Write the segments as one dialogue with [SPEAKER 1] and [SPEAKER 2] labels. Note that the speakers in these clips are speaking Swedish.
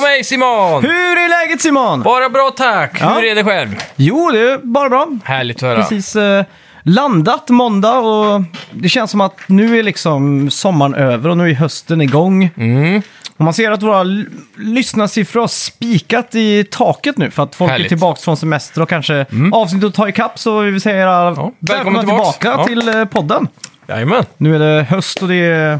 [SPEAKER 1] Hej Simon!
[SPEAKER 2] Hur är läget Simon?
[SPEAKER 1] Bara bra tack!
[SPEAKER 2] Ja.
[SPEAKER 1] Hur är det själv?
[SPEAKER 2] Jo, det är bara bra.
[SPEAKER 1] Härligt att höra.
[SPEAKER 2] Precis eh, landat måndag och det känns som att nu är liksom sommaren över och nu är hösten igång.
[SPEAKER 1] Mm.
[SPEAKER 2] Och man ser att våra l- lyssnarsiffror har spikat i taket nu för att folk är
[SPEAKER 1] Härligt. Mm.
[SPEAKER 2] tillbaka från semester och kanske avsnitt att ta ikapp så vi vill säga välkomna,
[SPEAKER 1] tillbaks.
[SPEAKER 2] tillbaka
[SPEAKER 1] Ja.
[SPEAKER 2] till eh, podden.
[SPEAKER 1] Jajamän.
[SPEAKER 2] Nu är det höst och det är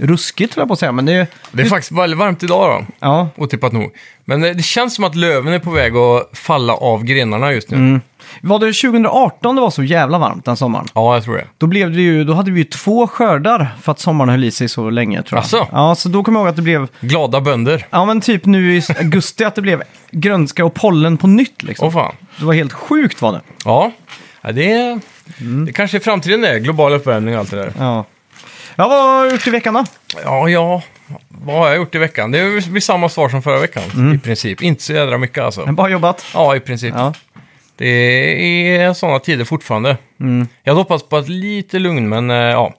[SPEAKER 2] ruskigt höll jag på att säga, men det är...
[SPEAKER 1] Det är faktiskt väldigt varmt idag då.
[SPEAKER 2] Ja,
[SPEAKER 1] Otippat nog. Men eh, det känns som att löven är på väg att falla av grenarna just nu.
[SPEAKER 2] Mm. var det 2018 det var så jävla varmt den sommaren?
[SPEAKER 1] Ja, jag tror det.
[SPEAKER 2] Då, blev det ju, då hade vi ju två skördar för att sommaren höll i sig så länge tror jag.
[SPEAKER 1] Asså?
[SPEAKER 2] Ja, så då kommer jag ihåg att det blev,
[SPEAKER 1] Glada bönder.
[SPEAKER 2] ja men typ nu i augusti att det blev grönska och pollen på nytt liksom.
[SPEAKER 1] Åh fan.
[SPEAKER 2] Det var helt sjukt var det.
[SPEAKER 1] Ja, ja det, är...
[SPEAKER 2] Mm.
[SPEAKER 1] det kanske är framtiden det. Global uppvärmning och allt det där.
[SPEAKER 2] Ja. Ja, vad har du gjort i veckan då?
[SPEAKER 1] Ja, ja. Vad har jag gjort i veckan? Det blir samma svar som förra veckan i princip. Inte så jädra mycket alltså.
[SPEAKER 2] Bara jobbat.
[SPEAKER 1] Ja, i princip.
[SPEAKER 2] Mm. Ja.
[SPEAKER 1] Det är sådana tider fortfarande.
[SPEAKER 2] Mm.
[SPEAKER 1] Jag hade hoppats på att lite lugn, men eh, ja.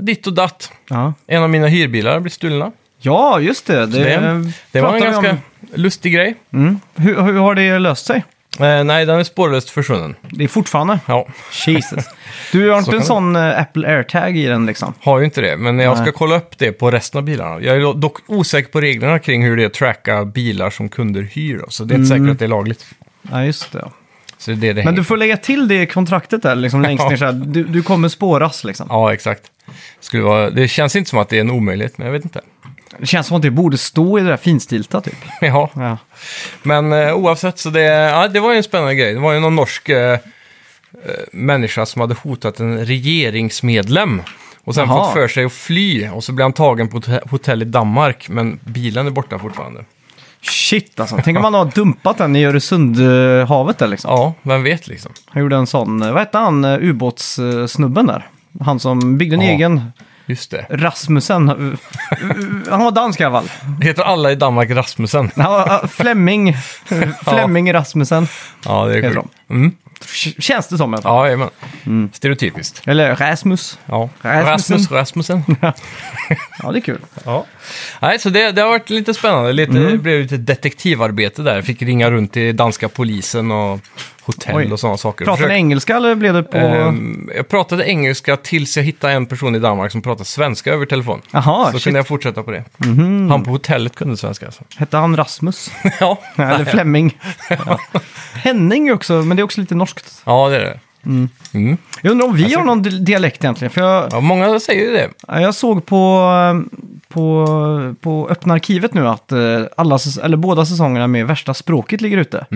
[SPEAKER 1] Ditt och datt.
[SPEAKER 2] Ja.
[SPEAKER 1] En av mina hyrbilar blev stulna.
[SPEAKER 2] ja, just det. Det,
[SPEAKER 1] Det, det var
[SPEAKER 2] Eh, pratar
[SPEAKER 1] en
[SPEAKER 2] vi om.
[SPEAKER 1] ganska lustig grej.
[SPEAKER 2] Mm. Hur, hur har det löst sig?
[SPEAKER 1] Eh, nej, den är spårlöst försvunnen.
[SPEAKER 2] Det är fortfarande.
[SPEAKER 1] Ja,
[SPEAKER 2] Jesus. Du har
[SPEAKER 1] Så
[SPEAKER 2] inte en
[SPEAKER 1] kan
[SPEAKER 2] sån eh, Apple AirTag i den liksom?
[SPEAKER 1] har ju inte det, men jag ska
[SPEAKER 2] Nej.
[SPEAKER 1] kolla upp det på resten av bilarna. Jag är dock osäker på reglerna kring hur det är att tracka bilar som kunder hyr, då, så det är inte säkert att det är lagligt.
[SPEAKER 2] Ja, just det.
[SPEAKER 1] Så det är det det
[SPEAKER 2] Mm. Men
[SPEAKER 1] hänger
[SPEAKER 2] du får lägga till det i kontraktet där, liksom längst ner så här. Du, du kommer spåras liksom.
[SPEAKER 1] Ja, exakt. Skulle vara... Det känns inte som att det är en omöjlighet, men jag vet inte.
[SPEAKER 2] Det känns som att det borde stå i det där finstilta typ.
[SPEAKER 1] Ja.
[SPEAKER 2] Ja.
[SPEAKER 1] Men eh, oavsett, så det, ja, det var ju en spännande grej. Det var ju någon norsk eh, eh, människa som hade hotat en regeringsmedlem. Och sen
[SPEAKER 2] Jaha.
[SPEAKER 1] fått för sig att fly. Och så blev han tagen på ett hot- hotell i Danmark, men bilen är borta fortfarande.
[SPEAKER 2] Shit alltså. Tänk om man har dumpat den i Öresundhavet där liksom.
[SPEAKER 1] Ja, vem vet liksom.
[SPEAKER 2] Han gjorde en sån, eh, vad hette han, eh, ubåtssnubben där? Han som byggde en
[SPEAKER 1] Ja.
[SPEAKER 2] egen
[SPEAKER 1] Just det.
[SPEAKER 2] Rasmussen. Uh, uh, Han var dansk i alla fall.
[SPEAKER 1] Heter alla i Danmark Rasmussen?
[SPEAKER 2] Han var, uh, Flemming. Flemming Rasmussen.
[SPEAKER 1] Ja, det är
[SPEAKER 2] Heter
[SPEAKER 1] sjukt. Mm.
[SPEAKER 2] K- Känns det som i alla fall.
[SPEAKER 1] Ja, jajamän. Stereotypiskt.
[SPEAKER 2] Eller Rasmus.
[SPEAKER 1] Ja.
[SPEAKER 2] Mm. Rasmussen.
[SPEAKER 1] Rasmus Rasmussen.
[SPEAKER 2] Ja, det är kul.
[SPEAKER 1] Ja. Nej, så det, det har varit lite spännande. Lite,
[SPEAKER 2] Mm.
[SPEAKER 1] Det blev lite detektivarbete där. Fick ringa runt till danska polisen och hotell
[SPEAKER 2] Oj.
[SPEAKER 1] och sådana saker.
[SPEAKER 2] Pratade ni
[SPEAKER 1] Försökte-
[SPEAKER 2] engelska eller blev det på...
[SPEAKER 1] Ehm, jag pratade engelska tills jag hittade en person i Danmark som pratade svenska över telefon.
[SPEAKER 2] Jaha,
[SPEAKER 1] så
[SPEAKER 2] shit. Mhm.
[SPEAKER 1] kunde jag fortsätta på det. Han på hotellet kunde svenska alltså.
[SPEAKER 2] Hette han Rasmus?
[SPEAKER 1] ja.
[SPEAKER 2] Eller Flemming. Ja. Henning också, men det är också lite norskt.
[SPEAKER 1] ja, det är det. Mm.
[SPEAKER 2] Jag undrar om vi har någon di- dialekt egentligen. För jag,
[SPEAKER 1] Ja, många säger ju det.
[SPEAKER 2] jag såg på, eh, på, på Öppna Arkivet nu att eh, alla, säs- eller båda säsongerna med Värsta Språket ligger ute.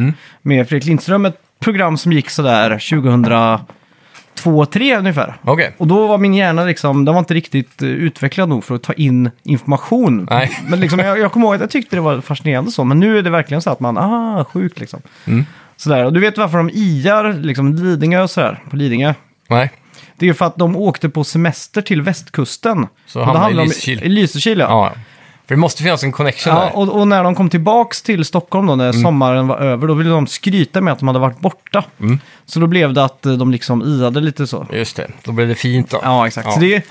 [SPEAKER 2] Med Fredrik Lindström, ett program som gick sådär 2002 3 ungefär.
[SPEAKER 1] Okej.
[SPEAKER 2] Och då var min hjärna liksom, den var inte riktigt eh, utvecklad nog för att ta in information.
[SPEAKER 1] Nej.
[SPEAKER 2] Men liksom, jag, jag kommer ihåg att jag tyckte det var fascinerande så, men nu är det verkligen så att man, ah, sjukt liksom.
[SPEAKER 1] Mm.
[SPEAKER 2] Sådär, och du vet varför de iar liksom Lidingö och sådär, på Lidingö?
[SPEAKER 1] Nej.
[SPEAKER 2] Det är ju för att de åkte på semester till västkusten.
[SPEAKER 1] Så
[SPEAKER 2] Och då
[SPEAKER 1] hamnade i
[SPEAKER 2] hamnade de
[SPEAKER 1] Lysekil.
[SPEAKER 2] I Lysekil, ja.
[SPEAKER 1] Ja. För det måste finnas en connection
[SPEAKER 2] ja
[SPEAKER 1] där.
[SPEAKER 2] och, och när de kom tillbaks till Stockholm då, när
[SPEAKER 1] Mm.
[SPEAKER 2] sommaren var över, då ville de skryta med att de hade varit borta.
[SPEAKER 1] Mm.
[SPEAKER 2] Så då blev det att eh, de liksom iade lite så.
[SPEAKER 1] Just det, då blev det fint då.
[SPEAKER 2] Ja, exakt.
[SPEAKER 1] Ja.
[SPEAKER 2] Så det är,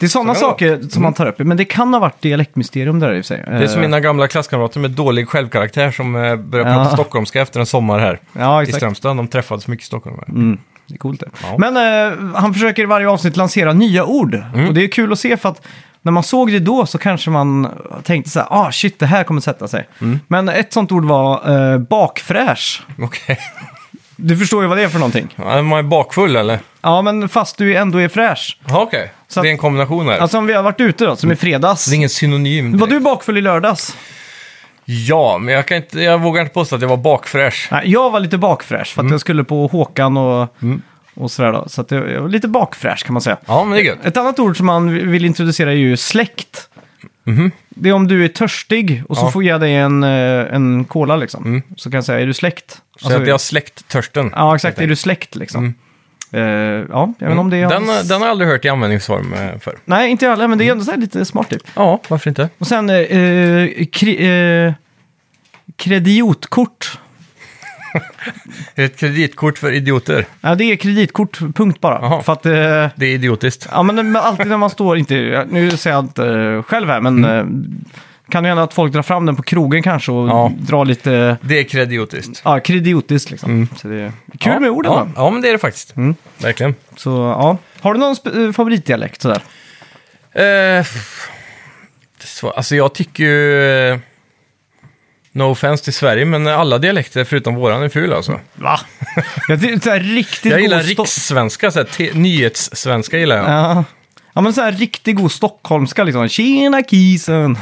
[SPEAKER 2] det är sådana
[SPEAKER 1] Så kan det
[SPEAKER 2] saker som man tar upp. Men det kan ha varit dialektmysterium där i och för sig. Eh,
[SPEAKER 1] Det är som mina gamla klasskamrater med dålig självkaraktär som eh, börjar
[SPEAKER 2] Ja.
[SPEAKER 1] prata stockholmska efter en sommar här
[SPEAKER 2] Ja,
[SPEAKER 1] i
[SPEAKER 2] exakt.
[SPEAKER 1] Strömstad. De träffades mycket i Stockholm.
[SPEAKER 2] Mm, det är coolt det.
[SPEAKER 1] Ja.
[SPEAKER 2] Men eh, han försöker i varje avsnitt lansera nya ord. Och det är kul att se för att när man såg det då så kanske man tänkte så här, ah shit, det här kommer sätta sig. Men ett sånt ord var eh, bakfräsch.
[SPEAKER 1] Okej.
[SPEAKER 2] Du förstår ju vad det är för någonting.
[SPEAKER 1] Ja, Man är bakfull eller?
[SPEAKER 2] Ja, men fast du ändå är fräsch.
[SPEAKER 1] Ja, Okej, så det är en kombination här.
[SPEAKER 2] Alltså om vi har varit ute då, som i fredags.
[SPEAKER 1] det är ingen synonym.
[SPEAKER 2] Var du
[SPEAKER 1] direkt.
[SPEAKER 2] bakfull i lördags?
[SPEAKER 1] Ja, men jag, kan inte, jag vågar inte påstå att jag var bakfräsch.
[SPEAKER 2] Nej, jag var lite bakfräsch för att jag skulle på Håkan och, och sådär då. Så att jag, jag var lite bakfräsch kan man säga.
[SPEAKER 1] Ja, men det är gött.
[SPEAKER 2] Ett annat ord som man vill introducera är ju släkt. Det är om du är törstig och så
[SPEAKER 1] Mhm. Ja. Mm.
[SPEAKER 2] får jag dig en, eh, en cola liksom. Så kan jag säga, är du släkt?
[SPEAKER 1] Så
[SPEAKER 2] Alltså,
[SPEAKER 1] att jag har släckt törsten.
[SPEAKER 2] Ja, exakt. Är du släkt liksom? Eh, ja, jag vet inte om det är...
[SPEAKER 1] Mm. den, den Mm. har jag aldrig hört i användningsform eh, för.
[SPEAKER 2] Nej, inte jag heller, men det är ändå så här lite smart typ.
[SPEAKER 1] Ja, varför inte?
[SPEAKER 2] Och sen eh, kri, eh, kreditkort.
[SPEAKER 1] Ett kreditkort för idioter.
[SPEAKER 2] Ja, det är kreditkort, punkt bara.
[SPEAKER 1] Jaha.
[SPEAKER 2] För att... Eh,
[SPEAKER 1] Det är idiotiskt.
[SPEAKER 2] Ja, men men alltid när man står, inte, nu säger jag inte eh, själv här, men eh, Kan ju hända att folk drar fram den på krogen kanske och
[SPEAKER 1] Mm. Ja.
[SPEAKER 2] drar lite
[SPEAKER 1] Det är krediotiskt.
[SPEAKER 2] ja, krediotiskt liksom. Så det är kul med orden
[SPEAKER 1] Mm. ja,
[SPEAKER 2] va?
[SPEAKER 1] ja, men det är det faktiskt.
[SPEAKER 2] Mm.
[SPEAKER 1] Verkligen.
[SPEAKER 2] Så ja. Har du någon spe- eh, favoritdialekt sådär?
[SPEAKER 1] Eh, pff. Det är svårt. alltså jag tycker ju... eh, No offense till Sverige, men alla dialekter förutom våran är ful alltså.
[SPEAKER 2] Va? Jag tycker såhär riktigt
[SPEAKER 1] Jag gillar
[SPEAKER 2] god sto-
[SPEAKER 1] rikssvenska, så här, te- nyhetssvenska gillar jag.
[SPEAKER 2] Ja. ja men såhär riktigt god stockholmska liksom. Tjena kisen!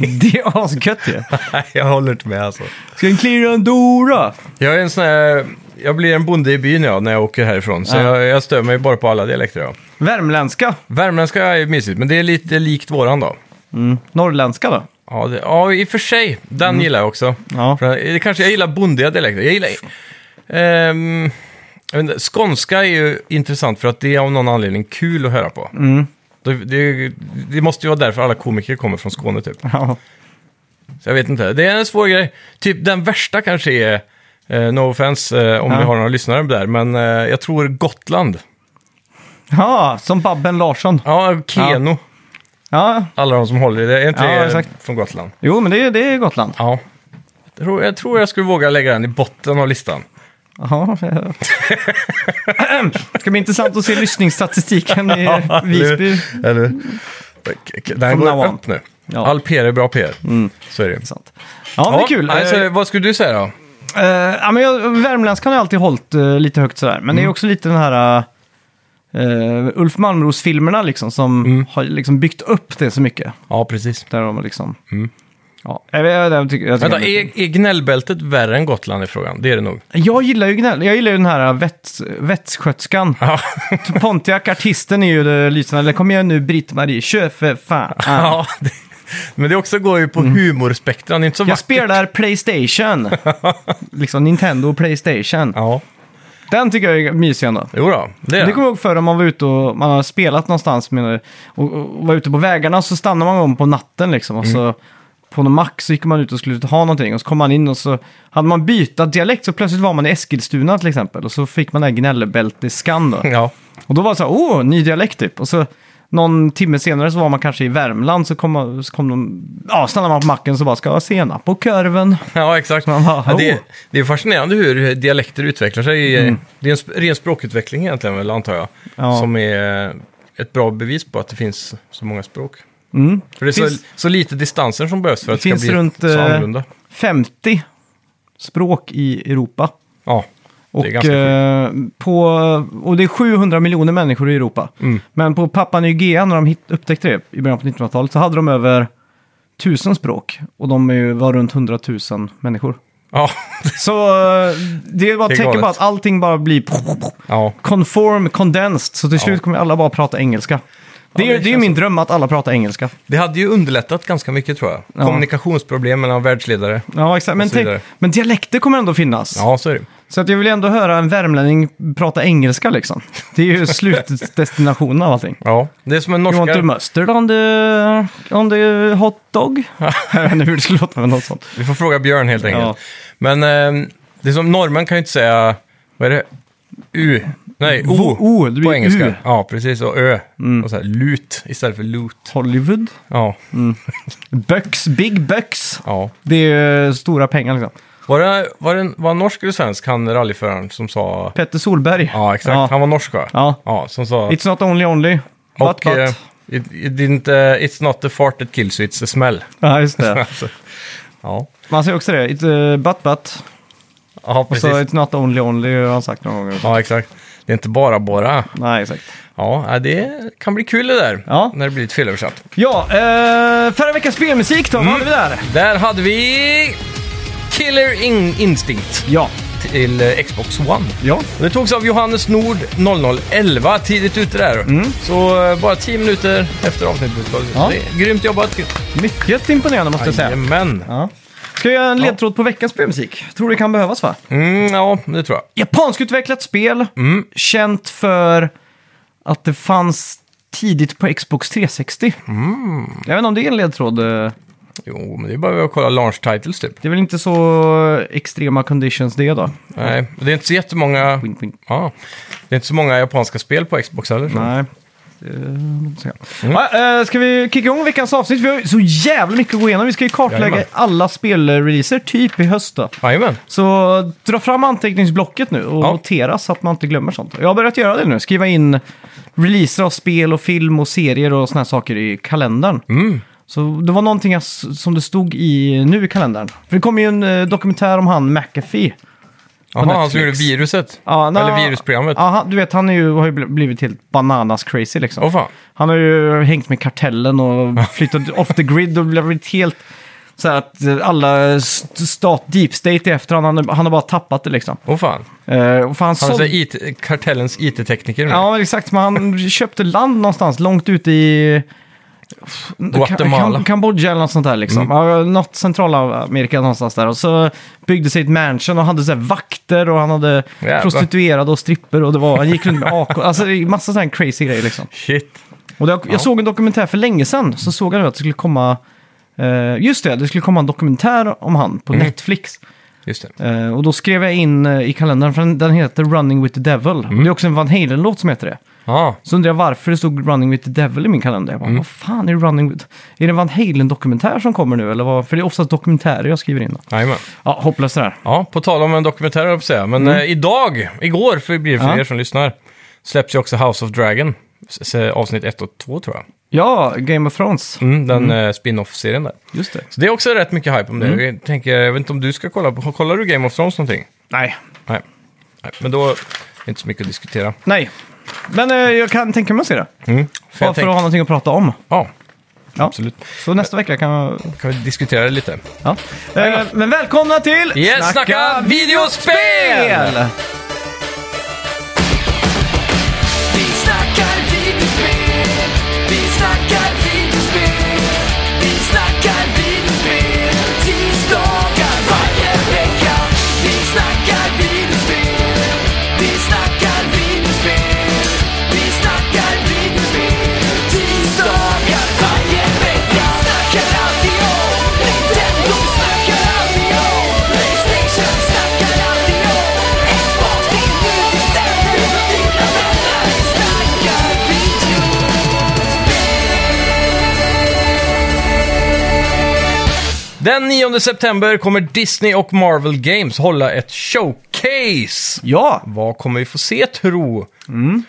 [SPEAKER 2] det är asgött ju.
[SPEAKER 1] Nej, jag håller inte med alltså.
[SPEAKER 2] Ska en klirra en Dora?
[SPEAKER 1] Jag är en sån här... Jag blir en bonde i byn ja, när jag åker härifrån, så
[SPEAKER 2] Ja.
[SPEAKER 1] jag, jag stör mig bara på alla dialekter. Ja.
[SPEAKER 2] Värmländska?
[SPEAKER 1] Värmländska är mysigt, men det är lite likt våran då.
[SPEAKER 2] Mm. Norrländska då?
[SPEAKER 1] Ja, det, ja i och för sig. Den gillar jag också.
[SPEAKER 2] Ja.
[SPEAKER 1] För det kanske jag gillar bondiga dialekter. Jag gillar... Ehm, jag vet inte, skånska är ju intressant för att det är av någon anledning kul att höra på.
[SPEAKER 2] Mm.
[SPEAKER 1] Det, det, det måste ju vara därför alla komiker kommer från Skåne typ.
[SPEAKER 2] ja.
[SPEAKER 1] Så jag vet inte, det är en svår grej. Typ den värsta kanske är, eh, no offense eh, om
[SPEAKER 2] Ja.
[SPEAKER 1] vi har några lyssnare där, men eh, jag tror Gotland.
[SPEAKER 2] Ja, som Babben Larsson.
[SPEAKER 1] Ja, Keno.
[SPEAKER 2] Ja,
[SPEAKER 1] Alla de som håller i det, är inte
[SPEAKER 2] Ja,
[SPEAKER 1] det
[SPEAKER 2] exakt.
[SPEAKER 1] från Gotland?
[SPEAKER 2] jo men det, är- det är Gotland.
[SPEAKER 1] Ja. Jag tror, jag tror jag skulle våga lägga den i botten av listan.
[SPEAKER 2] Ja. det ska bli intressant att se lyssningsstatistiken i Visby.
[SPEAKER 1] Eller, den
[SPEAKER 2] From
[SPEAKER 1] går
[SPEAKER 2] now on.
[SPEAKER 1] upp nu.
[SPEAKER 2] Ja.
[SPEAKER 1] All PR är bra PR. Så är Mm. det.
[SPEAKER 2] Intressant. Ja, men det är kul.
[SPEAKER 1] Alltså,
[SPEAKER 2] Eh,
[SPEAKER 1] vad skulle du säga då?
[SPEAKER 2] eh, ja, men jag, värmländskan har jag alltid hållit eh, lite högt sådär. Men det är också lite den här eh, Ulf Malmros-filmerna liksom, som har liksom byggt upp det så mycket.
[SPEAKER 1] Ja, precis.
[SPEAKER 2] Där de har liksom... Ja, jag, vet- jag, jag, tycker- jag, tycker
[SPEAKER 1] Vänta,
[SPEAKER 2] jag,
[SPEAKER 1] är, är gnällbältet värre än Gotland i frågan? Det är det nog.
[SPEAKER 2] jag gillar ju gnäll. Jag gillar ju den här eh, vets, vetsskötskan.
[SPEAKER 1] Ja,
[SPEAKER 2] Pontiac, artisten, är ju det lysande. Eller kom igen nu Britt-Marie, kör för fan.
[SPEAKER 1] ja. Mm. det- Men det också går ju på humorspektran, det är inte så
[SPEAKER 2] Jag
[SPEAKER 1] vackert.
[SPEAKER 2] spelar Playstation. liksom Nintendo och Playstation.
[SPEAKER 1] Ja,
[SPEAKER 2] Den tycker jag är mysig ändå.
[SPEAKER 1] jo då, det är
[SPEAKER 2] Det
[SPEAKER 1] det.
[SPEAKER 2] kommer jag ihåg förr om man var ute och man har spelat någonstans med, och, och var ute på vägarna så stannade man om på natten liksom. Och så på någon mack så gick man ut och skulle ha någonting och så kom man in och så hade man bytt dialekt så plötsligt var man i Eskilstuna till exempel. Och så fick man den här gnällbälteskan då.
[SPEAKER 1] Ja,
[SPEAKER 2] Och då var det så här, åh, ny dialekt typ. Och så någon timme senare så var man kanske i Värmland så kom, man- så kom de, ja, stannade man på macken så bara, ska jag ha senap på korven?
[SPEAKER 1] ja exakt.
[SPEAKER 2] Man bara,
[SPEAKER 1] Ja, det,
[SPEAKER 2] "Oh."
[SPEAKER 1] det är fascinerande hur dialekter utvecklar sig. i- Det är en sp- ren språkutveckling egentligen, väl, antar jag.
[SPEAKER 2] Ja.
[SPEAKER 1] Som är ett bra bevis på att det finns så många språk.
[SPEAKER 2] Mm.
[SPEAKER 1] För det är
[SPEAKER 2] Finns-
[SPEAKER 1] så, så lite distanser som behövs för att det
[SPEAKER 2] finns
[SPEAKER 1] ska bli
[SPEAKER 2] runt,
[SPEAKER 1] så
[SPEAKER 2] eh,
[SPEAKER 1] annorlunda.
[SPEAKER 2] 50 språk i Europa.
[SPEAKER 1] Ja,
[SPEAKER 2] Och,
[SPEAKER 1] det är ganska sjukt.
[SPEAKER 2] eh, på, och det är 700 miljoner människor i Europa.
[SPEAKER 1] Mm.
[SPEAKER 2] Men på Papua Nya Guinea när de hit, upptäckte det i början på 1900-talet så hade de över 1000 språk. Och de är ju, var runt 100 000 människor.
[SPEAKER 1] Ja,
[SPEAKER 2] Så eh, det är bara
[SPEAKER 1] Det är
[SPEAKER 2] ett tecken på
[SPEAKER 1] galet.
[SPEAKER 2] att allting bara blir
[SPEAKER 1] ja.
[SPEAKER 2] conform, condensed. Så till slut kommer alla bara prata engelska. Det är,
[SPEAKER 1] Ja, det
[SPEAKER 2] det är ju
[SPEAKER 1] känns
[SPEAKER 2] min dröm att alla pratar engelska.
[SPEAKER 1] Det hade ju underlättat ganska mycket tror jag.
[SPEAKER 2] Ja.
[SPEAKER 1] Kommunikationsproblem mellan världsledare.
[SPEAKER 2] Ja, exakt. Men,
[SPEAKER 1] Och så
[SPEAKER 2] tänk,
[SPEAKER 1] vidare.
[SPEAKER 2] men dialekter kommer ändå finnas.
[SPEAKER 1] Ja, så är det.
[SPEAKER 2] Så att jag vill ändå höra en värmlänning prata engelska liksom. Det är ju slutdestinationen av allting.
[SPEAKER 1] Ja, det är som en
[SPEAKER 2] You want to
[SPEAKER 1] norska.
[SPEAKER 2] mustard on the, on the hot dog? jag vet inte hur det skulle låta, men något sånt.
[SPEAKER 1] Vi får fråga Björn helt enkelt.
[SPEAKER 2] Ja.
[SPEAKER 1] Men eh, det är som norrmän kan ju inte säga, vad är det? U? Nej, O. Mm.
[SPEAKER 2] O, det blir
[SPEAKER 1] på engelska.
[SPEAKER 2] U.
[SPEAKER 1] Ja, precis. Och Ö. Och så här lut istället för loot.
[SPEAKER 2] Hollywood?
[SPEAKER 1] Ja,
[SPEAKER 2] Bucks, big bucks.
[SPEAKER 1] ja.
[SPEAKER 2] Det är ju stora pengar liksom.
[SPEAKER 1] Var det, var det var han norsk eller svensk, han rallyföraren som sa...
[SPEAKER 2] Petter Solberg.
[SPEAKER 1] Ja, exakt.
[SPEAKER 2] Ja.
[SPEAKER 1] Han var norsk va?
[SPEAKER 2] Ja.
[SPEAKER 1] Ja, som sa...
[SPEAKER 2] It's not only only. But,
[SPEAKER 1] och,
[SPEAKER 2] but.
[SPEAKER 1] eh, it, it didn't, eh, it's not the fart that kills you, it's the smell.
[SPEAKER 2] Ja, just det.
[SPEAKER 1] alltså, ja.
[SPEAKER 2] Man säger också det. It, uh, but but.
[SPEAKER 1] ja,
[SPEAKER 2] Och
[SPEAKER 1] precis.
[SPEAKER 2] så it's not only only har han sagt några gånger.
[SPEAKER 1] Ja, exakt. Det är inte bara bara.
[SPEAKER 2] Nej, exakt.
[SPEAKER 1] Ja, nej, det kan bli kul det där.
[SPEAKER 2] Ja.
[SPEAKER 1] När det blir lite felöversatt.
[SPEAKER 2] Ja, eh, förra veckans spelmusik då, vad
[SPEAKER 1] Mm.
[SPEAKER 2] hade vi där?
[SPEAKER 1] Där hade vi Killer In Instinct
[SPEAKER 2] Ja.
[SPEAKER 1] till eh, Xbox One.
[SPEAKER 2] Ja.
[SPEAKER 1] Och Det togs av Johannes Nord 0011, tidigt ute där. Så eh, bara 10 minuter efter avsnittet.
[SPEAKER 2] Mm. Ja.
[SPEAKER 1] Ja. Det är grymt jobbat.
[SPEAKER 2] Mycket imponerande måste jag säga.
[SPEAKER 1] Jajamän.
[SPEAKER 2] Ja. Ska vi göra en ledtråd på veckans spelmusik? Tror det kan behövas va?
[SPEAKER 1] Mm, ja, det tror jag.
[SPEAKER 2] Japanskutvecklat spel, känt för att det fanns tidigt på Xbox 360. Jag vet inte om det är en ledtråd. eh,
[SPEAKER 1] Jo, men det är bara att kolla launch titles typ.
[SPEAKER 2] Det är väl inte så extrema conditions det då?
[SPEAKER 1] Nej, det är inte så jättemånga...
[SPEAKER 2] Wink, wink.
[SPEAKER 1] Ja, det är inte så många japanska spel på Xbox heller. så.
[SPEAKER 2] Nej. Det är något att säga. Ja, eh, ska vi kicka igång veckans avsnitt? Vi har ju så jävla mycket att gå igenom. Vi ska ju kartlägga
[SPEAKER 1] Jajamän.
[SPEAKER 2] alla spelreleaser typ i höst då.
[SPEAKER 1] Jajamän.
[SPEAKER 2] Så dra fram anteckningsblocket nu och
[SPEAKER 1] Ja.
[SPEAKER 2] notera så att man inte glömmer sånt. Jag har börjat göra det nu. Skriva in releaser av spel och film och serier och såna här saker i kalendern.
[SPEAKER 1] Mm.
[SPEAKER 2] Så det var någonting jag, s- som det stod i nu i kalendern. För det kom ju en eh, dokumentär om han McAfee.
[SPEAKER 1] Jaha, han som gjorde
[SPEAKER 2] Netflix.
[SPEAKER 1] viruset.
[SPEAKER 2] Ja, na-
[SPEAKER 1] Eller virusprogrammet.
[SPEAKER 2] Ja, han, du vet, han är ju, har ju bl- blivit helt bananas crazy liksom.
[SPEAKER 1] Åh fan.
[SPEAKER 2] Han har ju hängt med kartellen och flyttat off the grid och blivit helt... Så här att eh, alla st- stat, deep state är efter honom. Han, har- han har bara tappat det liksom.
[SPEAKER 1] Åh fan.
[SPEAKER 2] Eh, och för han
[SPEAKER 1] Han är
[SPEAKER 2] såld-
[SPEAKER 1] så här IT, kartellens IT-tekniker nu.
[SPEAKER 2] Ja, men exakt. Men han köpte land någonstans långt ute i...
[SPEAKER 1] Guatemala. Mm.
[SPEAKER 2] Kam- Kambodja eller något sånt där liksom. Ja, Något Centralamerika någonstans där. Och så byggde sig ett mansion och hade så här vakter och han hade
[SPEAKER 1] Jävlar.
[SPEAKER 2] prostituerade och stripper och det var, han gick runt med AK. Alltså det är massa sådana crazy grejer liksom.
[SPEAKER 1] Shit.
[SPEAKER 2] Och det, jag såg en dokumentär för länge sedan, så såg jag nu att det skulle komma... eh, just det, det skulle komma en dokumentär om han
[SPEAKER 1] Mm.
[SPEAKER 2] på Netflix.
[SPEAKER 1] Just det.
[SPEAKER 2] Eh, och då skrev jag in eh, i kalendern, för den, den heter Running with the Devil.
[SPEAKER 1] Mm.
[SPEAKER 2] Och det är också en Van Halen-låt som heter det.
[SPEAKER 1] Ja.
[SPEAKER 2] Så undrar jag varför det stod Running with the Devil i min kalender.
[SPEAKER 1] Mm.
[SPEAKER 2] Jag bara, vad fan är Running with... Är det en Van Halen-dokumentär som kommer nu? Eller vad? För det är oftast dokumentärer jag skriver in. Då.
[SPEAKER 1] Jajamän.
[SPEAKER 2] Ja, hopplöst det där.
[SPEAKER 1] Ja, på tal om en dokumentär höll jag på att säga. Men eh, idag, igår, för det blir för
[SPEAKER 2] Mm. Ja.
[SPEAKER 1] er som lyssnar, släpps ju också House of Dragon. s- s- Avsnitt 1 och 2 tror jag.
[SPEAKER 2] Ja, Game of Thrones.
[SPEAKER 1] Mm, den eh, spin-off-serien där.
[SPEAKER 2] Just det.
[SPEAKER 1] Så det är också rätt mycket hype om det.
[SPEAKER 2] Mm.
[SPEAKER 1] Jag, tänker, jag vet inte om du ska kolla på, kollar du Game of Thrones någonting?
[SPEAKER 2] Nej.
[SPEAKER 1] Nej. Nej men då är det inte så mycket att diskutera.
[SPEAKER 2] Nej. Men eh, jag kan tänka mig att se det.
[SPEAKER 1] Mm. För
[SPEAKER 2] Bara för
[SPEAKER 1] jag
[SPEAKER 2] att
[SPEAKER 1] tänk,
[SPEAKER 2] ha någonting att prata om.
[SPEAKER 1] ja,
[SPEAKER 2] Ja.
[SPEAKER 1] absolut.
[SPEAKER 2] Så nästa vecka kan jag...
[SPEAKER 1] Kan vi diskutera det lite?
[SPEAKER 2] Ja. Eh, Men välkomna till
[SPEAKER 1] Yes, snacka, videospel!
[SPEAKER 3] Vi snackar videospel, vi snackar videospel, vi snackar videospel tisdagar varje vecka. Vi snackar videospel, vi snackar videospel, vi snackar videospel tisdagar varje vecka. Snackar alltid om Nintendo, snackar alltid om Playstation, snackar alltid om Xbox, det är nu vi sänder och dina vänner. Vi snackar videospel.
[SPEAKER 1] Den 9 september kommer Disney och Marvel Games hålla ett showcase.
[SPEAKER 2] Ja!
[SPEAKER 1] Vad kommer vi få se tro?
[SPEAKER 2] Mm.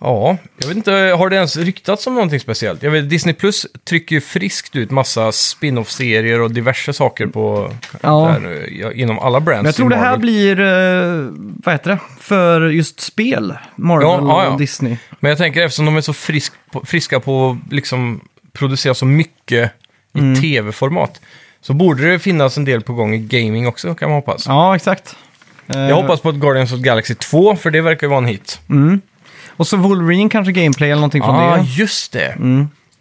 [SPEAKER 1] Ja, jag vet inte, har det ens ryktats om någonting speciellt? Jag vet, Disney Plus trycker ju friskt ut massa spin-off-serier och diverse saker på,
[SPEAKER 2] Ja.
[SPEAKER 1] där, eh, ja, inom alla brands
[SPEAKER 2] Men jag tror
[SPEAKER 1] i
[SPEAKER 2] det här
[SPEAKER 1] Marvel.
[SPEAKER 2] blir, eh, vad heter det, för just spel. Marvel
[SPEAKER 1] Ja, ja, ja.
[SPEAKER 2] och Disney.
[SPEAKER 1] Men jag tänker eftersom de är så frisk, på- friska på att liksom producera så mycket i
[SPEAKER 2] Mm.
[SPEAKER 1] tv-format så borde det finnas en del på gång i gaming också kan man hoppas.
[SPEAKER 2] Ja, exakt. Eh,
[SPEAKER 1] Jag hoppas på ett Guardians of the Galaxy 2 för det verkar ju vara en hit.
[SPEAKER 2] Och så Wolverine kanske gameplay eller någonting Mm, från
[SPEAKER 1] ah,
[SPEAKER 2] det.
[SPEAKER 1] just det!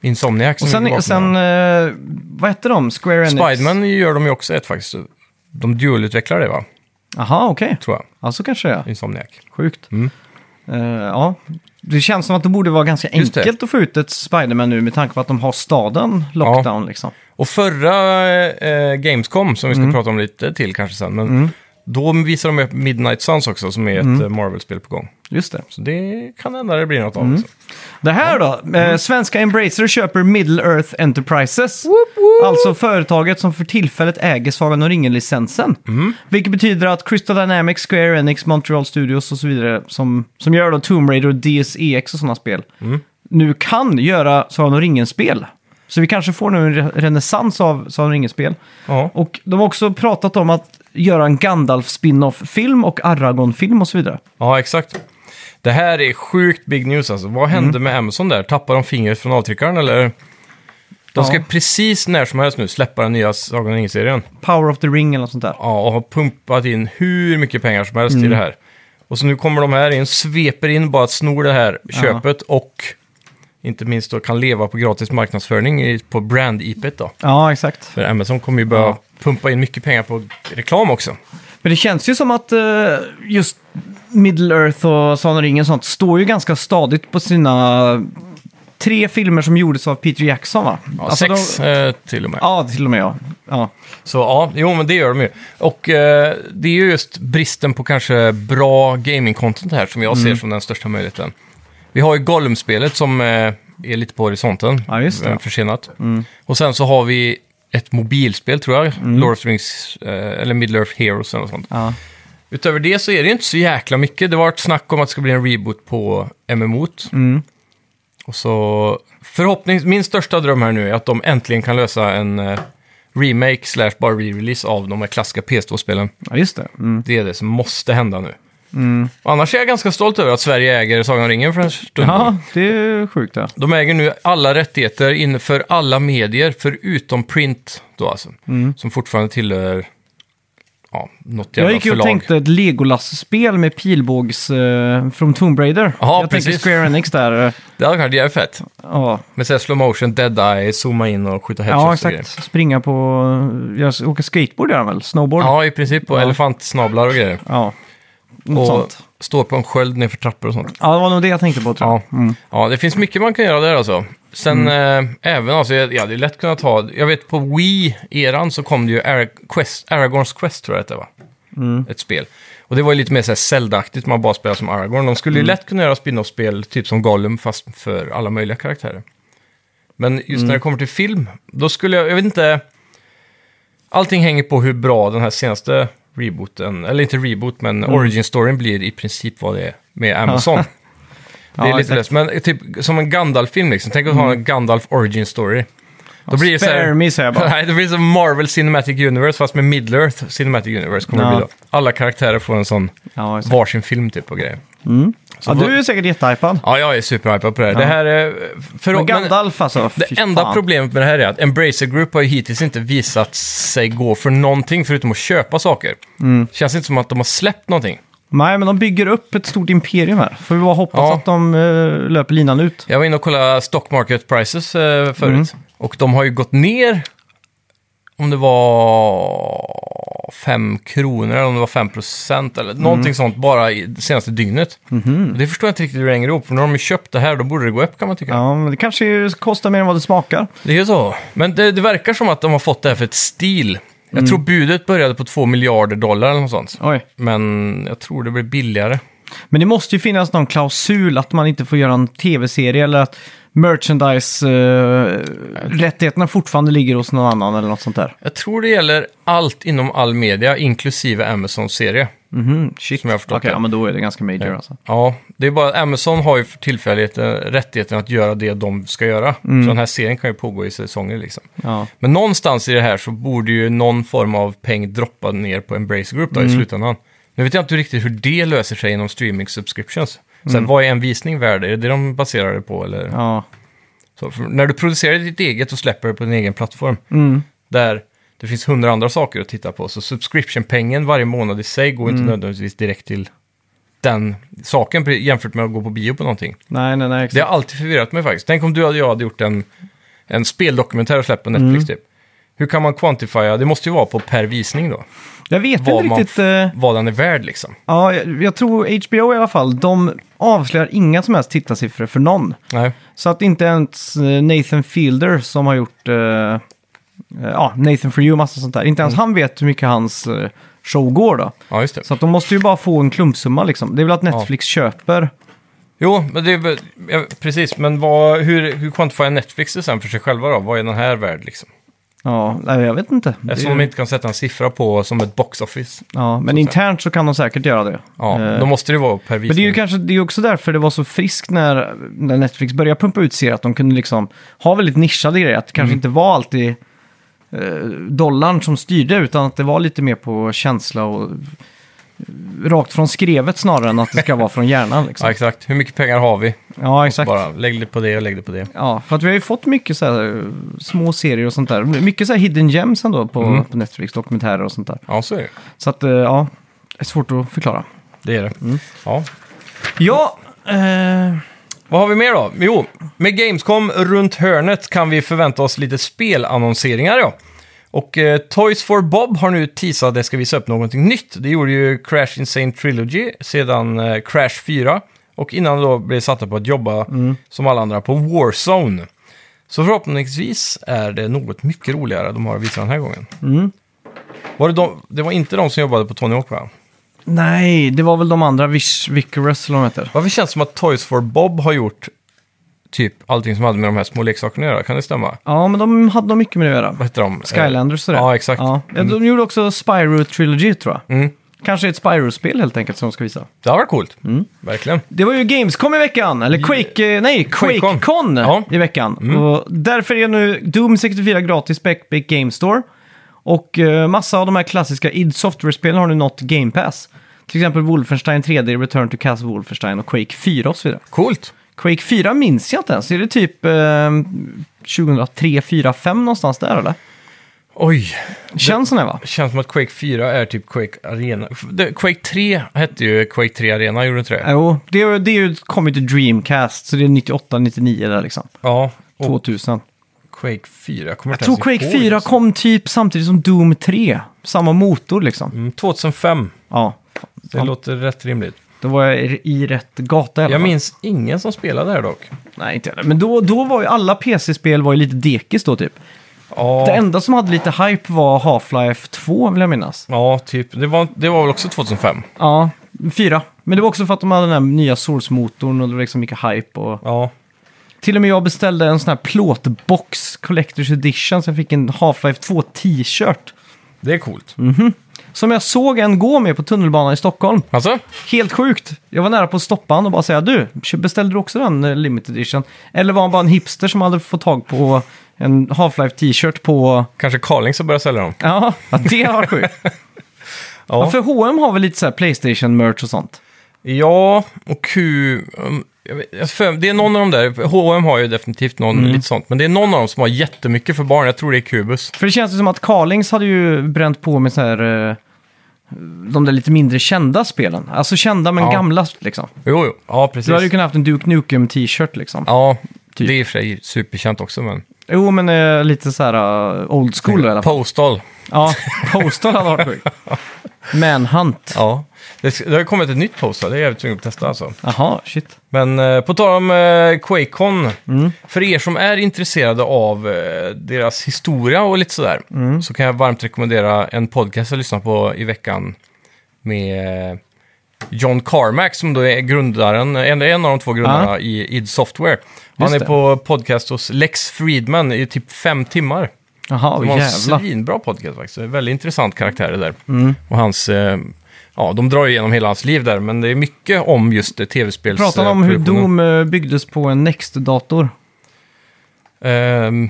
[SPEAKER 1] Insomniac som
[SPEAKER 2] Och
[SPEAKER 1] ligger bakom
[SPEAKER 2] sen, sen
[SPEAKER 1] det.
[SPEAKER 2] eh, vad heter de? Square Enix?
[SPEAKER 1] Spiderman gör de ju också ett faktiskt. De dualutvecklar det va?
[SPEAKER 2] Aha, okej.
[SPEAKER 1] Tror jag.
[SPEAKER 2] Ja, så kanske det är.
[SPEAKER 1] Insomniac.
[SPEAKER 2] Sjukt.
[SPEAKER 1] Mm.
[SPEAKER 2] Eh, ja. Det känns som att det borde vara ganska
[SPEAKER 1] Just det.
[SPEAKER 2] enkelt att få ut ett Spider-Man nu med tanke på att de har staden lockdown liksom.
[SPEAKER 1] Och förra eh, Gamescom, som vi
[SPEAKER 2] Mm.
[SPEAKER 1] ska prata om lite till kanske sen, men då visar de upp Midnight Suns också, som är ett
[SPEAKER 2] Mm.
[SPEAKER 1] eh, Marvel-spel på gång.
[SPEAKER 2] Just det.
[SPEAKER 1] Så det kan hända det blir något
[SPEAKER 2] Mm.
[SPEAKER 1] av. också.
[SPEAKER 2] Det här då? Eh, svenska Embracer köper Middle Earth Enterprises. Alltså företaget som för tillfället äger Sagan om ringen-licensen. Vilket betyder att Crystal Dynamics, Square Enix, Montreal Studios och så vidare som, som gör då Tomb Raider och DSEX och sådana spel nu kan göra Sagan om ringen-spel. Så vi kanske får nu en re- renässans av Sagan om ringen-spel.
[SPEAKER 1] Ja.
[SPEAKER 2] Och de har också pratat om att göra en Gandalf-spin-off-film och Aragorn-film och så vidare.
[SPEAKER 1] ja, exakt. Det här är sjukt big news alltså. Vad hände
[SPEAKER 2] Mm.
[SPEAKER 1] med Amazon där? Tappade de fingret från avtryckaren eller? De ska
[SPEAKER 2] Ja.
[SPEAKER 1] precis när som helst nu släppa den nya Sagan om ringen-serien.
[SPEAKER 2] Power of the Ring eller något sånt där.
[SPEAKER 1] Ja, och har pumpat in hur mycket pengar som
[SPEAKER 2] Mm.
[SPEAKER 1] helst i det här. Och så nu kommer de här in, sveper in, bara snor det här köpet och inte minst då kan leva på gratis marknadsföring i- på brand-IPet då.
[SPEAKER 2] Ja, exakt.
[SPEAKER 1] För Amazon kommer ju börja pumpa in mycket pengar på reklam också.
[SPEAKER 2] Men det känns ju som att eh, just Middle Earth och Sagan om ringen och sånt står ju ganska stadigt på sina tre filmer som gjordes av Peter Jackson va?
[SPEAKER 1] Ja,
[SPEAKER 2] Alltså,
[SPEAKER 1] sex
[SPEAKER 2] de-
[SPEAKER 1] eh, till och med.
[SPEAKER 2] Ja, till och med ja. ja.
[SPEAKER 1] Så ja, jo men det gör de ju. Och eh, det
[SPEAKER 2] Mm.
[SPEAKER 1] är ju just bristen på kanske bra gaming-content här som jag ser som den största möjligheten. Vi har ju Gollum-spelet som eh, är lite på horisonten.
[SPEAKER 2] Ja, just det. Mm.
[SPEAKER 1] eh, Försenat. Och sen så har vi ett mobilspel tror jag. Lord of the Rings, eh, eller Middle Earth Heroes eller något sånt.
[SPEAKER 2] Ja.
[SPEAKER 1] Utöver det så är det ju inte så jäkla mycket. Det var ett snack om att det ska bli en reboot på MMO. -t.
[SPEAKER 2] Mm.
[SPEAKER 1] Och så förhoppnings... Min största dröm här nu är att de äntligen kan lösa en eh, remake slash bara re-release av de här klassiska PS2-spelen.
[SPEAKER 2] ja, just det. Mm.
[SPEAKER 1] Det är det som måste hända nu. Och annars är jag ganska stolt över att Sverige äger Sagan om ringen för en stund.
[SPEAKER 2] Ja, det är sjukt ja.
[SPEAKER 1] De äger nu alla rättigheter inför alla medier förutom print då alltså. Som fortfarande tillhör ja, något jävla
[SPEAKER 2] Mm. Jag gick ju och
[SPEAKER 1] förlag.
[SPEAKER 2] tänkte ett Legolas-spel med pilbågs eh, från Tomb Raider.
[SPEAKER 1] Ja,
[SPEAKER 2] jag
[SPEAKER 1] precis.
[SPEAKER 2] tänker Square Enix där. eh,
[SPEAKER 1] Det hade varit jävligt fett.
[SPEAKER 2] Ja,
[SPEAKER 1] Med såhär slow motion, dead eye, zooma in och skjuta headshots
[SPEAKER 2] ja
[SPEAKER 1] och
[SPEAKER 2] exakt.
[SPEAKER 1] grejer.
[SPEAKER 2] Springa på... eh, Jag åker skateboard gör han väl? Snowboard?
[SPEAKER 1] Ja, i princip. Och
[SPEAKER 2] Ja.
[SPEAKER 1] elefantsnablar och grejer.
[SPEAKER 2] Ja. Något
[SPEAKER 1] Och
[SPEAKER 2] sånt.
[SPEAKER 1] stå på en sköld nerför trappor och sånt.
[SPEAKER 2] Ja, det var nog det jag tänkte på tror jag. Mm.
[SPEAKER 1] Ja. ja, det finns mycket man kan göra där alltså. Sen eh, även alltså, jag jag hade ju lätt kunnat ta, jag vet på Wii-eran så kom det ju Arag- Quest, Aragorns Quest tror jag det var.
[SPEAKER 2] Mm.
[SPEAKER 1] Ett spel. Och det var ju lite mer såhär Zelda-aktigt, man bara spelar som Aragorn. De
[SPEAKER 2] Mm.
[SPEAKER 1] skulle ju lätt kunna göra spin-off-spel, typ som Gollum, fast för alla möjliga karaktärer. Men just
[SPEAKER 2] Mm.
[SPEAKER 1] när det kommer till film, då skulle jag, jag vet inte, allting hänger på hur bra den här senaste rebooten, eller inte reboot, men
[SPEAKER 2] Mm.
[SPEAKER 1] origin-storyn blir i princip vad det är med Amazon. Det är
[SPEAKER 2] Ja,
[SPEAKER 1] lite
[SPEAKER 2] exakt. Mm.
[SPEAKER 1] läskigt, men typ som en Gandalf-film liksom. Tänk att ha en Gandalf Origin Story. Då blir det så
[SPEAKER 2] Spare
[SPEAKER 1] här,
[SPEAKER 2] me säger jag bara.
[SPEAKER 1] Nej, det blir som Marvel Cinematic Universe fast med Middle-Earth Cinematic Universe kommer det
[SPEAKER 2] Ja.
[SPEAKER 1] bli då. Alla karaktärer får en sån
[SPEAKER 2] Ja, exakt.
[SPEAKER 1] varsin film typ och grejer.
[SPEAKER 2] ja, du är säkert jättehypad.
[SPEAKER 1] Ja, jag är superhypad på det här. Det här är... För,
[SPEAKER 2] Men
[SPEAKER 1] men
[SPEAKER 2] Gandalf alltså, fy
[SPEAKER 1] det enda
[SPEAKER 2] fan.
[SPEAKER 1] problemet med det här är att Embracer Group har ju hittills inte visat sig gå för någonting förutom att köpa saker.
[SPEAKER 2] Mm.
[SPEAKER 1] Känns inte som att de har släppt någonting.
[SPEAKER 2] Nej, men de bygger upp ett stort imperium här. Får vi bara hoppas
[SPEAKER 1] Ja.
[SPEAKER 2] att de eh, löper linan ut.
[SPEAKER 1] Jag var inne och kollade stock market prices eh, förut.
[SPEAKER 2] Mm.
[SPEAKER 1] Och de har ju gått ner, om det var 5 kronor eller om det var 5 procent eller
[SPEAKER 2] Mm.
[SPEAKER 1] någonting sånt bara i det senaste dygnet.
[SPEAKER 2] Mhm.
[SPEAKER 1] Och Det förstår jag inte riktigt hur det hänger ihop, för när de har köpt det här då borde det gå upp kan man tycka.
[SPEAKER 2] Ja, men det kanske ju kostar mer än vad det smakar.
[SPEAKER 1] Det är ju så. Men det, det verkar som att de har fått det här för ett stil. Jag tror budet började på 2 miljarder dollar eller något sånt.
[SPEAKER 2] Oj.
[SPEAKER 1] Men jag tror det blir billigare.
[SPEAKER 2] Men det måste ju finnas någon klausul att man inte får göra en tv-serie eller att merchandise-rättigheterna fortfarande ligger hos någon annan eller något sånt där.
[SPEAKER 1] Jag tror det gäller allt inom all media, inklusive Amazons serie.
[SPEAKER 2] Mhm, shit.
[SPEAKER 1] Som jag har förstått
[SPEAKER 2] Okej,
[SPEAKER 1] det.
[SPEAKER 2] ja, men då är det ganska major alltså.
[SPEAKER 1] Ja, det är bara att Amazon har ju för tillfället eh, rättigheten att göra det de ska göra. Så den här serien kan ju pågå i säsonger liksom.
[SPEAKER 2] Ja.
[SPEAKER 1] Men någonstans i det här så borde ju någon form av peng droppa ner på Embrace Group då
[SPEAKER 2] Mm.
[SPEAKER 1] i slutändan. Nu vet jag inte riktigt hur det löser sig inom streaming subscriptions. Sen vad är en visning värd? Är det det de baserar det på? Eller?
[SPEAKER 2] Mm. Ja.
[SPEAKER 1] Så, för när du producerar ditt eget och släpper det på din egen plattform,
[SPEAKER 2] Mm.
[SPEAKER 1] där det finns hundra andra saker att titta på, så subscription-pengen varje månad i sig går
[SPEAKER 2] Mm.
[SPEAKER 1] inte nödvändigtvis direkt till den saken pre- jämfört med att gå på bio på någonting.
[SPEAKER 2] Nej, nej, nej.
[SPEAKER 1] Det
[SPEAKER 2] Exakt.
[SPEAKER 1] har alltid förvirrat mig faktiskt. Tänk om du och jag hade gjort en, en speldokumentär och släppt på
[SPEAKER 2] Mm.
[SPEAKER 1] Netflix typ. Hur kan man quantifiera? Det måste ju vara på per visning då.
[SPEAKER 2] Jag vet
[SPEAKER 1] Vad,
[SPEAKER 2] inte
[SPEAKER 1] man,
[SPEAKER 2] riktigt. eh,
[SPEAKER 1] vad den är värd liksom.
[SPEAKER 2] Ja, jag, jag tror HBO i alla fall, de avslöjar inga som helst tittarsiffror för någon.
[SPEAKER 1] Nej.
[SPEAKER 2] Så att inte ens eh, Nathan Fielder som har gjort eh, eh, ja, Nathan for you och massa sånt där, inte
[SPEAKER 1] Mm.
[SPEAKER 2] ens han vet hur mycket hans eh, show går då.
[SPEAKER 1] Ja, just det.
[SPEAKER 2] Så att de måste ju bara få en klumpsumma liksom. Det är väl att Netflix köper.
[SPEAKER 1] Jo, men det är, väl- ja, precis. Men vad, hur, hur kvantifierar Netflix det sen för sig själva då? Vad är den här värd liksom?
[SPEAKER 2] Ja, nej, jag vet inte. Det är
[SPEAKER 1] Eftersom
[SPEAKER 2] ju-
[SPEAKER 1] de inte kan sätta en siffra på som ett box office.
[SPEAKER 2] ja, men internt så kan de säkert göra det.
[SPEAKER 1] Ja,
[SPEAKER 2] Eh,
[SPEAKER 1] då måste det vara per visning.
[SPEAKER 2] Men det är ju kanske, det är ju också därför det var så friskt när, när Netflix började pumpa ut serier, att de kunde liksom ha väldigt nischade grejer. Att det kanske inte var alltid eh, dollarn som styrde, utan att det var lite mer på känsla och eh, rakt från skrevet snarare än att det ska vara från hjärnan. Liksom.
[SPEAKER 1] Ja, exakt. Hur mycket pengar har vi?
[SPEAKER 2] Ja, exakt.
[SPEAKER 1] Bara lägg det på det och lägg det på det.
[SPEAKER 2] Ja, för att vi har ju fått mycket så här, eh, små serier och sånt där. Mycket så här hidden gems ändå på, på Netflix, dokumentärer och sånt där.
[SPEAKER 1] Ja, så är det.
[SPEAKER 2] Så att, eh, ja, det är svårt att förklara.
[SPEAKER 1] Det är det. Ja,
[SPEAKER 2] Mm. Ja, eh,
[SPEAKER 1] Vad har vi mer då? Jo, med Gamescom runt hörnet kan vi förvänta oss lite spelannonseringar. Ja. Och eh, Toys for Bob har nu teasat att det ska visa upp någonting nytt. Det gjorde ju Crash Insane Trilogy, sedan eh, Crash 4 och innan då blev satta på att jobba som alla andra på Warzone. Så förhoppningsvis är det något mycket roligare de har att visa den här gången. Var det, de, det var inte de som jobbade på Tony Hawk va?
[SPEAKER 2] Nej, det var väl de andra, Vish, Vickers eller vad de heter.
[SPEAKER 1] Varför känns det som att Toys for Bob har gjort typ allting som hade med de här små leksakerna att göra? Kan det stämma?
[SPEAKER 2] Ja, men de hade nog mycket med det att göra.
[SPEAKER 1] Vad heter de?
[SPEAKER 2] Skylanders och det.
[SPEAKER 1] Eh, Ja, exakt.
[SPEAKER 2] Ja. Ja, De gjorde också Spyro Trilogy tror jag.
[SPEAKER 1] Mm.
[SPEAKER 2] Kanske ett Spyro-spel helt enkelt som de ska visa.
[SPEAKER 1] Det har varit coolt.
[SPEAKER 2] Mm.
[SPEAKER 1] Verkligen.
[SPEAKER 2] Det var ju Gamescom i veckan, eller Quake, eh, nej,
[SPEAKER 1] Quakecon.
[SPEAKER 2] Quakecon
[SPEAKER 1] Ja. Mm.
[SPEAKER 2] i veckan. Och därför är nu Doom 64 gratis på Epic Game Store. Och eh, massa av de här klassiska id Software-spelen har nu nått Game Pass. Till exempel Wolfenstein 3D, Return to Castle Wolfenstein och Quake 4 och så vidare.
[SPEAKER 1] Coolt.
[SPEAKER 2] Quake 4 minns jag inte ens, är det typ eh, 2003, 4, 5 någonstans där eller?
[SPEAKER 1] Oj,
[SPEAKER 2] Känns som det va?
[SPEAKER 1] det känns som att Quake 4 är typ Quake Arena. Det- Quake 3 hette ju Quake 3 Arena, gjorde det inte det?
[SPEAKER 2] Jo, det, är- det är ju kommit till Dreamcast, så det är 98, 99 där liksom.
[SPEAKER 1] Ja, och
[SPEAKER 2] 2000.
[SPEAKER 1] Quake 4. Jag, kommer
[SPEAKER 2] Jag
[SPEAKER 1] inte
[SPEAKER 2] tror
[SPEAKER 1] ens ihåg
[SPEAKER 2] Quake 4
[SPEAKER 1] alltså.
[SPEAKER 2] kom typ samtidigt som Doom 3. Samma motor liksom.
[SPEAKER 1] Mm, 2005.
[SPEAKER 2] Ja,
[SPEAKER 1] Det
[SPEAKER 2] Ja.
[SPEAKER 1] låter rätt rimligt.
[SPEAKER 2] då var jag i- i rätt gata i alla
[SPEAKER 1] Jag
[SPEAKER 2] fall.
[SPEAKER 1] minns ingen som spelade här dock.
[SPEAKER 2] Nej, inte heller. Men då, då var ju alla PC-spel var ju lite dekis då typ.
[SPEAKER 1] Ja,
[SPEAKER 2] Det enda som hade lite hype var Half-Life 2 vill jag minnas.
[SPEAKER 1] ja typ. Det var, det var väl också 2005?
[SPEAKER 2] Ja, 4. Men det var också för att de hade den här nya Source-motorn och det var liksom mycket hype. Och...
[SPEAKER 1] Ja.
[SPEAKER 2] Till och med jag beställde en sån här plåtbox, Collector's Edition, så jag fick en Half-Life 2 t-shirt.
[SPEAKER 1] Det är coolt.
[SPEAKER 2] Mm. Som jag såg en gå med på tunnelbanan i Stockholm.
[SPEAKER 1] Alltså?
[SPEAKER 2] Helt sjukt! Jag var nära på att stoppa han och bara säga du, beställde du också den eh, limited edition? Eller var han bara en hipster som hade fått tag på en Half-Life t-shirt på...
[SPEAKER 1] Kanske Carling som börjar sälja dem?
[SPEAKER 2] Ja, det var sjukt. ja.
[SPEAKER 1] Ja.
[SPEAKER 2] för H&M har väl lite så här Playstation-merch och sånt?
[SPEAKER 1] Ja, och Q... um, jag vet- jag för- Det är någon av dem där, H&M har ju definitivt någon
[SPEAKER 2] Mm.
[SPEAKER 1] lite sånt, men det är någon av dem som har jättemycket för barn, jag tror det är Kubus.
[SPEAKER 2] För det känns ju som att Carlings hade ju bränt på med så här... eh, De där lite mindre kända spelen. Alltså kända men
[SPEAKER 1] Ja.
[SPEAKER 2] gamla liksom.
[SPEAKER 1] Jo, jo, ja precis.
[SPEAKER 2] Du hade ju kunnat haft en Duke Nukem t-shirt liksom.
[SPEAKER 1] Ja,
[SPEAKER 2] Typ.
[SPEAKER 1] det är i och för sig superkänt också, men...
[SPEAKER 2] Jo, men eh, lite så här eh, old school i alla fall.
[SPEAKER 1] Postal.
[SPEAKER 2] Ja, Postal hade varit sjukt. Manhunt.
[SPEAKER 1] Ja. Det, sk- det har ju kommit ett nytt Postal, det är jag jävligt tvungen att testa alltså.
[SPEAKER 2] Jaha, shit.
[SPEAKER 1] Men eh, på tal om eh, Quakecon,
[SPEAKER 2] Mm.
[SPEAKER 1] för er som är intresserade av eh, deras historia och lite sådär,
[SPEAKER 2] Mm.
[SPEAKER 1] så kan jag varmt rekommendera en podcast jag lyssnade på i veckan med eh, John Carmack som då är grundaren, en, en av de två grundarna i id Software. Han
[SPEAKER 2] Just
[SPEAKER 1] är
[SPEAKER 2] det.
[SPEAKER 1] på podcast hos Lex Friedman i typ fem timmar.
[SPEAKER 2] Jaha,
[SPEAKER 1] Det
[SPEAKER 2] oh,
[SPEAKER 1] var en
[SPEAKER 2] jävlar. Mm.
[SPEAKER 1] svinbra podcast faktiskt. Det är Väldigt intressant karaktär det där. Och hans, eh, ja, de drar ju igenom hela hans liv där, men det är mycket om just eh, tv-spels...
[SPEAKER 2] Pratar
[SPEAKER 1] eh,
[SPEAKER 2] om hur
[SPEAKER 1] produktionen.
[SPEAKER 2] Doom eh, byggdes på en Next-dator.
[SPEAKER 1] Ehm,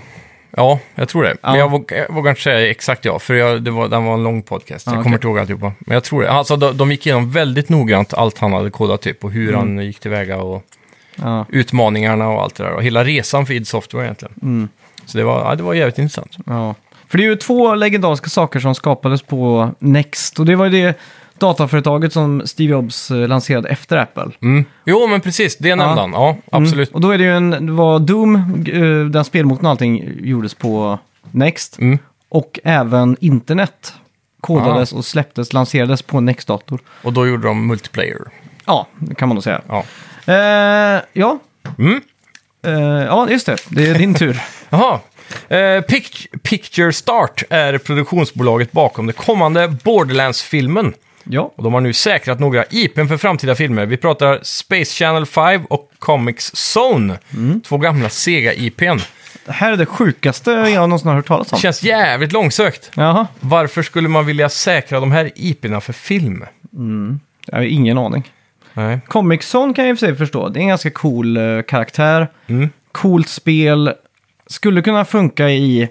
[SPEAKER 1] ja, jag tror det. Men
[SPEAKER 2] Ja.
[SPEAKER 1] jag vågar, jag vågar inte säga exakt ja, för jag, det var, den var en lång podcast.
[SPEAKER 2] Ja,
[SPEAKER 1] jag kommer
[SPEAKER 2] okej.
[SPEAKER 1] inte ihåg alltihopa. Men jag tror det. Alltså, de, de gick igenom väldigt noggrant allt han hade kodat typ och hur
[SPEAKER 2] Mm.
[SPEAKER 1] han gick tillväga och
[SPEAKER 2] Ja,
[SPEAKER 1] utmaningarna och allt det där. Och hela resan för id Software egentligen.
[SPEAKER 2] Mm.
[SPEAKER 1] Så det var, ja, det var jävligt intressant.
[SPEAKER 2] ja. För det är ju två legendariska saker som skapades på Next. Och det var ju det dataföretaget som Steve Jobs eh, lanserade efter Apple.
[SPEAKER 1] Mm. Jo, men precis. Det nämnde han. Ja,
[SPEAKER 2] Mm.
[SPEAKER 1] absolut.
[SPEAKER 2] Och då är det ju en, det var Doom, eh, den spelmotorn och allting gjordes på Next.
[SPEAKER 1] Mm. Ah.
[SPEAKER 2] Och även internet kodades och släpptes, lanserades på Next-dator.
[SPEAKER 1] Och då gjorde de multiplayer.
[SPEAKER 2] Ja, det kan man nog säga.
[SPEAKER 1] Ja.
[SPEAKER 2] Eh, ja.
[SPEAKER 1] Mm.
[SPEAKER 2] Eh, ja, just det. Det är din tur.
[SPEAKER 1] Jaha. Eh, Pic- Picture Start är produktionsbolaget bakom den kommande Borderlands-filmen.
[SPEAKER 2] Ja.
[SPEAKER 1] Och de har nu säkrat några IPn för framtida filmer. Vi pratar Space Channel 5 och Comics Zone.
[SPEAKER 2] Mm.
[SPEAKER 1] Två gamla Sega-IPn.
[SPEAKER 2] Det här är det sjukaste jag någonsin har hört talas om.
[SPEAKER 1] Känns jävligt långsökt.
[SPEAKER 2] Jaha,
[SPEAKER 1] Varför skulle man vilja säkra de här IPn för film?
[SPEAKER 2] jag har ingen aning.
[SPEAKER 1] Nej.
[SPEAKER 2] Comic Zone kan jag i och för sig förstå. Det är en ganska cool eh, karaktär.
[SPEAKER 1] Mm.
[SPEAKER 2] Coolt spel. Skulle kunna funka i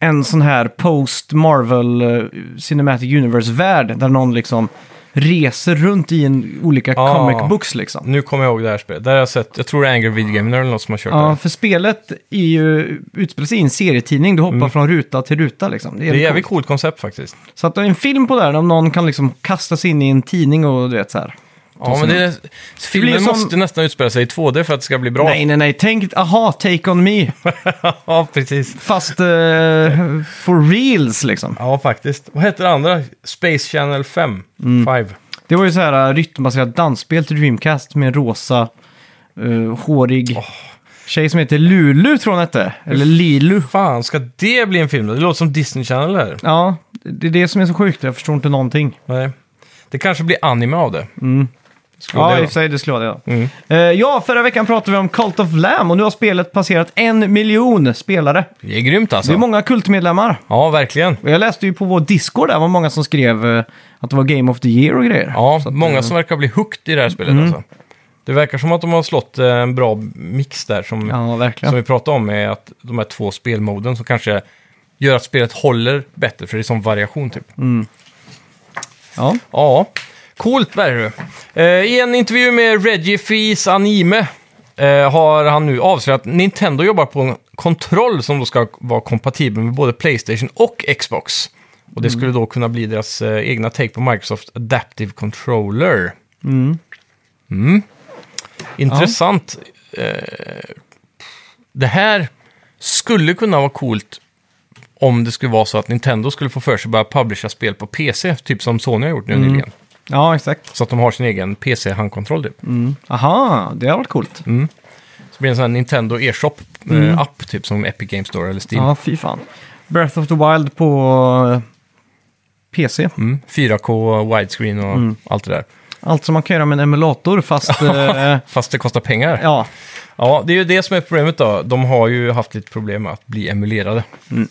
[SPEAKER 2] en sån här post Marvel eh, Cinematic Universe-värld där någon liksom reser runt i en olika
[SPEAKER 1] Ah.
[SPEAKER 2] comic books liksom.
[SPEAKER 1] Nu kommer jag ihåg det här spelet. Där har jag sett, jag tror det är Angry Video Gamer eller något som har kört
[SPEAKER 2] Ja,
[SPEAKER 1] det.
[SPEAKER 2] för spelet är ju, utspelar sig i en serietidning. Du hoppar från ruta till ruta liksom.
[SPEAKER 1] Mm. Det är ett jävligt
[SPEAKER 2] coolt.
[SPEAKER 1] coolt koncept faktiskt.
[SPEAKER 2] Så att det är en film på det här, om någon kan liksom kasta sig in i en tidning och du vet så här.
[SPEAKER 1] Ja, men det, filmen
[SPEAKER 2] blir som-
[SPEAKER 1] måste nästan utspela sig i 2D för att det ska bli bra.
[SPEAKER 2] Nej, nej, nej. Tänk, aha, take on me.
[SPEAKER 1] ja, precis.
[SPEAKER 2] Fast eh, for reals liksom.
[SPEAKER 1] Ja, faktiskt. Vad heter det andra? Space Channel 5.
[SPEAKER 2] Mm.
[SPEAKER 1] Five.
[SPEAKER 2] Det var ju så här eh, rytmbaserat dansspel till Dreamcast med en rosa, eh, hårig tjej som heter Lulu tror hon hette. Eller Lilu.
[SPEAKER 1] Fan, ska det bli en film? Det låter som Disney Channel här.
[SPEAKER 2] Ja, det är det som är så sjukt. Jag förstår inte någonting.
[SPEAKER 1] Nej. Det kanske blir anime av det. Skulle
[SPEAKER 2] Ja,
[SPEAKER 1] det
[SPEAKER 2] i
[SPEAKER 1] då.
[SPEAKER 2] och för sig, det skulle jag det.
[SPEAKER 1] Mm.
[SPEAKER 2] Eh, ja, förra veckan pratade vi om Cult of Lamb och nu har spelet passerat en miljon spelare.
[SPEAKER 1] det är grymt alltså.
[SPEAKER 2] Det är många kultmedlemmar.
[SPEAKER 1] Ja, verkligen.
[SPEAKER 2] Och jag läste ju på vår Discord där var många som skrev eh, att det var Game of the Year och grejer.
[SPEAKER 1] Ja,
[SPEAKER 2] Så att,
[SPEAKER 1] många
[SPEAKER 2] eh, Mm.
[SPEAKER 1] som verkar bli hooked i det här spelet alltså. Det verkar som att de har slått eh, en bra mix där som,
[SPEAKER 2] Ja, verkligen.
[SPEAKER 1] som vi pratade om är att de här två spelmoden som kanske gör att spelet håller bättre för det är som variation typ.
[SPEAKER 2] Ja.
[SPEAKER 1] Ja, coolt var det eh, I en intervju med Reggie Fils Anime eh, har han nu avslöjat att Nintendo jobbar på en kontroll som då ska vara kompatibel med både Playstation och Xbox. Och det skulle då kunna bli deras eh, egna take på Microsoft Adaptive Controller. Mm. Intressant. Eh, det här skulle kunna vara coolt om det skulle vara så att Nintendo skulle få för sig att börja publisha spel på PC, typ som Sony har gjort nu nyligen.
[SPEAKER 2] ja, exakt.
[SPEAKER 1] Så att de har sin egen PC-handkontroll typ.
[SPEAKER 2] Mm. Aha, det har varit coolt.
[SPEAKER 1] Mm. Så blir det en sån här Nintendo e-shop-app typ som Epic Games Store eller Steam.
[SPEAKER 2] Mm. Ja, fy fan. Breath of the Wild på eh, PC.
[SPEAKER 1] Mm. 4K, widescreen och
[SPEAKER 2] Mm.
[SPEAKER 1] allt det där.
[SPEAKER 2] Allt som man kan göra med en emulator fast... eh,
[SPEAKER 1] Fast det kostar pengar. Ja.
[SPEAKER 2] ja.
[SPEAKER 1] det är ju det som är problemet då. De har ju haft lite problem med att bli emulerade.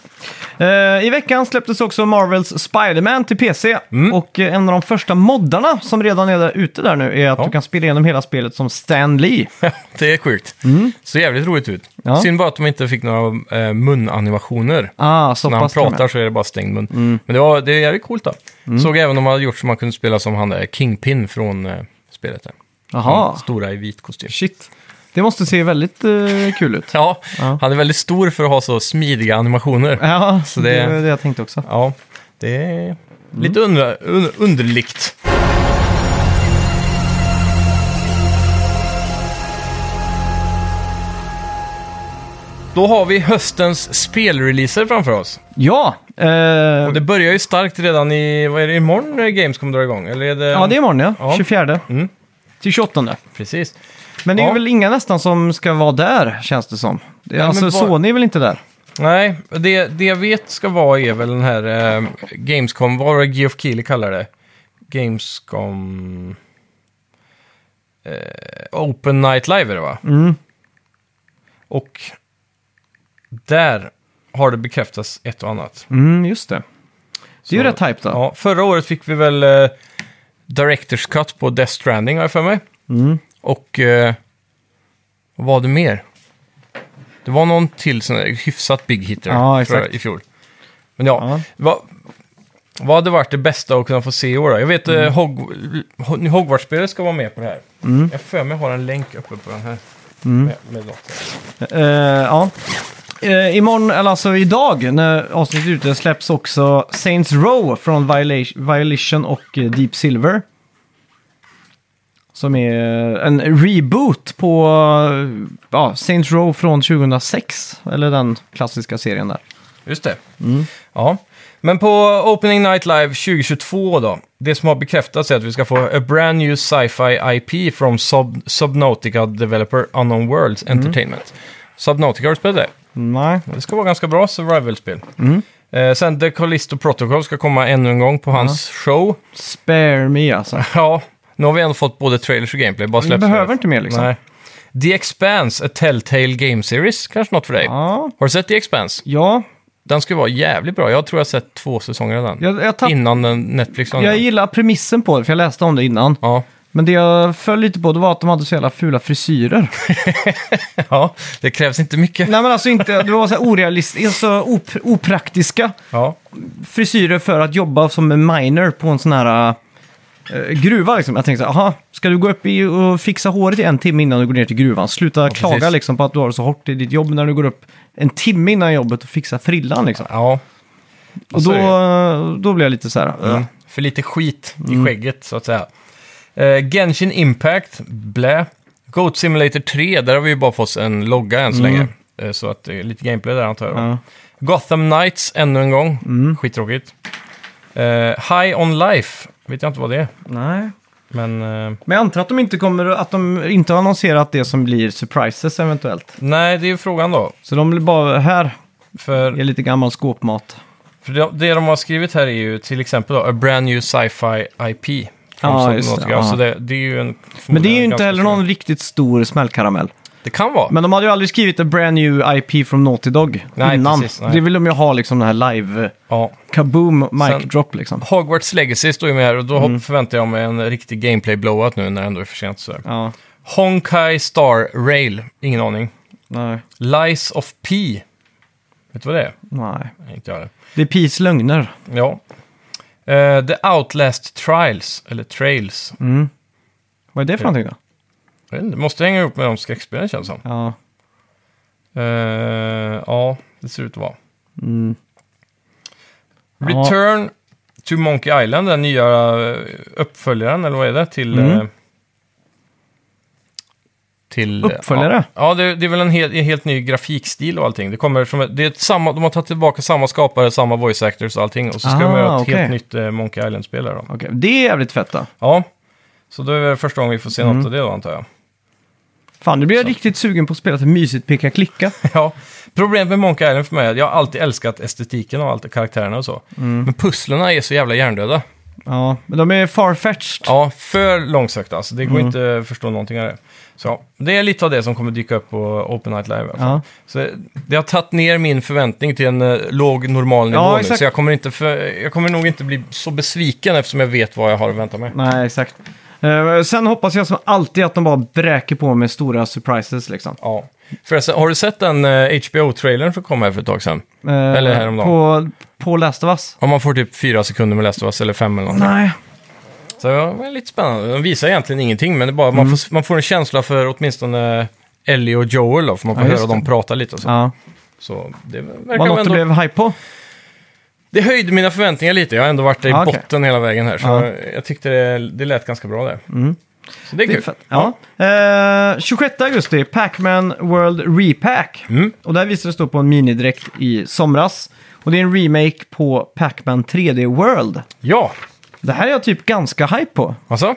[SPEAKER 2] Eh, I veckan släpptes också Marvels Spider-Man till PC.
[SPEAKER 1] Mm.
[SPEAKER 2] Och eh, en av de första moddarna som redan är där ute där nu är att
[SPEAKER 1] Ja.
[SPEAKER 2] du kan spela igenom hela spelet som Stan Lee.
[SPEAKER 1] det är sjukt. Så jävligt roligt ut.
[SPEAKER 2] Mm. Ja.
[SPEAKER 1] Synd bara att de inte fick några eh, munanimationer.
[SPEAKER 2] Ah, så
[SPEAKER 1] När han
[SPEAKER 2] pass till och med. Mm.
[SPEAKER 1] pratar så är det bara stängd mun. Men det, var, det är jävligt coolt då. Såg även om man hade gjort så man kunde spela som han där, Kingpin från eh, spelet. Där.
[SPEAKER 2] Jaha,
[SPEAKER 1] Stora i vit kostym.
[SPEAKER 2] shit. Det måste se väldigt eh, kul ut.
[SPEAKER 1] Ja,
[SPEAKER 2] Ja. Äh.
[SPEAKER 1] han är väldigt stor för att ha så smidiga animationer.
[SPEAKER 2] Ja,
[SPEAKER 1] Så
[SPEAKER 2] det...
[SPEAKER 1] det-
[SPEAKER 2] det var det jag tänkte också.
[SPEAKER 1] Ja, det är lite
[SPEAKER 2] Mm.
[SPEAKER 1] undra, un, underligt. Då har vi höstens spelreleaser framför oss.
[SPEAKER 2] Ja, eh,
[SPEAKER 1] Och det börjar ju starkt redan i, vad är det, imorgon eh, Games kommer dra igång? Eller är det...
[SPEAKER 2] ja, det är imorgon ja.
[SPEAKER 1] Ja.
[SPEAKER 2] 24.
[SPEAKER 1] Mm.
[SPEAKER 2] Till 28.
[SPEAKER 1] Precis.
[SPEAKER 2] Men det är
[SPEAKER 1] Ja.
[SPEAKER 2] väl inga nästan som ska vara där, känns det som. Det,
[SPEAKER 1] men
[SPEAKER 2] alltså,
[SPEAKER 1] var-
[SPEAKER 2] Sony är väl inte där?
[SPEAKER 1] Nej, det, det jag vet ska vara är väl den här eh, Gamescom, vad var det Geoff Keighley kallar det? Gamescom... Eh, Open Night Live är det va?
[SPEAKER 2] Mm.
[SPEAKER 1] Och där har det bekräftats ett och annat.
[SPEAKER 2] Mm, just det. Det är ju
[SPEAKER 1] Så-
[SPEAKER 2] rätt hype då.
[SPEAKER 1] Ja, förra året fick vi väl eh, Directors Cut på Death Stranding har jag för mig.
[SPEAKER 2] Mm.
[SPEAKER 1] Och eh, vad var det mer? Det var någon till sån där hyfsat big hitter
[SPEAKER 2] Ja,
[SPEAKER 1] förra-
[SPEAKER 2] exakt.
[SPEAKER 1] i fjol. Men ja,
[SPEAKER 2] Ja.
[SPEAKER 1] Vad, vad hade varit det bästa att kunna få se i år då? Jag vet mm. Hog, Hog- Hogwarts-spelet ska vara med på det här.
[SPEAKER 2] Mm.
[SPEAKER 1] Jag för mig har en länk uppe på den här.
[SPEAKER 2] Mm.
[SPEAKER 1] Med, med något.
[SPEAKER 2] Eh, ja. Eh, imorgon, eller alltså idag, när avsnittet är ute, släpps också Saints Row från Viola- Violation och eh, Deep Silver. Som är eh, en reboot på eh, ja, Saints Row från 2006, eller den klassiska serien där.
[SPEAKER 1] Just det. Ja. Men på Opening Night Live 2022 då. Det som har bekräftats är att vi ska få A Brand New Sci-Fi IP from Sub Subnautica Developer Unknown Worlds
[SPEAKER 2] Mm.
[SPEAKER 1] Entertainment. Subnautica, har du spelat det?
[SPEAKER 2] Nej.
[SPEAKER 1] Det ska vara ganska bra survival-spel.
[SPEAKER 2] Mm.
[SPEAKER 1] Eh, sen The Callisto Protocol ska komma ännu en gång på hans show.
[SPEAKER 2] Spare me alltså.
[SPEAKER 1] Ja, nu har vi ändå fått både trailers och gameplay. Bara
[SPEAKER 2] Vi
[SPEAKER 1] släpps
[SPEAKER 2] behöver
[SPEAKER 1] det.
[SPEAKER 2] inte mer liksom.
[SPEAKER 1] Nej. The Expanse, A Telltale Game Series. Kanske något för dig.
[SPEAKER 2] Ja.
[SPEAKER 1] Har du sett The Expanse?
[SPEAKER 2] Ja,
[SPEAKER 1] Den ska vara jävligt bra. Jag tror jag har sett två säsonger av den.
[SPEAKER 2] jag, jag, tapp-
[SPEAKER 1] Innan den Netflix la
[SPEAKER 2] jag
[SPEAKER 1] den.
[SPEAKER 2] gillar premissen på det, för jag läste om det innan.
[SPEAKER 1] Ja.
[SPEAKER 2] Men det jag föll lite på det var att de hade så jävla fula frisyrer.
[SPEAKER 1] ja, det krävs inte mycket.
[SPEAKER 2] Nej men alltså inte, det var så här orealistiska, så op opraktiska
[SPEAKER 1] Ja,
[SPEAKER 2] frisyrer för att jobba som en miner på en sån här eh, gruva liksom. Jag tänkte så här, aha, ska du gå upp i och fixa håret i en timme innan du går ner till gruvan? Sluta klaga
[SPEAKER 1] precis.
[SPEAKER 2] liksom på att du har det så hårt i ditt jobb när du går upp en timme innan jobbet och fixar frillan liksom.
[SPEAKER 1] ja.
[SPEAKER 2] Och
[SPEAKER 1] så
[SPEAKER 2] då,
[SPEAKER 1] är det.
[SPEAKER 2] då blev jag lite så här, eh,
[SPEAKER 1] Mm. För lite skit i skägget, så att säga. Eh, Genshin Impact, blä. Goat Simulator 3, där har vi ju bara fått en logga än så länge. Eh, så att det är lite gameplay där antar jag. då.
[SPEAKER 2] Ja.
[SPEAKER 1] Gotham Knights, ännu en gång. Skittråkigt. Eh, High On Life, vet jag inte vad det är.
[SPEAKER 2] nej.
[SPEAKER 1] Men eh,
[SPEAKER 2] Men jag antar att de inte kommer, att de inte har annonserat det som blir surprises eventuellt.
[SPEAKER 1] nej, det är ju frågan då.
[SPEAKER 2] Så de blir bara, här
[SPEAKER 1] För,
[SPEAKER 2] är lite gammal skåpmat.
[SPEAKER 1] för det, det de har skrivit här är ju till exempel då, A Brand New Sci-Fi IP. framstått
[SPEAKER 2] Ja, just
[SPEAKER 1] något
[SPEAKER 2] det,
[SPEAKER 1] grann.
[SPEAKER 2] ja.
[SPEAKER 1] Så det, Oh, det är ju
[SPEAKER 2] Men
[SPEAKER 1] en...
[SPEAKER 2] det är ju
[SPEAKER 1] förmodligen
[SPEAKER 2] inte heller
[SPEAKER 1] ganska
[SPEAKER 2] någon riktigt stor smällkaramell.
[SPEAKER 1] stor- Det kan vara.
[SPEAKER 2] Men de hade ju aldrig skrivit en brand new IP från Naughty Dog
[SPEAKER 1] Nej,
[SPEAKER 2] innan.
[SPEAKER 1] precis, nej.
[SPEAKER 2] Det vill de ju ha liksom den här live eh,
[SPEAKER 1] Ja.
[SPEAKER 2] kaboom mic
[SPEAKER 1] Sen-
[SPEAKER 2] drop liksom.
[SPEAKER 1] Hogwarts Legacy står ju med här och då
[SPEAKER 2] Mm.
[SPEAKER 1] förväntar jag mig en riktig gameplay-blowout nu när det ändå är för sent. Sådär.
[SPEAKER 2] Ja,
[SPEAKER 1] Honkai Star Rail, ingen aning.
[SPEAKER 2] nej,
[SPEAKER 1] Lies of P. Vet du vad det är?
[SPEAKER 2] nej.
[SPEAKER 1] Nej, Inte jag heller.
[SPEAKER 2] Det är Peace lögner.
[SPEAKER 1] Ja. Eh, The Outlast Trials, eller Trails.
[SPEAKER 2] Mm. Vad är det för
[SPEAKER 1] Ja.
[SPEAKER 2] någonting då?
[SPEAKER 1] Jag vet inte, Det måste hänga ihop med de skräckspelen känns det som.
[SPEAKER 2] Ja,
[SPEAKER 1] Eh, ja, det ser ut att vara.
[SPEAKER 2] mm. Ja.
[SPEAKER 1] Return to Monkey Island, den nya eh, uppföljaren, eller vad är det? Till...
[SPEAKER 2] Mm.
[SPEAKER 1] eh, till eh,
[SPEAKER 2] Uppföljare?
[SPEAKER 1] Ja, ja det, det är väl en helt, en helt ny grafikstil och allting. Det kommer som, ett- det är ett samma, de har tagit tillbaka samma skapare, samma voice actors och allting. Och så ska
[SPEAKER 2] Ah,
[SPEAKER 1] de göra ett
[SPEAKER 2] okej.
[SPEAKER 1] helt nytt eh, Monkey Island-spel här då.
[SPEAKER 2] Okej, Det är jävligt fett då.
[SPEAKER 1] Ja, så då är det första gången vi får se
[SPEAKER 2] Mm.
[SPEAKER 1] något av det då antar jag.
[SPEAKER 2] Fan, nu blir jag riktigt sugen på att spela ett mysigt peka-klicka.
[SPEAKER 1] Ja, problemet med Monkey Island för mig är att jag har alltid älskat estetiken och allt, karaktärerna och så.
[SPEAKER 2] Mm.
[SPEAKER 1] Men pusslerna är så jävla hjärndöda.
[SPEAKER 2] Ja, men de är farfetched.
[SPEAKER 1] Ja, för långsökta alltså. Det går
[SPEAKER 2] Mm.
[SPEAKER 1] inte att förstå någonting av det. Så ja, det är lite av det som kommer dyka upp på Open Night Live. i alla fall.
[SPEAKER 2] Ja.
[SPEAKER 1] Så det har tagit ner min förväntning till en eh, låg normal nivå
[SPEAKER 2] Ja,
[SPEAKER 1] nu.
[SPEAKER 2] exakt.
[SPEAKER 1] Så jag kommer, inte för, jag kommer nog inte bli så besviken eftersom jag vet vad jag har att vänta mig.
[SPEAKER 2] Nej, exakt. Eh, sen hoppas jag som alltid att de bara bräker på med stora surprises liksom.
[SPEAKER 1] Ja. Förresten, har du sett den eh, HBO-trailern som kom här för ett tag sedan?
[SPEAKER 2] Eh,
[SPEAKER 1] Eller häromdagen.
[SPEAKER 2] På, på Last of Us.
[SPEAKER 1] Om man får typ fyra sekunder med Last of Us eller fem eller något.
[SPEAKER 2] Nej,
[SPEAKER 1] Så det var lite spännande. De visar egentligen ingenting, men det är bara,
[SPEAKER 2] Mm.
[SPEAKER 1] man, får, man får en känsla för åtminstone Ellie och Joel, då, för man får
[SPEAKER 2] Ja, just
[SPEAKER 1] höra dem prata lite och så.
[SPEAKER 2] ja.
[SPEAKER 1] Så det
[SPEAKER 2] var
[SPEAKER 1] verkar
[SPEAKER 2] något
[SPEAKER 1] ändå...
[SPEAKER 2] du blev hype på?
[SPEAKER 1] Det höjde mina förväntningar lite. Jag har ändå varit i
[SPEAKER 2] Ah, okej.
[SPEAKER 1] botten hela vägen här, så
[SPEAKER 2] Ja. Mm.
[SPEAKER 1] jag, jag tyckte det, det lät ganska bra där. Så det är
[SPEAKER 2] Det är
[SPEAKER 1] kul.
[SPEAKER 2] fett. Ja. Eh, 26 augusti, Pac-Man World Repack.
[SPEAKER 1] Mm.
[SPEAKER 2] Och där visades då på en minidräkt i somras. Och det är en remake på Pac-Man 3D World.
[SPEAKER 1] Ja,
[SPEAKER 2] Det här är jag typ ganska hype på.
[SPEAKER 1] alltså.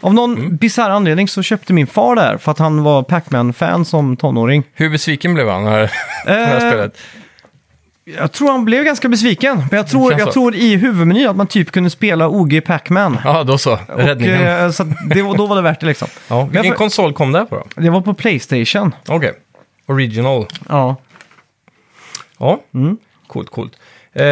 [SPEAKER 2] Av någon
[SPEAKER 1] Mm.
[SPEAKER 2] bisarr anledning så köpte min far det här för att han var Pac-Man-fan som tonåring.
[SPEAKER 1] Hur besviken blev han när det här
[SPEAKER 2] Eh,
[SPEAKER 1] spelet?
[SPEAKER 2] Jag tror han blev ganska besviken. Men jag tror,
[SPEAKER 1] känns
[SPEAKER 2] jag
[SPEAKER 1] så.
[SPEAKER 2] tror i huvudmenyn att man typ kunde spela OG Pac-Man.
[SPEAKER 1] Ja, då så.
[SPEAKER 2] Och,
[SPEAKER 1] Räddningen.
[SPEAKER 2] eh, så att det, var- då var det värt det liksom.
[SPEAKER 1] ja, vilken
[SPEAKER 2] jag-
[SPEAKER 1] konsol kom det här på då?
[SPEAKER 2] Det var på Playstation.
[SPEAKER 1] Okej. Original.
[SPEAKER 2] Ja.
[SPEAKER 1] Ja,
[SPEAKER 2] Mm.
[SPEAKER 1] coolt, coolt. Eh,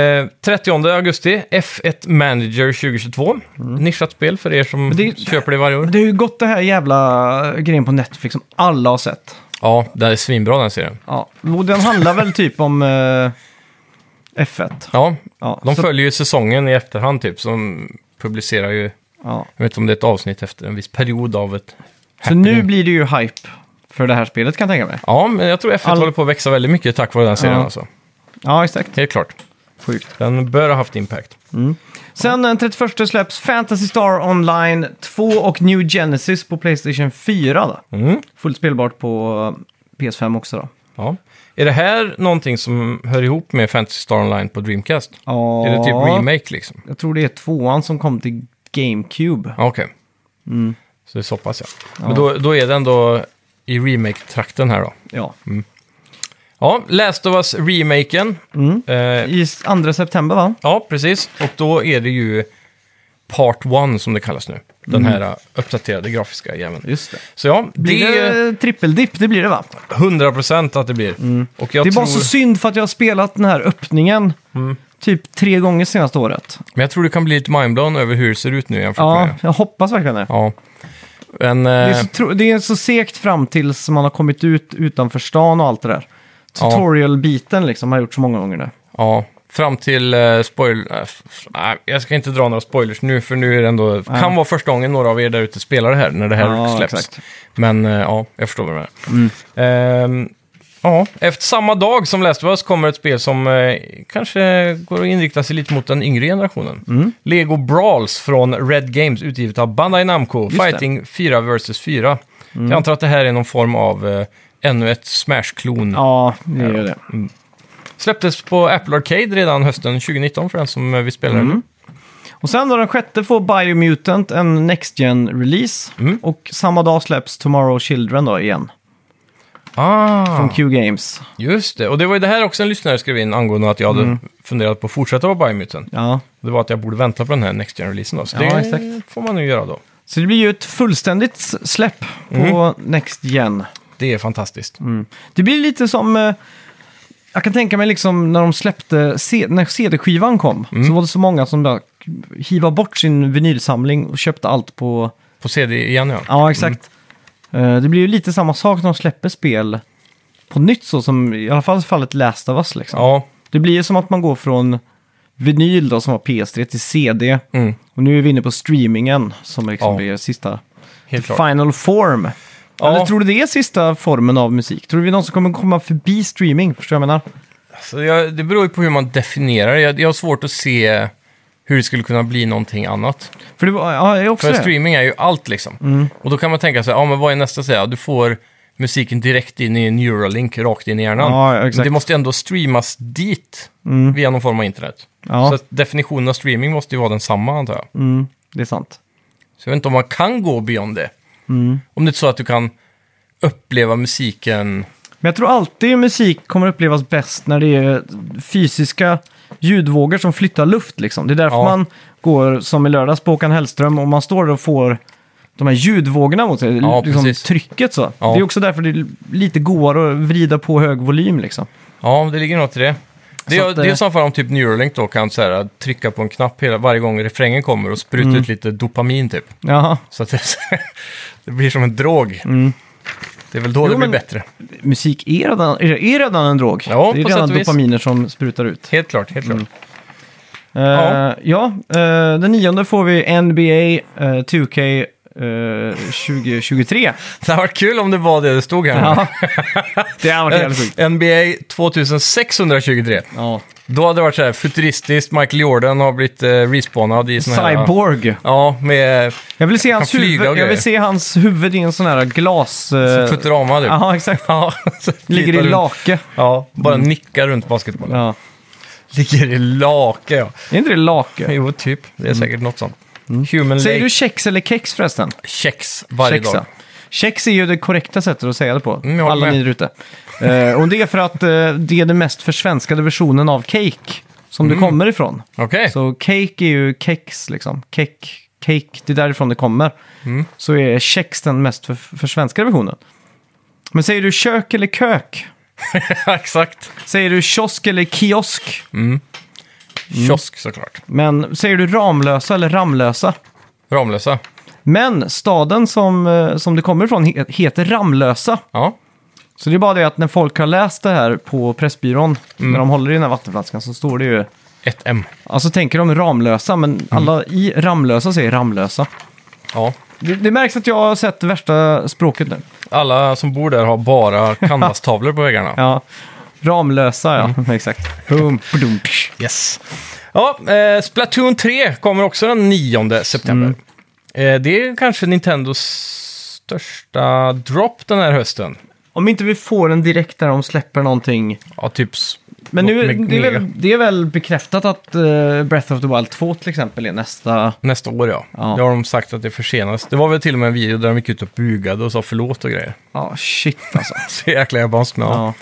[SPEAKER 1] 30 augusti, F1 Manager 2022. Nischat spel för er som
[SPEAKER 2] Mm. det-
[SPEAKER 1] köper det varje år.
[SPEAKER 2] Det har ju gått det här jävla eh, grejen på Netflix som alla har sett.
[SPEAKER 1] Ja, det är svinbra den serien.
[SPEAKER 2] Ja. Och den handlar väl typ om eh, F1.
[SPEAKER 1] Ja,
[SPEAKER 2] Ja,
[SPEAKER 1] de
[SPEAKER 2] så-
[SPEAKER 1] följer ju säsongen i efterhand typ. Som publicerar ju,
[SPEAKER 2] Ja.
[SPEAKER 1] jag vet inte om det är ett avsnitt efter en viss period av ett...
[SPEAKER 2] Så nu blir det ju hype för det här spelet kan jag tänka mig.
[SPEAKER 1] Ja, men jag tror F1
[SPEAKER 2] All-
[SPEAKER 1] håller på att växa väldigt mycket tack vare den serien
[SPEAKER 2] Ja.
[SPEAKER 1] alltså.
[SPEAKER 2] Ja, exakt.
[SPEAKER 1] Helt klart.
[SPEAKER 2] Sjukt.
[SPEAKER 1] Den bör ha haft impact.
[SPEAKER 2] Sen den 31 släpps Fantasy Star Online 2 och New Genesis på Playstation 4. Då.
[SPEAKER 1] Mm.
[SPEAKER 2] Fullt spelbart på eh, PS5 också då.
[SPEAKER 1] Ja. Är det här någonting som hör ihop med Fantasy Star Online på Dreamcast?
[SPEAKER 2] Ja,
[SPEAKER 1] Är det typ remake liksom?
[SPEAKER 2] Jag tror det är tvåan som kom till GameCube.
[SPEAKER 1] Ja, Okej.
[SPEAKER 2] Mm.
[SPEAKER 1] Så det är så pass ja. Men då, då är det ändå i remake-trakten här då.
[SPEAKER 2] Ja.
[SPEAKER 1] Ja, Last of Us-remaken.
[SPEAKER 2] Mm.
[SPEAKER 1] Eh,
[SPEAKER 2] I s- 2 september va?
[SPEAKER 1] ja, precis. Och då är det ju Part 1 som det kallas nu. Den här eh, uppdaterade grafiska jäveln.
[SPEAKER 2] Mm. Just det.
[SPEAKER 1] Så ja, det,
[SPEAKER 2] Blir
[SPEAKER 1] är
[SPEAKER 2] det trippeldipp? Det blir det va?
[SPEAKER 1] 100% att det blir. Och jag
[SPEAKER 2] det är
[SPEAKER 1] tror, Mm.
[SPEAKER 2] bara så synd för att jag har spelat den här öppningen typ tre gånger senaste året.
[SPEAKER 1] Men jag tror du kan bli lite mindblown över hur det ser ut nu jämfört
[SPEAKER 2] Ja,
[SPEAKER 1] med...
[SPEAKER 2] jag hoppas verkligen det.
[SPEAKER 1] Ja. Men,
[SPEAKER 2] Det är,
[SPEAKER 1] eh,
[SPEAKER 2] så tro- det är så segt fram tills man har kommit ut utanför stan och allt det där.
[SPEAKER 1] Ja.
[SPEAKER 2] Tutorial-biten liksom har jag gjort så många gånger nu.
[SPEAKER 1] Ja, fram till eh, spoil... eh, f- f- Nej, jag ska inte dra några spoilers nu, för nu är det ändå... kan vara första gången några av er där ute spelar det här, när det här
[SPEAKER 2] Ja,
[SPEAKER 1] släpps.
[SPEAKER 2] exakt. Mm.
[SPEAKER 1] Men eh, ja, jag förstår vad du menar. Ehm, ja, efter samma dag som Last of Us kommer ett spel som eh, kanske går att inrikta sig lite mot den yngre generationen.
[SPEAKER 2] Mm.
[SPEAKER 1] Lego Brawls från Red Games, utgivet av Bandai Namco.
[SPEAKER 2] Just det. Mm.
[SPEAKER 1] Fighting 4 vs 4. Jag antar att det här är någon form av eh, ännu ett Smash-klon.
[SPEAKER 2] Ja, det gör det.
[SPEAKER 1] Släpptes på Apple Arcade redan hösten 2019 för den som eh, vill spela den.
[SPEAKER 2] Mm. Och sen då den sjätte får Biomutant en Next Gen-release. Och samma dag släpps Tomorrow Children då igen.
[SPEAKER 1] Ah,
[SPEAKER 2] från Q-Games.
[SPEAKER 1] just det. Och det var ju det här också en lyssnare skrev in angående att jag hade
[SPEAKER 2] Mm.
[SPEAKER 1] funderat på att fortsätta vara Biomutant.
[SPEAKER 2] Ja.
[SPEAKER 1] Det var att jag borde vänta på den här Next Gen-releasen då. Så
[SPEAKER 2] Ja,
[SPEAKER 1] det
[SPEAKER 2] exakt.
[SPEAKER 1] får man nu göra då.
[SPEAKER 2] Så det blir ju ett fullständigt s- släpp på Next Gen.
[SPEAKER 1] Det är fantastiskt.
[SPEAKER 2] Mm. Det blir lite som... eh, Jag kan tänka mig liksom när de släppte, C- när CD-skivan kom, så var det så många som bara hivade bort sin vinylsamling och köpte allt på...
[SPEAKER 1] På CD igen ja.
[SPEAKER 2] Ja, exakt. Eh, Det blir ju lite samma sak när de släpper spel på nytt så som i alla fall fallet Last of Us liksom.
[SPEAKER 1] Ja,
[SPEAKER 2] Det blir ju som att man går från vinyl då som var PS3 till CD.
[SPEAKER 1] mm.
[SPEAKER 2] Och nu är vi inne på streamingen som liksom
[SPEAKER 1] Ja.
[SPEAKER 2] blir sista
[SPEAKER 1] helt klart.
[SPEAKER 2] Final form.
[SPEAKER 1] Ja.
[SPEAKER 2] Eller tror du det är sista formen av musik? Tror du vi någon som kommer komma förbi streaming? Förstår du vad jag menar?
[SPEAKER 1] Så jag, det beror ju på hur man definierar det. Jag, jag har svårt att se hur det skulle kunna bli någonting annat.
[SPEAKER 2] För det var, ja, jag är också
[SPEAKER 1] För
[SPEAKER 2] det.
[SPEAKER 1] streaming är ju allt liksom.
[SPEAKER 2] Mm.
[SPEAKER 1] Och då kan man tänka sig, ja men vad är nästa steg? Ja, Du får musiken direkt in i Neuralink, rakt in i hjärnan.
[SPEAKER 2] Ja, exakt. Mm.
[SPEAKER 1] men det måste ändå streamas dit via någon form av internet.
[SPEAKER 2] Ja.
[SPEAKER 1] Så att definitionen av streaming måste ju vara densamma antar jag.
[SPEAKER 2] Mm, det är sant.
[SPEAKER 1] Så jag vet inte om man kan gå beyond det.
[SPEAKER 2] Mm.
[SPEAKER 1] Om det inte är så att du kan uppleva musiken.
[SPEAKER 2] Men jag tror alltid musik kommer upplevas bäst när det är fysiska ljudvågor som flyttar luft liksom. Det är därför
[SPEAKER 1] Ja.
[SPEAKER 2] man går, som i lördags på Håkan Hellström, och man står där och får de här ljudvågorna mot sig.
[SPEAKER 1] Ja,
[SPEAKER 2] liksom
[SPEAKER 1] precis.
[SPEAKER 2] trycket så.
[SPEAKER 1] Ja.
[SPEAKER 2] Det är också därför det är lite godare att vrida på hög volym liksom.
[SPEAKER 1] Ja, det ligger något i det. Det
[SPEAKER 2] Så
[SPEAKER 1] är,
[SPEAKER 2] att,
[SPEAKER 1] det är
[SPEAKER 2] eh,
[SPEAKER 1] som om typ Neuralink då kan så här, trycka på en knapp hela, varje gång refrängen kommer och spruta
[SPEAKER 2] Mm.
[SPEAKER 1] ut lite dopamin typ.
[SPEAKER 2] Jaha.
[SPEAKER 1] Så att det, det blir som en drog. Det är väl då det blir
[SPEAKER 2] Mm. men-
[SPEAKER 1] bättre.
[SPEAKER 2] musik är redan, är är redan en drog.
[SPEAKER 1] Ja,
[SPEAKER 2] det är
[SPEAKER 1] på
[SPEAKER 2] redan
[SPEAKER 1] sätt och vis.
[SPEAKER 2] dopaminer som sprutar ut.
[SPEAKER 1] Helt klart, helt
[SPEAKER 2] Mm.
[SPEAKER 1] klart.
[SPEAKER 2] Ja, ja eh, den nionde får vi NBA eh, 2K eh, 2023.
[SPEAKER 1] Det hade varit kul om det var det det stod här.
[SPEAKER 2] Ja. det har varit jävligt sjukt.
[SPEAKER 1] Eh, NBA 2623.
[SPEAKER 2] Ja.
[SPEAKER 1] Då hade det varit så här futuristiskt, Michael Jordan har blivit eh, respawnad i sån här...
[SPEAKER 2] Cyborg.
[SPEAKER 1] Ja, med eh,
[SPEAKER 2] Jag vill, se hans
[SPEAKER 1] Kan flyga och
[SPEAKER 2] huvud, jag
[SPEAKER 1] grejer.
[SPEAKER 2] vill se hans huvud i en sån här glas...
[SPEAKER 1] som
[SPEAKER 2] eh,
[SPEAKER 1] Futurama typ.
[SPEAKER 2] Ja, exakt.
[SPEAKER 1] Ja, så
[SPEAKER 2] Ligger i
[SPEAKER 1] flyter runt.
[SPEAKER 2] lake.
[SPEAKER 1] Ja, bara nickar runt basketbollen.
[SPEAKER 2] Ja.
[SPEAKER 1] Ligger i lake, ja.
[SPEAKER 2] Är inte det lake?
[SPEAKER 1] Jo, typ. Det är säkert något sånt. Human
[SPEAKER 2] Mm. Säger
[SPEAKER 1] Lake
[SPEAKER 2] du kex eller kex förresten?
[SPEAKER 1] checks varje dag.
[SPEAKER 2] Chexa. Chex är ju det korrekta sättet att säga det på.
[SPEAKER 1] Mm, jag håller
[SPEAKER 2] alla
[SPEAKER 1] med.
[SPEAKER 2] ni där ute. Eh, och det är för att eh, det är den mest försvenskade versionen av cake som
[SPEAKER 1] Mm.
[SPEAKER 2] det kommer ifrån.
[SPEAKER 1] Okej.
[SPEAKER 2] Så cake är ju kex liksom. Cake, cake, det är därifrån det kommer. Så är chex den mest för, försvenskade versionen. Men säger du kök eller kök?
[SPEAKER 1] Exakt.
[SPEAKER 2] Säger du kiosk eller kiosk? Mm.
[SPEAKER 1] Kiosk såklart.
[SPEAKER 2] Men säger du Ramlösa eller Ramlösa?
[SPEAKER 1] Ramlösa.
[SPEAKER 2] Men staden som, eh, som det kommer ifrån he- heter Ramlösa.
[SPEAKER 1] Ja.
[SPEAKER 2] Så det är bara det att när folk har läst det här på Pressbyrån, när de håller i den här vattenflaskan, så står det ju...
[SPEAKER 1] Ett M.
[SPEAKER 2] Alltså tänker de Ramlösa, men alla i Ramlösa säger Ramlösa.
[SPEAKER 1] Ja.
[SPEAKER 2] Det, det märks att jag har sett det värsta språket nu.
[SPEAKER 1] Alla som bor där har bara canvastavlor på väggarna.
[SPEAKER 2] Ja. Ramlösa, ja.
[SPEAKER 1] Mm,
[SPEAKER 2] Exakt. Boom, badum, psh.
[SPEAKER 1] Yes. Ja, eh, Splatoon 3 kommer också den 9 september.
[SPEAKER 2] Mm.
[SPEAKER 1] Eh, det är kanske Nintendos största drop den här hösten.
[SPEAKER 2] Om inte vi får en direkt där de släpper någonting.
[SPEAKER 1] Ja, typ... s-
[SPEAKER 2] Men
[SPEAKER 1] något
[SPEAKER 2] nu,
[SPEAKER 1] med-
[SPEAKER 2] det, är
[SPEAKER 1] mega.
[SPEAKER 2] väl, det är väl bekräftat att eh, Breath of the Wild 2 till exempel är nästa...
[SPEAKER 1] Nästa år, ja.
[SPEAKER 2] Ja.
[SPEAKER 1] Det har de sagt att det försenas. Det var väl till och med en video där de gick ut och bugade och sa förlåt och grejer.
[SPEAKER 2] Ja, shit alltså.
[SPEAKER 1] Så jäkla japanskt, men ja.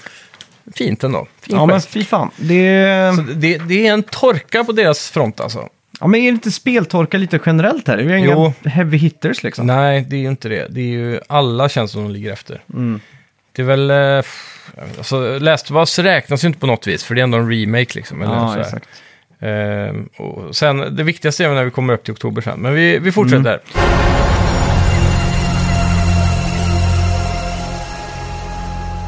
[SPEAKER 2] Ja,
[SPEAKER 1] fint ändå. Fin
[SPEAKER 2] ja men
[SPEAKER 1] gest.
[SPEAKER 2] fy fan. Det...
[SPEAKER 1] Så det, det är en torka på deras front alltså.
[SPEAKER 2] Ja, men är det inte speltorka lite generellt här? Det är ju inga
[SPEAKER 1] Jo.
[SPEAKER 2] heavy hitters liksom.
[SPEAKER 1] Nej, det är ju inte det. Det är ju alla känns som de ligger efter.
[SPEAKER 2] Mm.
[SPEAKER 1] Det är väl... eh, jag vet inte, Alltså, Last of Us räknas ju inte på något vis, för det är ändå en remake liksom. Eller
[SPEAKER 2] ja,
[SPEAKER 1] sådär.
[SPEAKER 2] exakt.
[SPEAKER 1] Ehm, och sen, det viktigaste är väl när vi kommer upp till oktober sen, men vi, vi fortsätter.
[SPEAKER 2] Mm.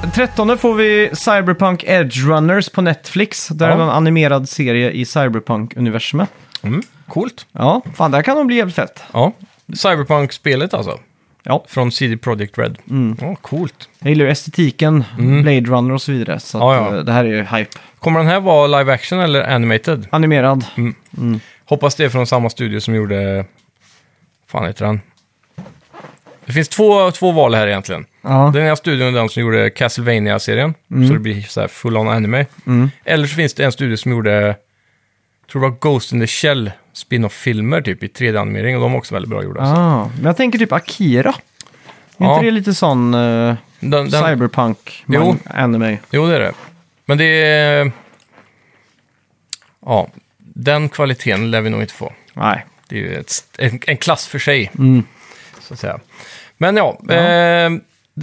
[SPEAKER 2] Den 13 får vi Cyberpunk Edge Runners på Netflix. Där
[SPEAKER 1] Ja.
[SPEAKER 2] är en animerad serie i Cyberpunk-universumet.
[SPEAKER 1] Mm. Coolt.
[SPEAKER 2] Ja, fan där kan de bli jävligt fett.
[SPEAKER 1] Ja. Cyberpunk-spelet alltså,
[SPEAKER 2] Ja,
[SPEAKER 1] från CD Projekt Red.
[SPEAKER 2] Mm.
[SPEAKER 1] Ja, coolt.
[SPEAKER 2] jag gillar ju estetiken, Blade Runner och så vidare. Så att,
[SPEAKER 1] Mm. Ja, ja.
[SPEAKER 2] eh, det här är ju hype.
[SPEAKER 1] Kommer den här vara live action eller animated?
[SPEAKER 2] Animerad.
[SPEAKER 1] Mm. Hoppas det är från samma studio som gjorde... fan heter den? Det finns två, två val här egentligen.
[SPEAKER 2] Ja.
[SPEAKER 1] Den ena studion är den som gjorde Castlevania-serien, så det blir så här full-on anime. Eller så finns det en studio som gjorde, tror det var Ghost in the Shell, spin-off-filmer typ i 3D-animering, och de var också väldigt bra gjorda.
[SPEAKER 2] Ah, men jag tänker typ Akira.
[SPEAKER 1] Ja.
[SPEAKER 2] inte det lite sån eh,
[SPEAKER 1] Den, den,
[SPEAKER 2] cyberpunk
[SPEAKER 1] Jo.
[SPEAKER 2] man- anime?
[SPEAKER 1] Jo, det är det. Men det är... Ja, den kvaliteten lär vi nog inte få.
[SPEAKER 2] Nej.
[SPEAKER 1] Det är ju ett, en, en klass för sig. Så att säga. Men ja, Eh,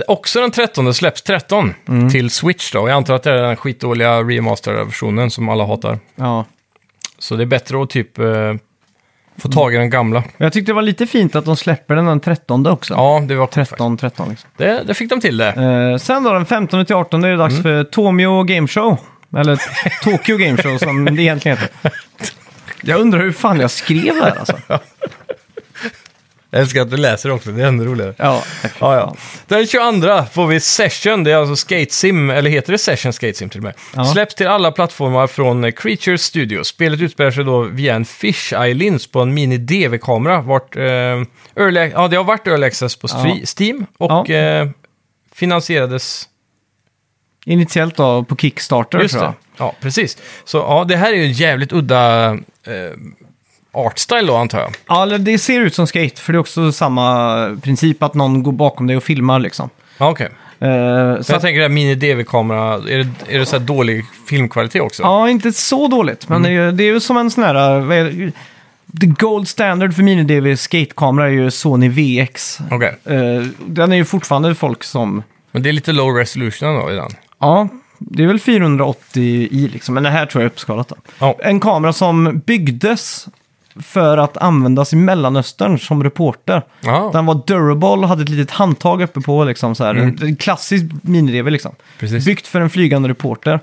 [SPEAKER 1] också den 13 släpps 13 till Switch då. Jag antar att det är den skitdåliga remasterade versionen som alla hatar.
[SPEAKER 2] Ja.
[SPEAKER 1] Så det är bättre att typ eh, få tag i den gamla.
[SPEAKER 2] Men jag tyckte det var lite fint att de släpper den den 13 också.
[SPEAKER 1] Ja, det var
[SPEAKER 2] 13, 13 liksom.
[SPEAKER 1] Det, det fick de till det.
[SPEAKER 2] Eh, sen då den 15 till 18 är det
[SPEAKER 1] Mm.
[SPEAKER 2] dags för Tomio Game Show. Eller Tokyo Game Show som det egentligen heter. Jag undrar hur fan jag skrev det här alltså.
[SPEAKER 1] Jag älskar att du läser också, det är ännu roligare.
[SPEAKER 2] Ja,
[SPEAKER 1] Ja, ja. Den 22 får vi Session, det är alltså Skate Sim, eller heter det Session Skate Sim till och med.
[SPEAKER 2] Ja.
[SPEAKER 1] Släpps till alla plattformar från eh, Creature Studios. Spelet utspelar sig då via en fisheye lins på en mini-DV-kamera. Vart, eh, early, ja, det har varit Early Access på Stre- Steam och
[SPEAKER 2] Ja.
[SPEAKER 1] eh, finansierades...
[SPEAKER 2] Initiellt då på Kickstarter
[SPEAKER 1] Just
[SPEAKER 2] tror jag.
[SPEAKER 1] det. Ja, precis. Så ja, det här är ju en jävligt udda eh, artstyle då, antar jag.
[SPEAKER 2] Ja, eller det ser ut som skate, för det är också samma princip att någon går bakom dig och filmar liksom.
[SPEAKER 1] Ja, okej.
[SPEAKER 2] Eh,
[SPEAKER 1] Så
[SPEAKER 2] så
[SPEAKER 1] jag
[SPEAKER 2] att,
[SPEAKER 1] tänker det här mini-DV-kamera, är det, är det så här dålig filmkvalitet också?
[SPEAKER 2] ja, inte så dåligt, men
[SPEAKER 1] Mm.
[SPEAKER 2] det, är ju, det är ju som en sån här... eh, vad är det? The gold standard för mini-DV skatekamera är ju Sony VX.
[SPEAKER 1] Okej.
[SPEAKER 2] Eh, den är ju fortfarande folk som...
[SPEAKER 1] Men det är lite low resolution då i den.
[SPEAKER 2] Ja, det är väl 480 i liksom, men det här tror jag är uppskalat då.
[SPEAKER 1] Ja.
[SPEAKER 2] En kamera som byggdes för att användas i Mellanöstern som reporter.
[SPEAKER 1] Ja,
[SPEAKER 2] Den var durable, hade ett litet handtag uppe på. Liksom, så här. En klassisk minirevel. Liksom.
[SPEAKER 1] Mm. Precis. Mm.
[SPEAKER 2] Byggt för en flygande reporter.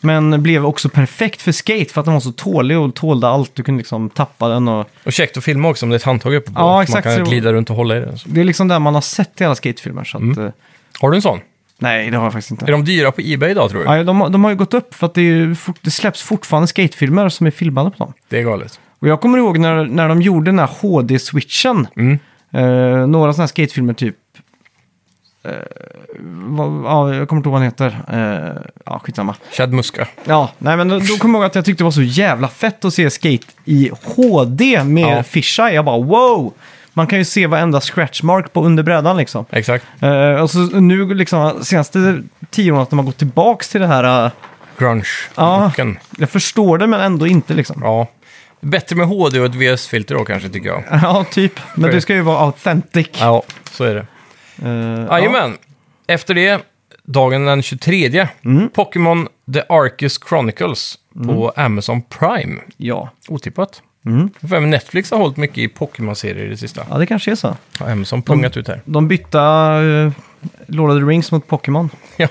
[SPEAKER 2] Men blev också perfekt för skate för att den var så tålig och tålde allt. Du kunde liksom tappa den. Och...
[SPEAKER 1] och käckt att filma också om det är ett handtag uppe på.
[SPEAKER 2] Ja,
[SPEAKER 1] så
[SPEAKER 2] exakt,
[SPEAKER 1] Man
[SPEAKER 2] så-
[SPEAKER 1] kan glida runt och hålla i den. Så.
[SPEAKER 2] Det är liksom det man har sett i alla skatefilmer. Så att, eh,
[SPEAKER 1] Har du en sån?
[SPEAKER 2] Nej, det har jag faktiskt inte.
[SPEAKER 1] Mm. Är de dyra på Ebay idag tror du?
[SPEAKER 2] Ja, de, har- de har ju gått upp för att det, är ju fort, det släpps fortfarande skatefilmer som är filmade på dem.
[SPEAKER 1] Det är galet.
[SPEAKER 2] Och jag kommer ihåg när, när de gjorde den här HD-switchen.
[SPEAKER 1] Mm.
[SPEAKER 2] Eh, några sådana här skatefilmer typ... eh, vad, ja, jag kommer inte ihåg vad han heter. Eh, ja, skitsamma.
[SPEAKER 1] Chad Muska.
[SPEAKER 2] Ja, nej men då, då kommer jag ihåg att jag tyckte det var så jävla fett att se skate i HD med
[SPEAKER 1] Ja.
[SPEAKER 2] fisheye. Jag bara wow! Man kan ju se varenda scratchmark på underbrädan liksom.
[SPEAKER 1] Exakt.
[SPEAKER 2] Eh, och så nu liksom senaste tio åren att de har gått tillbaks till det här. eh,
[SPEAKER 1] Grunge.
[SPEAKER 2] Ja.
[SPEAKER 1] Looken.
[SPEAKER 2] jag förstår det men ändå inte liksom.
[SPEAKER 1] ja. Bättre med HD och ett VS-filter då kanske tycker jag.
[SPEAKER 2] Ja, typ. Men det ska ju vara authentic.
[SPEAKER 1] Ja, så är det.
[SPEAKER 2] Eh, ja.
[SPEAKER 1] Jajamän. Efter det, dagen den 23,
[SPEAKER 2] Mm.
[SPEAKER 1] Pokémon The Arceus Chronicles på Amazon Prime.
[SPEAKER 2] Ja.
[SPEAKER 1] Otippat. Mm. Netflix har hållit mycket i Pokémon-serier i det sista.
[SPEAKER 2] ja, det kanske är så.
[SPEAKER 1] Har Amazon pungat ut här.
[SPEAKER 2] De bytte eh, Lord of the Rings mot Pokémon.
[SPEAKER 1] Ja.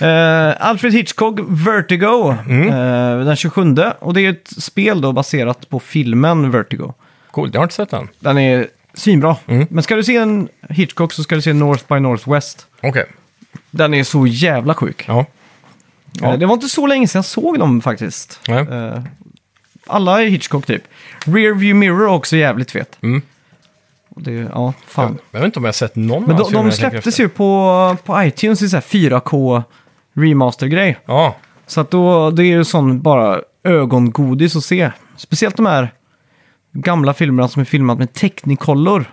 [SPEAKER 2] Eh, Alfred Hitchcock Vertigo
[SPEAKER 1] Mm.
[SPEAKER 2] eh, den 27. Och det är ett spel då baserat på filmen Vertigo.
[SPEAKER 1] Coolt, jag har inte sett den.
[SPEAKER 2] Den är svinbra.
[SPEAKER 1] Mm.
[SPEAKER 2] Men ska du se en Hitchcock så ska du se North by Northwest.
[SPEAKER 1] Okej.
[SPEAKER 2] Den är så jävla sjuk.
[SPEAKER 1] Ja. Ja.
[SPEAKER 2] Eh, Det var inte så länge sedan jag såg dem faktiskt.
[SPEAKER 1] Nej.
[SPEAKER 2] Eh, alla är Hitchcock typ. Rearview Mirror är också jävligt fet.
[SPEAKER 1] Mm.
[SPEAKER 2] Och Det, ja, fan.
[SPEAKER 1] Jag vet inte om jag har sett
[SPEAKER 2] Men
[SPEAKER 1] någon av
[SPEAKER 2] de,
[SPEAKER 1] hans filmer
[SPEAKER 2] de
[SPEAKER 1] jag tänker
[SPEAKER 2] släpptes
[SPEAKER 1] efter.
[SPEAKER 2] ju på, på iTunes i så här 4K remaster-grej.
[SPEAKER 1] Ja,
[SPEAKER 2] Så att då, det är ju sån bara ögongodis att se. Speciellt de här gamla filmerna som är filmat med Technicolor.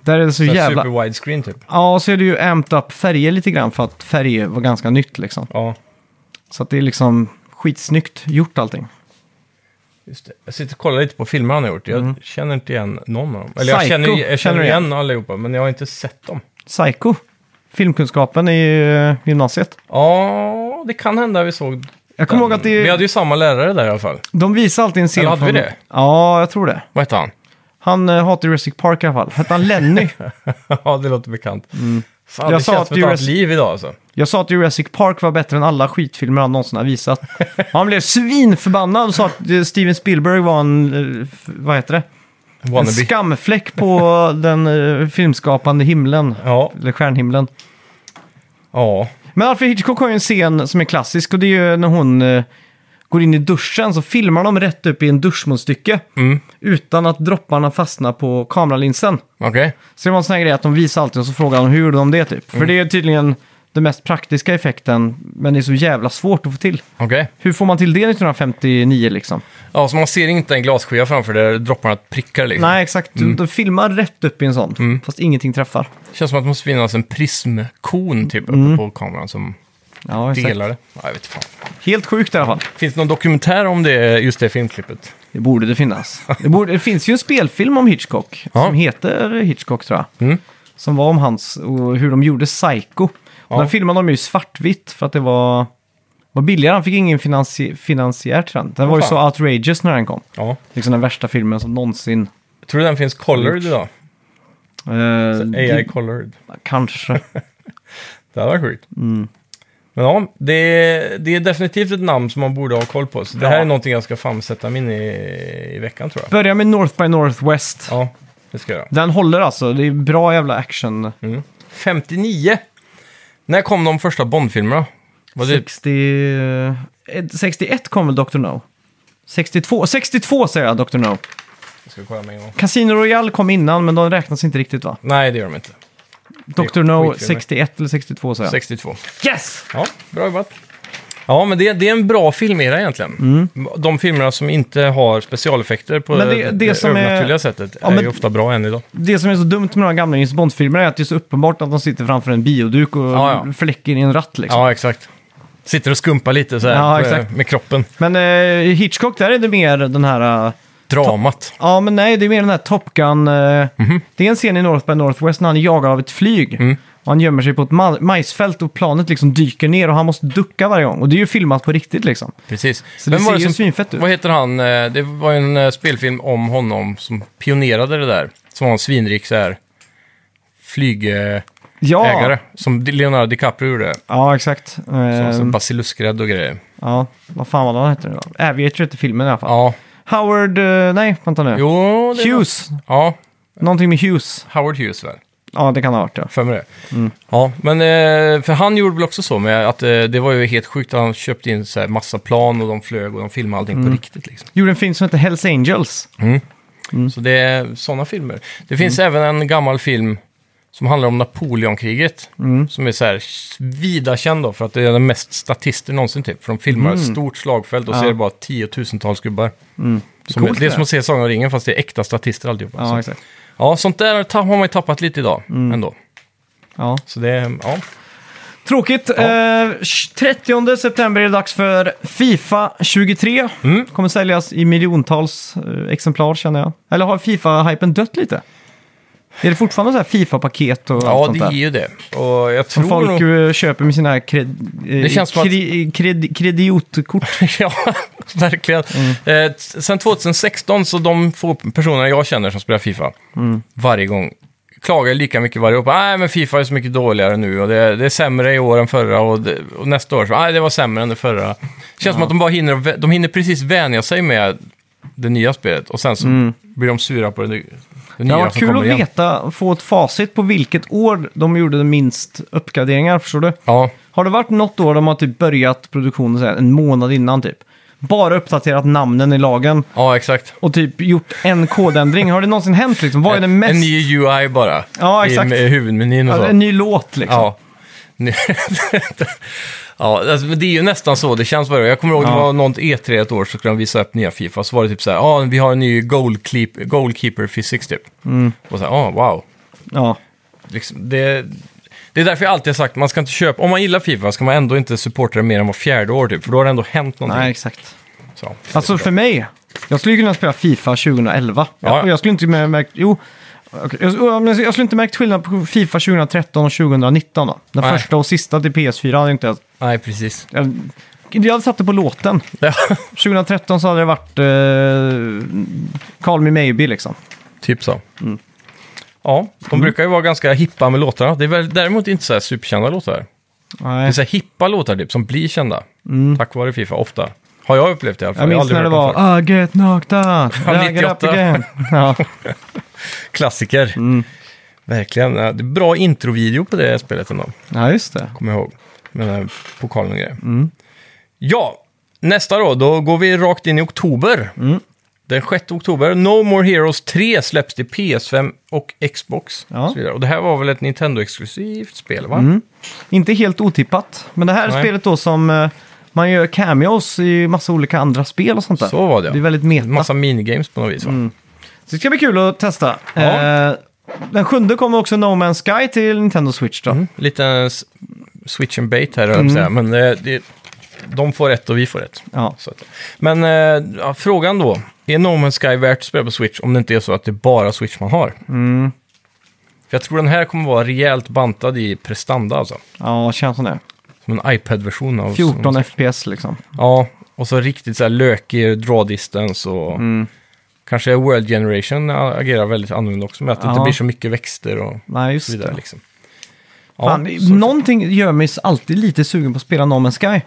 [SPEAKER 2] Där är det så,
[SPEAKER 1] så
[SPEAKER 2] jävla...
[SPEAKER 1] super widescreen typ.
[SPEAKER 2] Ja, så är det ju amped up färger lite grann för att färger var ganska nytt liksom.
[SPEAKER 1] Ja,
[SPEAKER 2] Så att det är liksom skitsnyggt gjort allting.
[SPEAKER 1] just det. Jag sitter och kollar lite på filmer han har gjort. Jag känner inte igen någon av dem. Eller jag
[SPEAKER 2] Mm. Psycho
[SPEAKER 1] känner, jag
[SPEAKER 2] känner
[SPEAKER 1] känner
[SPEAKER 2] du igen.
[SPEAKER 1] igen allihopa, men jag har inte sett dem.
[SPEAKER 2] Psycho. Filmkunskapen i eh, gymnasiet.
[SPEAKER 1] Ja, det kan hända vi såg
[SPEAKER 2] Jag kommer
[SPEAKER 1] den.
[SPEAKER 2] ihåg att det,
[SPEAKER 1] Vi hade ju samma lärare där i alla fall.
[SPEAKER 2] de visar alltid en scen
[SPEAKER 1] Eller hade vi
[SPEAKER 2] från...
[SPEAKER 1] det?
[SPEAKER 2] Ja, jag tror det.
[SPEAKER 1] Vad hette han?
[SPEAKER 2] Han eh, hatar Jurassic Park i alla fall. Hette han Lenny?
[SPEAKER 1] ja, det låter bekant. Fan,
[SPEAKER 2] Mm. Jag
[SPEAKER 1] det
[SPEAKER 2] sa
[SPEAKER 1] känns
[SPEAKER 2] att
[SPEAKER 1] som ett annat
[SPEAKER 2] Jurassic-
[SPEAKER 1] liv idag alltså.
[SPEAKER 2] Jag sa att Jurassic Park var bättre än alla skitfilmer han någonsin har visat. Han blev svinförbannad och sa att eh, Steven Spielberg var en, eh, f- vad heter det? En
[SPEAKER 1] Wannabe.
[SPEAKER 2] skamfläck på den eh, filmskapande himlen.
[SPEAKER 1] Ja,
[SPEAKER 2] Eller stjärnhimlen.
[SPEAKER 1] ja.
[SPEAKER 2] Men Alfred Hitchcock har ju en scen som är klassisk och det är ju när hon eh, går in i duschen så filmar de rätt upp i en duschmunstycke.
[SPEAKER 1] Mm.
[SPEAKER 2] Utan att dropparna fastnar på kameralinsen.
[SPEAKER 1] Okej.
[SPEAKER 2] Så det var en sån här grej att de visar alltid och så frågar de hur gjorde de det typ. För det är tydligen den mest praktiska effekten, men det är så jävla svårt att få till.
[SPEAKER 1] Okej.
[SPEAKER 2] Hur får man till det 1959 liksom?
[SPEAKER 1] Ja, så man ser inte en glasskiva framför där dropparna prickar liksom.
[SPEAKER 2] Nej, exakt. Du, du Mm. filmar rätt upp i en sån, fast ingenting träffar.
[SPEAKER 1] Känns som att det måste finnas en prismkon typ uppe på kameran som
[SPEAKER 2] Ja, Mm. exakt.
[SPEAKER 1] delar det. Ja, jag vet fan.
[SPEAKER 2] Helt sjukt i alla fall.
[SPEAKER 1] Finns det någon dokumentär om det, just det filmklippet?
[SPEAKER 2] Det borde det finnas. Det, borde, det finns ju en spelfilm om Hitchcock,
[SPEAKER 1] Ja.
[SPEAKER 2] som heter Hitchcock tror jag.
[SPEAKER 1] Mm.
[SPEAKER 2] Som var om hans, och hur de gjorde Psycho.
[SPEAKER 1] Ja.
[SPEAKER 2] Den filmade de ju i svartvitt för att det var, var billigare. Han fick ingen finansi- finansiär till den. Den var ju
[SPEAKER 1] fan.
[SPEAKER 2] så outrageous när den kom.
[SPEAKER 1] Ja.
[SPEAKER 2] Liksom den värsta filmen som någonsin...
[SPEAKER 1] Tror du den finns colored idag?
[SPEAKER 2] Eh,
[SPEAKER 1] AI
[SPEAKER 2] det,
[SPEAKER 1] colored.
[SPEAKER 2] kanske.
[SPEAKER 1] Det hade varit sjukt.
[SPEAKER 2] Mm.
[SPEAKER 1] Men ja, det är, det är definitivt ett namn som man borde ha koll på. Så det här
[SPEAKER 2] Ja.
[SPEAKER 1] är någonting jag ska fan sätta mig in i, i veckan tror jag.
[SPEAKER 2] Börja med North by Northwest.
[SPEAKER 1] Ja, det ska jag göra.
[SPEAKER 2] Den håller alltså. Det är bra jävla action.
[SPEAKER 1] Mm. 59. När kom de första Bond-filmerna? Var det
[SPEAKER 2] 60... eh, 61 kom väl Dr. No? 62, 62 säger jag Dr. No.
[SPEAKER 1] Jag ska kolla med en gång.
[SPEAKER 2] Casino Royale kom innan, men de räknas inte riktigt va?
[SPEAKER 1] Nej, det gör de inte.
[SPEAKER 2] Dr. No
[SPEAKER 1] skitfilmer.
[SPEAKER 2] 61 eller 62 säger jag.
[SPEAKER 1] 62.
[SPEAKER 2] Yes!
[SPEAKER 1] Ja, bra jobbat. Ja, men det, det är en bra filmera egentligen. De filmerna som inte har specialeffekter på
[SPEAKER 2] Mm. Men det-
[SPEAKER 1] det,
[SPEAKER 2] det som är-
[SPEAKER 1] övernaturliga sättet
[SPEAKER 2] Ja,
[SPEAKER 1] är
[SPEAKER 2] men- Liksom-
[SPEAKER 1] ju ofta bra än idag.
[SPEAKER 2] Det som är så dumt med de här gamla James Bond-filmerna är att det är så uppenbart att de sitter framför en bioduk och
[SPEAKER 1] Ja, ja.
[SPEAKER 2] fläcker i en ratt liksom.
[SPEAKER 1] Ja, exakt. Sitter och skumpar lite så här
[SPEAKER 2] Ja,
[SPEAKER 1] på-
[SPEAKER 2] exakt.
[SPEAKER 1] med kroppen.
[SPEAKER 2] Men eh, Hitchcock, där är det mer den här... eh,
[SPEAKER 1] Dramat.
[SPEAKER 2] Ja, men nej, det är mer den här Top Gun. eh,
[SPEAKER 1] Mhm.
[SPEAKER 2] Det är en scen i North by Northwest när han är jagad av ett flyg.
[SPEAKER 1] Mm.
[SPEAKER 2] Och han gömmer sig på ett ma- majsfält och planet liksom dyker ner och han måste ducka varje gång. Och det är ju filmat på riktigt liksom.
[SPEAKER 1] Precis.
[SPEAKER 2] Så det ser ju svinfett ut.
[SPEAKER 1] Vad heter han? Eh, Det var ju en eh, spelfilm om honom som pionerade det där. Som var en svinrik så här flygägare.
[SPEAKER 2] Ja,
[SPEAKER 1] Som Leonardo DiCaprio gjorde.
[SPEAKER 2] ja exakt.
[SPEAKER 1] Som var så
[SPEAKER 2] Ehm,
[SPEAKER 1] basiluskrädd och grejer.
[SPEAKER 2] ja, vad fan var det han hette nu då? Aviator hette filmen i alla fall.
[SPEAKER 1] Ja,
[SPEAKER 2] Howard, eh, nej, vänta nu.
[SPEAKER 1] jo. det var-
[SPEAKER 2] Hughes,
[SPEAKER 1] Ja,
[SPEAKER 2] någonting med Hughes.
[SPEAKER 1] Howard Hughes väl.
[SPEAKER 2] Ja, det kan ha varit det.
[SPEAKER 1] För mig det.
[SPEAKER 2] Mm.
[SPEAKER 1] Ja, men eh, för han gjorde väl också så med att eh, det var ju helt sjukt. Han köpte in så här massa plan och de flög och de filmade allting
[SPEAKER 2] Mm.
[SPEAKER 1] på riktigt liksom.
[SPEAKER 2] Gjorde en film som heter Hells Angels.
[SPEAKER 1] Så det är sådana filmer. Det finns även en gammal film som handlar om Napoleonkriget.
[SPEAKER 2] Mm.
[SPEAKER 1] Som är så här vida känd då, för att det är den mest statister någonsin typ. För de filmar ett stort slagfält och
[SPEAKER 2] Mm. Ja. Mm.
[SPEAKER 1] ser bara tiotusentals gubbar. Som,
[SPEAKER 2] coolt
[SPEAKER 1] det är
[SPEAKER 2] det.
[SPEAKER 1] som att se Sagan om ringen fast det är äkta statister alltihopa.
[SPEAKER 2] Ja,
[SPEAKER 1] så,
[SPEAKER 2] exakt. Mm.
[SPEAKER 1] ja, sånt där ta- har man ju tappat lite idag ändå.
[SPEAKER 2] Ja.
[SPEAKER 1] Så det är, ja.
[SPEAKER 2] Tråkigt. Eh, 30 september är det dags för Fifa 23.
[SPEAKER 1] Mm.
[SPEAKER 2] Kommer säljas i miljontals eh, exemplar känner jag. Eller har Fifa-hypen dött lite? Är det fortfarande så här Fifa-paket och allt
[SPEAKER 1] Ja,
[SPEAKER 2] sånt
[SPEAKER 1] det är
[SPEAKER 2] där?
[SPEAKER 1] ju det. Och jag tror
[SPEAKER 2] Som folk
[SPEAKER 1] nog...
[SPEAKER 2] eh, köper med sina kred, eh,
[SPEAKER 1] Det känns som att-
[SPEAKER 2] kri, kred, kreditkort.
[SPEAKER 1] ja, verkligen. Eh, t- sen 2016, så de få personerna jag känner som spelar Fifa, varje gång klagar lika mycket varje år på nej men Fifa är så mycket dåligare nu och det, det är sämre i år än förra och, det, och nästa år så nej det var sämre än det förra. Känns som att de bara hinner, vä- de hinner precis vänja sig med det nya spelet och sen så blir de sura på det, ny- det
[SPEAKER 2] Mm. Det
[SPEAKER 1] nya
[SPEAKER 2] hade varit
[SPEAKER 1] som
[SPEAKER 2] kul
[SPEAKER 1] kommer
[SPEAKER 2] att
[SPEAKER 1] igen.
[SPEAKER 2] veta, få ett facit på vilket år de gjorde minst uppgraderingar, förstår du?
[SPEAKER 1] Ja,
[SPEAKER 2] Har det varit något år de har typ börjat produktionen så här, en månad innan typ? Bara uppdaterat namnen i lagen
[SPEAKER 1] ja exakt.
[SPEAKER 2] och typ gjort en kodändring. Har det någonsin hänt liksom? Vad är det mest...
[SPEAKER 1] En ny UI bara.
[SPEAKER 2] Ja,
[SPEAKER 1] i-
[SPEAKER 2] exakt.
[SPEAKER 1] Med huvudmenyn och så.
[SPEAKER 2] Ja, en ny låt liksom.
[SPEAKER 1] Ja. Nu- ja, alltså, men det är ju nästan så det känns varje år. Jag kommer ihåg, det
[SPEAKER 2] Ja.
[SPEAKER 1] var något E3 ett år så skulle de visa upp nya Fifa. Så var det typ så här, ja, vi har en ny goalkeep- goalkeeper physics typ. Och så här, ja, wow.
[SPEAKER 2] Ja.
[SPEAKER 1] Liksom, det, det är därför jag alltid har sagt, man ska inte köpa, om man gillar Fifa ska man ändå inte supporta det mer än var fjärde år typ, för då har det ändå hänt någonting.
[SPEAKER 2] Nej, exakt.
[SPEAKER 1] Så,
[SPEAKER 2] Alltså för mig, jag skulle ju kunna spela Fifa 2011.
[SPEAKER 1] Ja.
[SPEAKER 2] Jag, och jag skulle inte mer märkt... Jo. okej, Jag, jag- men jag skulle inte märkt skillnad på Fifa 2013 och 2019 då. Den
[SPEAKER 1] Nej.
[SPEAKER 2] första och sista till PS4 hade jag inte...
[SPEAKER 1] Nej, precis.
[SPEAKER 2] Jag, jag hade satt det på låten.
[SPEAKER 1] Ja,
[SPEAKER 2] 2013 så hade det varit eh, Call Me Maybe liksom.
[SPEAKER 1] typ så. Ja, de brukar ju vara ganska hippa med låtarna. Det är väl däremot inte så här superkända låtar. Det är
[SPEAKER 2] Nej.
[SPEAKER 1] så här hippa låtar typ, som blir kända. Tack vare Fifa, ofta. Har jag upplevt det i alla fall.
[SPEAKER 2] Jag
[SPEAKER 1] har
[SPEAKER 2] minns
[SPEAKER 1] aldrig
[SPEAKER 2] när det
[SPEAKER 1] hört dem förut.
[SPEAKER 2] var I get knocked out, I get up
[SPEAKER 1] 98.
[SPEAKER 2] again. Ja.
[SPEAKER 1] Klassiker.
[SPEAKER 2] Mm.
[SPEAKER 1] Verkligen. Ja, Det är bra introvideo på det spelet ändå,
[SPEAKER 2] ja, just det.
[SPEAKER 1] kommer jag ihåg. Med den här pokalen och
[SPEAKER 2] Mm. Mm.
[SPEAKER 1] grejer. Ja, nästa då. Då går vi rakt in i oktober. Den 6 oktober, No More Heroes 3 släpps till PS5 och Xbox.
[SPEAKER 2] Ja. Mm.
[SPEAKER 1] Och, så vidare. och det här var väl ett Nintendo-exklusivt spel, va?
[SPEAKER 2] Inte helt otippat, men det här är
[SPEAKER 1] Nej.
[SPEAKER 2] spelet då som eh, man gör cameos i massa olika andra spel och sånt där.
[SPEAKER 1] Så var det, ja.
[SPEAKER 2] Det är väldigt meta.
[SPEAKER 1] Massa minigames på något
[SPEAKER 2] Mm.
[SPEAKER 1] vis, va?
[SPEAKER 2] Så det ska bli kul att testa.
[SPEAKER 1] Ja.
[SPEAKER 2] Eh, den sjunde kommer också No Man's Sky till Nintendo Switch
[SPEAKER 1] Mm.
[SPEAKER 2] då.
[SPEAKER 1] Liten s- switch and bait här, höll jag på att säga. Men eh, det, de får ett och vi får ett.
[SPEAKER 2] Mm. Ja.
[SPEAKER 1] Så att, men eh, ja, frågan då, är No Man's Sky värt att spela på Switch om det inte är så att det är bara Switch man har?
[SPEAKER 2] Mm.
[SPEAKER 1] För jag tror den här kommer vara rejält bantad i prestanda alltså.
[SPEAKER 2] ja, känns som det.
[SPEAKER 1] Som en iPad-version av...
[SPEAKER 2] 14 FPS liksom.
[SPEAKER 1] Ja, och så riktigt så här lökig draw distance och...
[SPEAKER 2] Mm.
[SPEAKER 1] Kanske World Generation agerar väldigt annorlunda också med att det inte
[SPEAKER 2] Ja.
[SPEAKER 1] blir så mycket växter och
[SPEAKER 2] Nej,
[SPEAKER 1] så
[SPEAKER 2] just
[SPEAKER 1] vidare.
[SPEAKER 2] det.
[SPEAKER 1] Liksom.
[SPEAKER 2] Fan,
[SPEAKER 1] ja, så-
[SPEAKER 2] någonting gör mig alltid lite sugen på att spela No Man's Sky.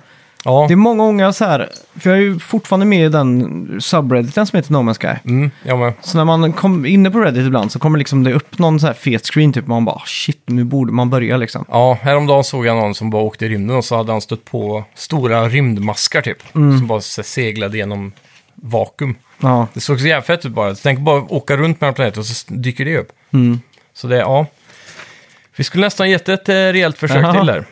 [SPEAKER 1] ja.
[SPEAKER 2] Det är många gånger så här, för jag är ju fortfarande med i den subredditen som heter No Man's Sky.
[SPEAKER 1] Mm, ja, men,
[SPEAKER 2] Så när man kom inne på Reddit ibland så kommer liksom det upp någon så här fet screen typ. Man bara shit, nu borde man börja liksom.
[SPEAKER 1] ja, häromdagen såg jag någon som bara åkte i rymden och så hade han stött på stora rymdmaskar typ.
[SPEAKER 2] Mm.
[SPEAKER 1] Som bara så här seglade genom vakuum.
[SPEAKER 2] Ja,
[SPEAKER 1] Det såg så jävla fett ut bara. Så Tänk bara åka runt mellan planeter och så dyker det upp.
[SPEAKER 2] Mm.
[SPEAKER 1] Så det, ja. Vi skulle nästan gett ett eh, rejält försök
[SPEAKER 2] Jaha.
[SPEAKER 1] till där.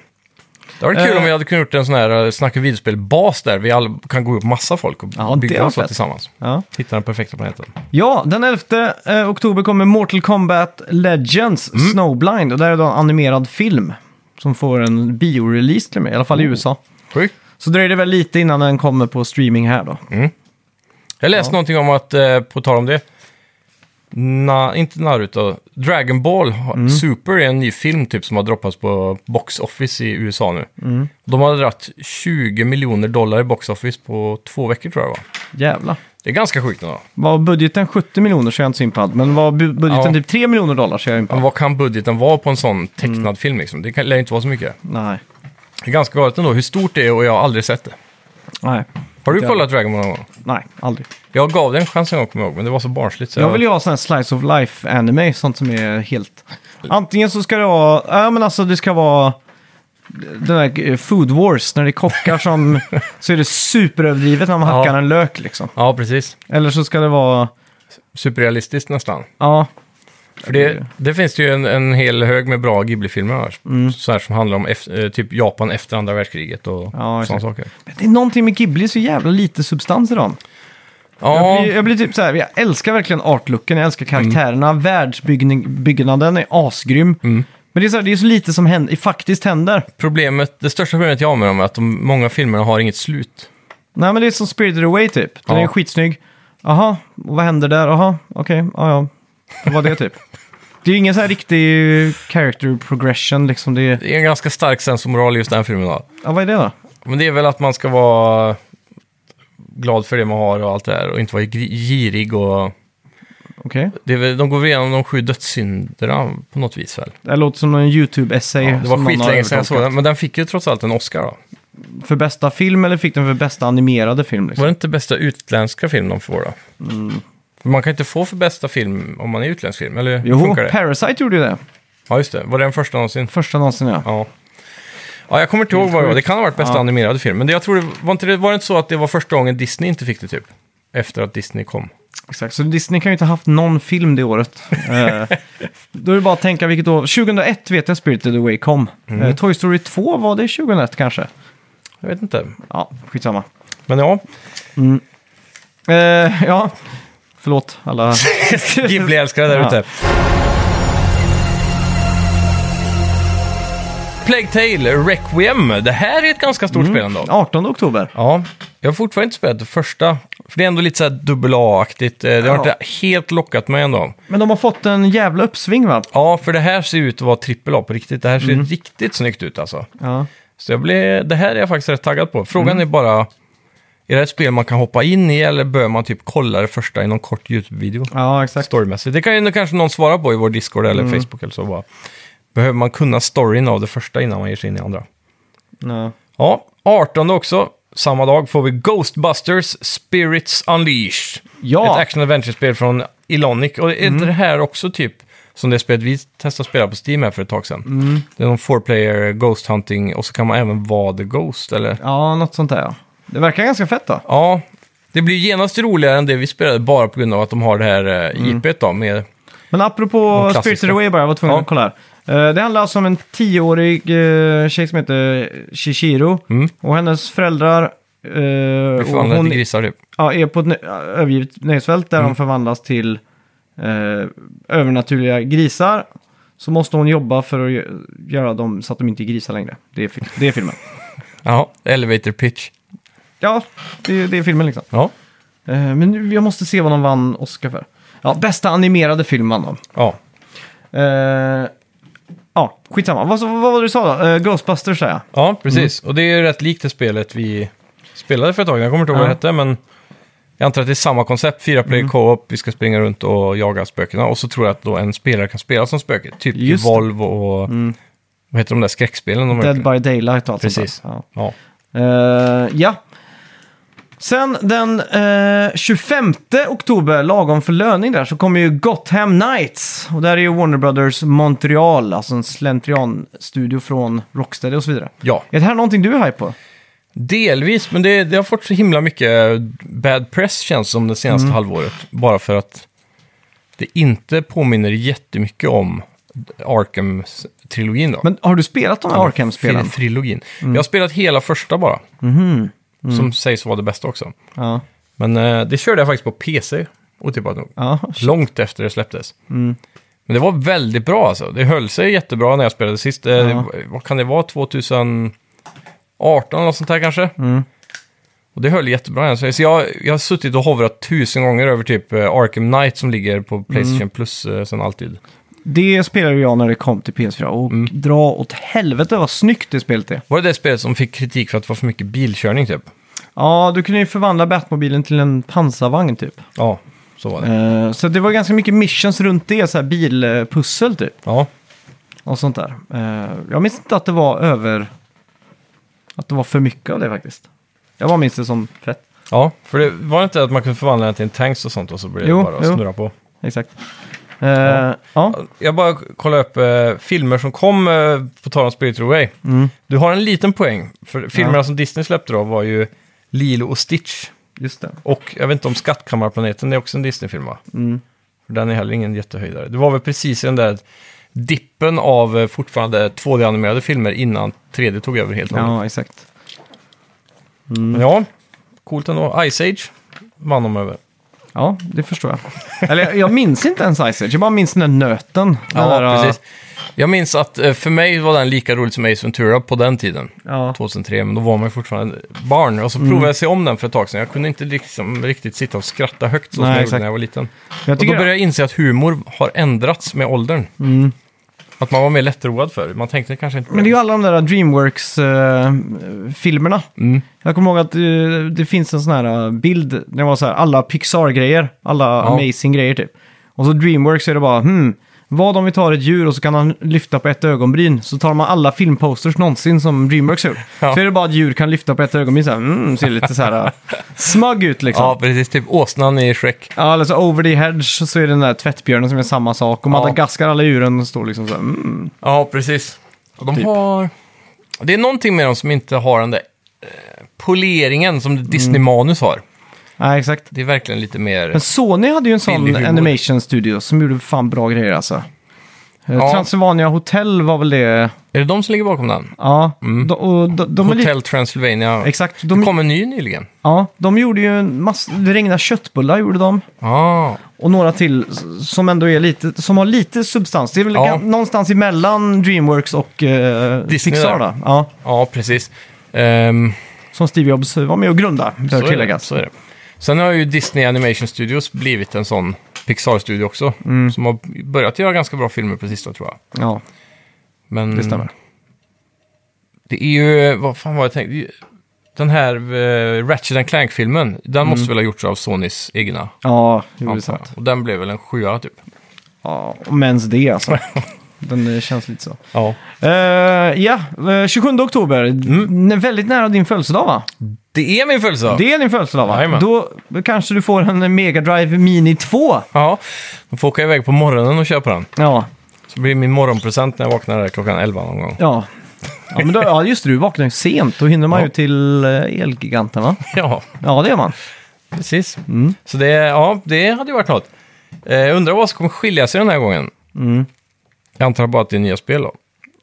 [SPEAKER 1] Det hade varit kul
[SPEAKER 2] Eh.
[SPEAKER 1] om vi hade kunnat gjort en sån här eh, snacka videospel-bas där vi alla kan gå upp massa folk och
[SPEAKER 2] Ja, det
[SPEAKER 1] bygga
[SPEAKER 2] var
[SPEAKER 1] oss
[SPEAKER 2] fett.
[SPEAKER 1] tillsammans.
[SPEAKER 2] ja.
[SPEAKER 1] Hitta den perfekta planeten.
[SPEAKER 2] ja den 11 eh, oktober kommer Mortal Kombat Legends Snowblind. Och där är då en animerad film som får en biorelease till och med, i alla fall i USA.
[SPEAKER 1] Sjukt.
[SPEAKER 2] Så dröjer det väl lite innan den kommer på streaming här då.
[SPEAKER 1] Jag läste någonting om att, eh, på tal om det, na, inte Naruto, Dragon Ball har-
[SPEAKER 2] Mm.
[SPEAKER 1] Super är en ny film typ som har droppats på Box Office i USA nu.
[SPEAKER 2] Mm.
[SPEAKER 1] De har dragit 20 miljoner dollar i Box Office på två veckor tror jag det var.
[SPEAKER 2] Jävlar.
[SPEAKER 1] Det är ganska sjukt ändå.
[SPEAKER 2] Var budgeten 70 miljoner så är jag inte så impad. Men var bu- budgeten
[SPEAKER 1] Ja.
[SPEAKER 2] typ 3 miljoner dollar så är jag
[SPEAKER 1] Men
[SPEAKER 2] impad.
[SPEAKER 1] vad kan budgeten vara på en sån
[SPEAKER 2] Mm.
[SPEAKER 1] tecknad film liksom? Det kan, lär ju inte vara så mycket.
[SPEAKER 2] Nej.
[SPEAKER 1] Det är ganska galet ändå hur stort det är och jag har aldrig sett det.
[SPEAKER 2] Nej.
[SPEAKER 1] Har du
[SPEAKER 2] Ja.
[SPEAKER 1] kollat Dragon Ball någon gång?
[SPEAKER 2] Nej, aldrig.
[SPEAKER 1] Jag gav det en chans en gång kommer jag ihåg, men det var så barnsligt. Så
[SPEAKER 2] Jag vill ju ha sån här slice of life anime, sånt som är helt... Antingen så ska det vara, ja men alltså det ska vara den där eh, food wars, när det är kockar som... så är det superöverdrivet när man
[SPEAKER 1] Ja.
[SPEAKER 2] hackar en lök liksom.
[SPEAKER 1] Ja, precis.
[SPEAKER 2] Eller så ska det vara,
[SPEAKER 1] Superrealistiskt nästan.
[SPEAKER 2] ja,
[SPEAKER 1] För
[SPEAKER 2] Mm.
[SPEAKER 1] det, det finns det ju en, en hel hög med bra Ghibli-filmer här. Så här som handlar om eft- eh, typ Japan efter andra världskriget och
[SPEAKER 2] Mm. Ja,
[SPEAKER 1] sådana
[SPEAKER 2] exakt.
[SPEAKER 1] saker.
[SPEAKER 2] men det är någonting med Ghibli, så jävla lite substans i dem. Jag,
[SPEAKER 1] Ja, Mm.
[SPEAKER 2] blir, jag blir typ så här, jag älskar verkligen artlooken, jag älskar karaktärerna, världsbyggnaden är asgrym.
[SPEAKER 1] Mm.
[SPEAKER 2] Men det är, så här, det är så lite som händer, faktiskt händer.
[SPEAKER 1] problemet, det största problemet jag har med dem är att de, många filmerna har inget slut.
[SPEAKER 2] Nej, men det är som Spirited Away typ. Den
[SPEAKER 1] Ja.
[SPEAKER 2] är skitsnygg. Jaha, och vad händer där? Jaha, okej, ja ja. Vad var det typ? Det är ju ingen så här riktig character progression liksom. Det är...
[SPEAKER 1] Det är en ganska stark sensmoral i just den här filmen. Då.
[SPEAKER 2] Ja, vad är det då?
[SPEAKER 1] Men det är väl att man ska vara glad för det man har och allt det där och inte vara gri- girig och...
[SPEAKER 2] Okej.
[SPEAKER 1] Det är väl, de går väl igenom de sju dödssynderna på något vis väl?
[SPEAKER 2] Det här låter som en YouTube-essay.
[SPEAKER 1] Ja, det var
[SPEAKER 2] som någon har
[SPEAKER 1] skitlänge sedan jag såg
[SPEAKER 2] övertolkat.
[SPEAKER 1] den, men den fick ju trots allt en Oscar då.
[SPEAKER 2] För bästa film eller fick den för bästa animerade film?
[SPEAKER 1] Var
[SPEAKER 2] Liksom?
[SPEAKER 1] det inte bästa utländska film de får då?
[SPEAKER 2] Mm.
[SPEAKER 1] För Man kan inte få för bästa film om man är utländsk film, eller hur
[SPEAKER 2] Jo,
[SPEAKER 1] funkar det?
[SPEAKER 2] Parasite gjorde ju det.
[SPEAKER 1] Ja, just det. Var det den första någonsin?
[SPEAKER 2] Första någonsin ja.
[SPEAKER 1] Ja. Ja, jag kommer inte ihåg vad det var. Det kan ha varit bästa
[SPEAKER 2] Ja.
[SPEAKER 1] animerade film. Men det, jag tror det, var, inte, det- var det inte så att det var första gången Disney inte fick det typ? Efter att Disney kom.
[SPEAKER 2] Exakt, så Disney kan ju inte ha haft någon film det året. Eh, Då är det bara att tänka vilket år. 2001 vet jag Spirited Away kom.
[SPEAKER 1] Mm.
[SPEAKER 2] Eh, Toy Story 2 var det 2001 kanske.
[SPEAKER 1] Jag vet inte.
[SPEAKER 2] Ja, skitsamma.
[SPEAKER 1] Men ja,
[SPEAKER 2] Eh, ja, förlåt alla.
[SPEAKER 1] Ghibli-älskare där
[SPEAKER 2] Ja.
[SPEAKER 1] ute. Plague Tale Requiem. Det här är ett ganska stort
[SPEAKER 2] Mm.
[SPEAKER 1] spel ändå.
[SPEAKER 2] 18 oktober.
[SPEAKER 1] Ja, jag har fortfarande inte spelat det första. För det är ändå lite så här dubbel A-aktigt. Eh, Det har
[SPEAKER 2] Ja.
[SPEAKER 1] inte helt lockat mig ändå.
[SPEAKER 2] Men de har fått en jävla uppsving va?
[SPEAKER 1] Ja, för det här ser ut att vara trippel A på riktigt. Det här ser riktigt snyggt ut alltså.
[SPEAKER 2] Ja.
[SPEAKER 1] Så jag blev, det här är jag faktiskt rätt taggad på. Frågan är bara, är det ett spel man kan hoppa in i eller bör man typ kolla det första i någon kort YouTube-video?
[SPEAKER 2] ja, exakt.
[SPEAKER 1] Storymässigt. Det kan ju nog kanske någon svara på i vår Discord eller Facebook eller så. Bara. Behöver man kunna storyn av det första innan man ger sig in i andra?
[SPEAKER 2] Ja.
[SPEAKER 1] Ja, 18 också. Samma dag får vi Ghostbusters Spirits Unleashed.
[SPEAKER 2] Ja. Mm.
[SPEAKER 1] Ett action adventure-spel från Ilonic. Och är inte det här också typ som det spelet vi testade att spela på Steam här för ett tag sedan?
[SPEAKER 2] Mm.
[SPEAKER 1] Det är någon four player Ghost Hunting och så kan man även vara The Ghost eller?
[SPEAKER 2] ja, något sånt där ja. Det verkar ganska fett då.
[SPEAKER 1] Ja, Det blir genast roligare än det vi spelade bara på grund av att de har det här
[SPEAKER 2] Mm.
[SPEAKER 1] eh, IPet då. Med,
[SPEAKER 2] Men apropå
[SPEAKER 1] De klassiska.
[SPEAKER 2] Spirited Away bara, jag var tvungen
[SPEAKER 1] Ja.
[SPEAKER 2] att kolla här. Eh, Det handlar alltså om en tioårig eh, tjej som heter Shishiro.
[SPEAKER 1] Mm.
[SPEAKER 2] Och hennes föräldrar eh, och
[SPEAKER 1] fan,
[SPEAKER 2] hon
[SPEAKER 1] hon... grisar typ.
[SPEAKER 2] ja, är på ett nö- övergivet nöjesfält där de förvandlas till eh, övernaturliga grisar. Så måste hon jobba för att gö- göra dem så att de inte är grisar längre. Det är, fil- det är filmen.
[SPEAKER 1] Ja, elevator pitch.
[SPEAKER 2] Ja, det, det är filmen liksom.
[SPEAKER 1] Ja.
[SPEAKER 2] Eh, men nu- jag måste se vad de vann Oscar för. Ja, bästa animerade film vann de.
[SPEAKER 1] Ja.
[SPEAKER 2] Eh, ja, skitsamma. Vad, vad var det du sa då? Eh, Ghostbusters säger jag.
[SPEAKER 1] Ja, precis. Och det är ju rätt likt det spelet vi spelade för ett tag. Jag kommer inte ihåg vad det
[SPEAKER 2] Ja. Mm.
[SPEAKER 1] hette, men jag antar att det är samma koncept. Fyra player co-op, vi ska springa runt och jaga spökena. Och så tror jag att då en spelare kan spela som spöke. Typ
[SPEAKER 2] Just det. Mm.
[SPEAKER 1] Volvo och... Vad heter de där skräckspelen? De har
[SPEAKER 2] Dead
[SPEAKER 1] gjort?
[SPEAKER 2] by Daylight och allt sånt där.
[SPEAKER 1] Precis.
[SPEAKER 2] Ja.
[SPEAKER 1] Ja.
[SPEAKER 2] Eh, ja. Sen den eh, 25 oktober, lagom för löning där, så kommer ju Gotham Knights. Och där är ju Warner Brothers Montreal, alltså en slentrian-studio från Rocksteady och så vidare.
[SPEAKER 1] ja,
[SPEAKER 2] Är det här någonting du är hype på?
[SPEAKER 1] delvis. Men det, det har fått så himla mycket bad press känns som det senaste
[SPEAKER 2] Mm.
[SPEAKER 1] halvåret. Bara för att det inte påminner jättemycket om Arkham-trilogin då.
[SPEAKER 2] Men har du spelat de här Arkham-spelen?
[SPEAKER 1] Fri- Trilogin.
[SPEAKER 2] Mm.
[SPEAKER 1] Jag har spelat hela första bara.
[SPEAKER 2] Mhm,
[SPEAKER 1] Som sägs vara det bästa också.
[SPEAKER 2] Ja.
[SPEAKER 1] Men eh, det körde jag faktiskt på PC, otippat nog.
[SPEAKER 2] ja. Mm.
[SPEAKER 1] Långt efter det släpptes. Men det var väldigt bra alltså. Det höll sig jättebra när jag spelade sist. Eh, det- Vad kan det vara? 2018 eller något sånt här kanske?
[SPEAKER 2] Mm.
[SPEAKER 1] Och det höll jättebra än så länge. Så jag, jag har suttit och hovrat tusen gånger över typ eh, Arkham Knight som ligger
[SPEAKER 2] Mm.
[SPEAKER 1] på Playstation Plus eh, sen alltid.
[SPEAKER 2] Det spelade jag när det kom till PS4 och dra åt helvete vad snyggt det spelet är.
[SPEAKER 1] Var det det spelet som fick kritik för att det var för mycket bilkörning typ?
[SPEAKER 2] Ja, du kunde ju förvandla Batmobilen till en pansarvagn typ.
[SPEAKER 1] Ja, så var det.
[SPEAKER 2] Eh, så det var ganska mycket missions runt det, så här bilpussel typ.
[SPEAKER 1] Ja.
[SPEAKER 2] Och sånt där. Eh, jag minns inte att det var över... Att det var för mycket av det faktiskt. Jag bara minns det som fett.
[SPEAKER 1] Ja, för det var det inte att man kunde förvandla den till en tanks och sånt och så blev det
[SPEAKER 2] Jo,
[SPEAKER 1] bara att
[SPEAKER 2] jo.
[SPEAKER 1] snurra på.
[SPEAKER 2] Exakt. Eh, ja.
[SPEAKER 1] Jag bara kollade upp eh, filmer som kom eh, på tal om Spirit Away.
[SPEAKER 2] Mm.
[SPEAKER 1] Du har en liten poäng, för filmerna som Disney släppte då var ju Lilo och Stitch.
[SPEAKER 2] just det.
[SPEAKER 1] Och jag vet inte om Skattkammarplaneten är också en Disney-film va?
[SPEAKER 2] Mm.
[SPEAKER 1] För den är heller ingen jättehöjdare. Det var väl precis i den där dippen av eh, fortfarande 2D-animerade filmer innan 3D tog över helt och hållet.
[SPEAKER 2] Ja, exakt.
[SPEAKER 1] Men Ja, coolt ändå. Ice Age vann de över.
[SPEAKER 2] Ja, det förstår jag. Eller jag- jag minns inte ens Ice Age, jag bara minns den där nöten. Den
[SPEAKER 1] Ja,
[SPEAKER 2] där, eh,
[SPEAKER 1] precis. Jag minns att eh, för mig var den lika rolig som Ace Ventura på den tiden.
[SPEAKER 2] Ja.
[SPEAKER 1] 2003, men då var man ju fortfarande barn. Och så
[SPEAKER 2] Mm.
[SPEAKER 1] provade jag se om den för ett tag sedan. Jag kunde inte liksom riktigt sitta och skratta högt så
[SPEAKER 2] Nej,
[SPEAKER 1] som jag
[SPEAKER 2] exakt.
[SPEAKER 1] gjorde när jag var liten.
[SPEAKER 2] Jag
[SPEAKER 1] Och då
[SPEAKER 2] tycker- Mm.
[SPEAKER 1] började jag inse att humor har ändrats med åldern. Att man var mer lättroad förr. Man tänkte kanske inte...
[SPEAKER 2] Men det är ju alla de där Dreamworks-filmerna.
[SPEAKER 1] Mm.
[SPEAKER 2] Jag kommer ihåg att eh, det finns en sån här eh, bild, det var så här, alla Pixar-grejer, alla amazing grejer typ. Och så Dreamworks är det bara, hmm, vad om vi tar ett djur och så kan han lyfta på ett ögonbryn, så tar man alla filmposters någonsin som Dreamworks har gjort.
[SPEAKER 1] Ja.
[SPEAKER 2] Så är det bara att djur kan lyfta på ett ögonbryn så här, mm, ser lite så här eh, smug ut liksom.
[SPEAKER 1] Ja,
[SPEAKER 2] Ja.
[SPEAKER 1] precis. Typ åsnan i Shrek.
[SPEAKER 2] eller så over the hedge så är det den där tvättbjörnen som är samma sak. Och Madagaskar, alla djuren står liksom så här, mm.
[SPEAKER 1] Ja, precis. Och de
[SPEAKER 2] Typ.
[SPEAKER 1] har... Det är någonting med dem som inte har den där eh, poleringen
[SPEAKER 2] Mm.
[SPEAKER 1] som Disney-manus har.
[SPEAKER 2] Nej, exakt.
[SPEAKER 1] Det är verkligen lite mer...
[SPEAKER 2] Men Sony hade ju en sån
[SPEAKER 1] Billig humor.
[SPEAKER 2] animation studio som gjorde fan bra grejer alltså.
[SPEAKER 1] Ja.
[SPEAKER 2] Ja. Transylvania Hotel var väl det.
[SPEAKER 1] Är det de som ligger bakom den?
[SPEAKER 2] Ja, de, och de, de är lite-
[SPEAKER 1] Mm. Hotel Transylvania.
[SPEAKER 2] Exakt.
[SPEAKER 1] Det
[SPEAKER 2] De,
[SPEAKER 1] kom en ny nyligen.
[SPEAKER 2] ja, de gjorde ju en massa... Det regnade köttbullar gjorde de.
[SPEAKER 1] Ah,
[SPEAKER 2] Och några till s- som ändå är lite... Som har lite substans. Det är väl
[SPEAKER 1] Ja.
[SPEAKER 2] ga- någonstans emellan Dreamworks och eh,
[SPEAKER 1] Disney
[SPEAKER 2] Pixar
[SPEAKER 1] där.
[SPEAKER 2] då. Ja,
[SPEAKER 1] ja, precis. Ehm,
[SPEAKER 2] som Steve Jobs var med och grundade, bör
[SPEAKER 1] så, är det,
[SPEAKER 2] tilläggas.
[SPEAKER 1] så är det. Sen har ju Disney Animation Studios blivit en sån Pixar-studio också.
[SPEAKER 2] Mm.
[SPEAKER 1] Som har börjat göra ganska bra filmer på sistone tror jag.
[SPEAKER 2] Ja,
[SPEAKER 1] Men
[SPEAKER 2] det stämmer.
[SPEAKER 1] det är ju, vad fan var jag tänkte? Den här uh, Ratchet and Clank-filmen, den måste väl ha gjorts av Sonys egna.
[SPEAKER 2] Ja, jo, Mm. det är
[SPEAKER 1] antar jag.
[SPEAKER 2] sant.
[SPEAKER 1] Och den blev väl en sjua typ.
[SPEAKER 2] Ja, om ens det alltså. Den eh, känns lite så.
[SPEAKER 1] Ja.
[SPEAKER 2] Eh, ja, eh, 27 oktober. N- Väldigt nära din födelsedag va?
[SPEAKER 1] Det är min födelsedag!
[SPEAKER 2] Det är din födelsedag va?
[SPEAKER 1] Jajamän.
[SPEAKER 2] Då kanske du får en Mega Drive Mini 2.
[SPEAKER 1] Ja, de får åka iväg på morgonen och köpa den.
[SPEAKER 2] Ja,
[SPEAKER 1] Så blir det min morgonpresent när jag vaknar där klockan 11 någon gång.
[SPEAKER 2] ja. Ja, men då, ja just det, du vaknar ju sent. Då hinner man
[SPEAKER 1] Ja.
[SPEAKER 2] ju till eh, Elgiganten va?
[SPEAKER 1] Ja,
[SPEAKER 2] Ja, det gör man.
[SPEAKER 1] Precis.
[SPEAKER 2] Mm.
[SPEAKER 1] Så det, ja, det hade ju varit något. Eh, undrar vad som kommer skilja sig den här gången.
[SPEAKER 2] Mm.
[SPEAKER 1] Jag antar bara att det är nya spel då.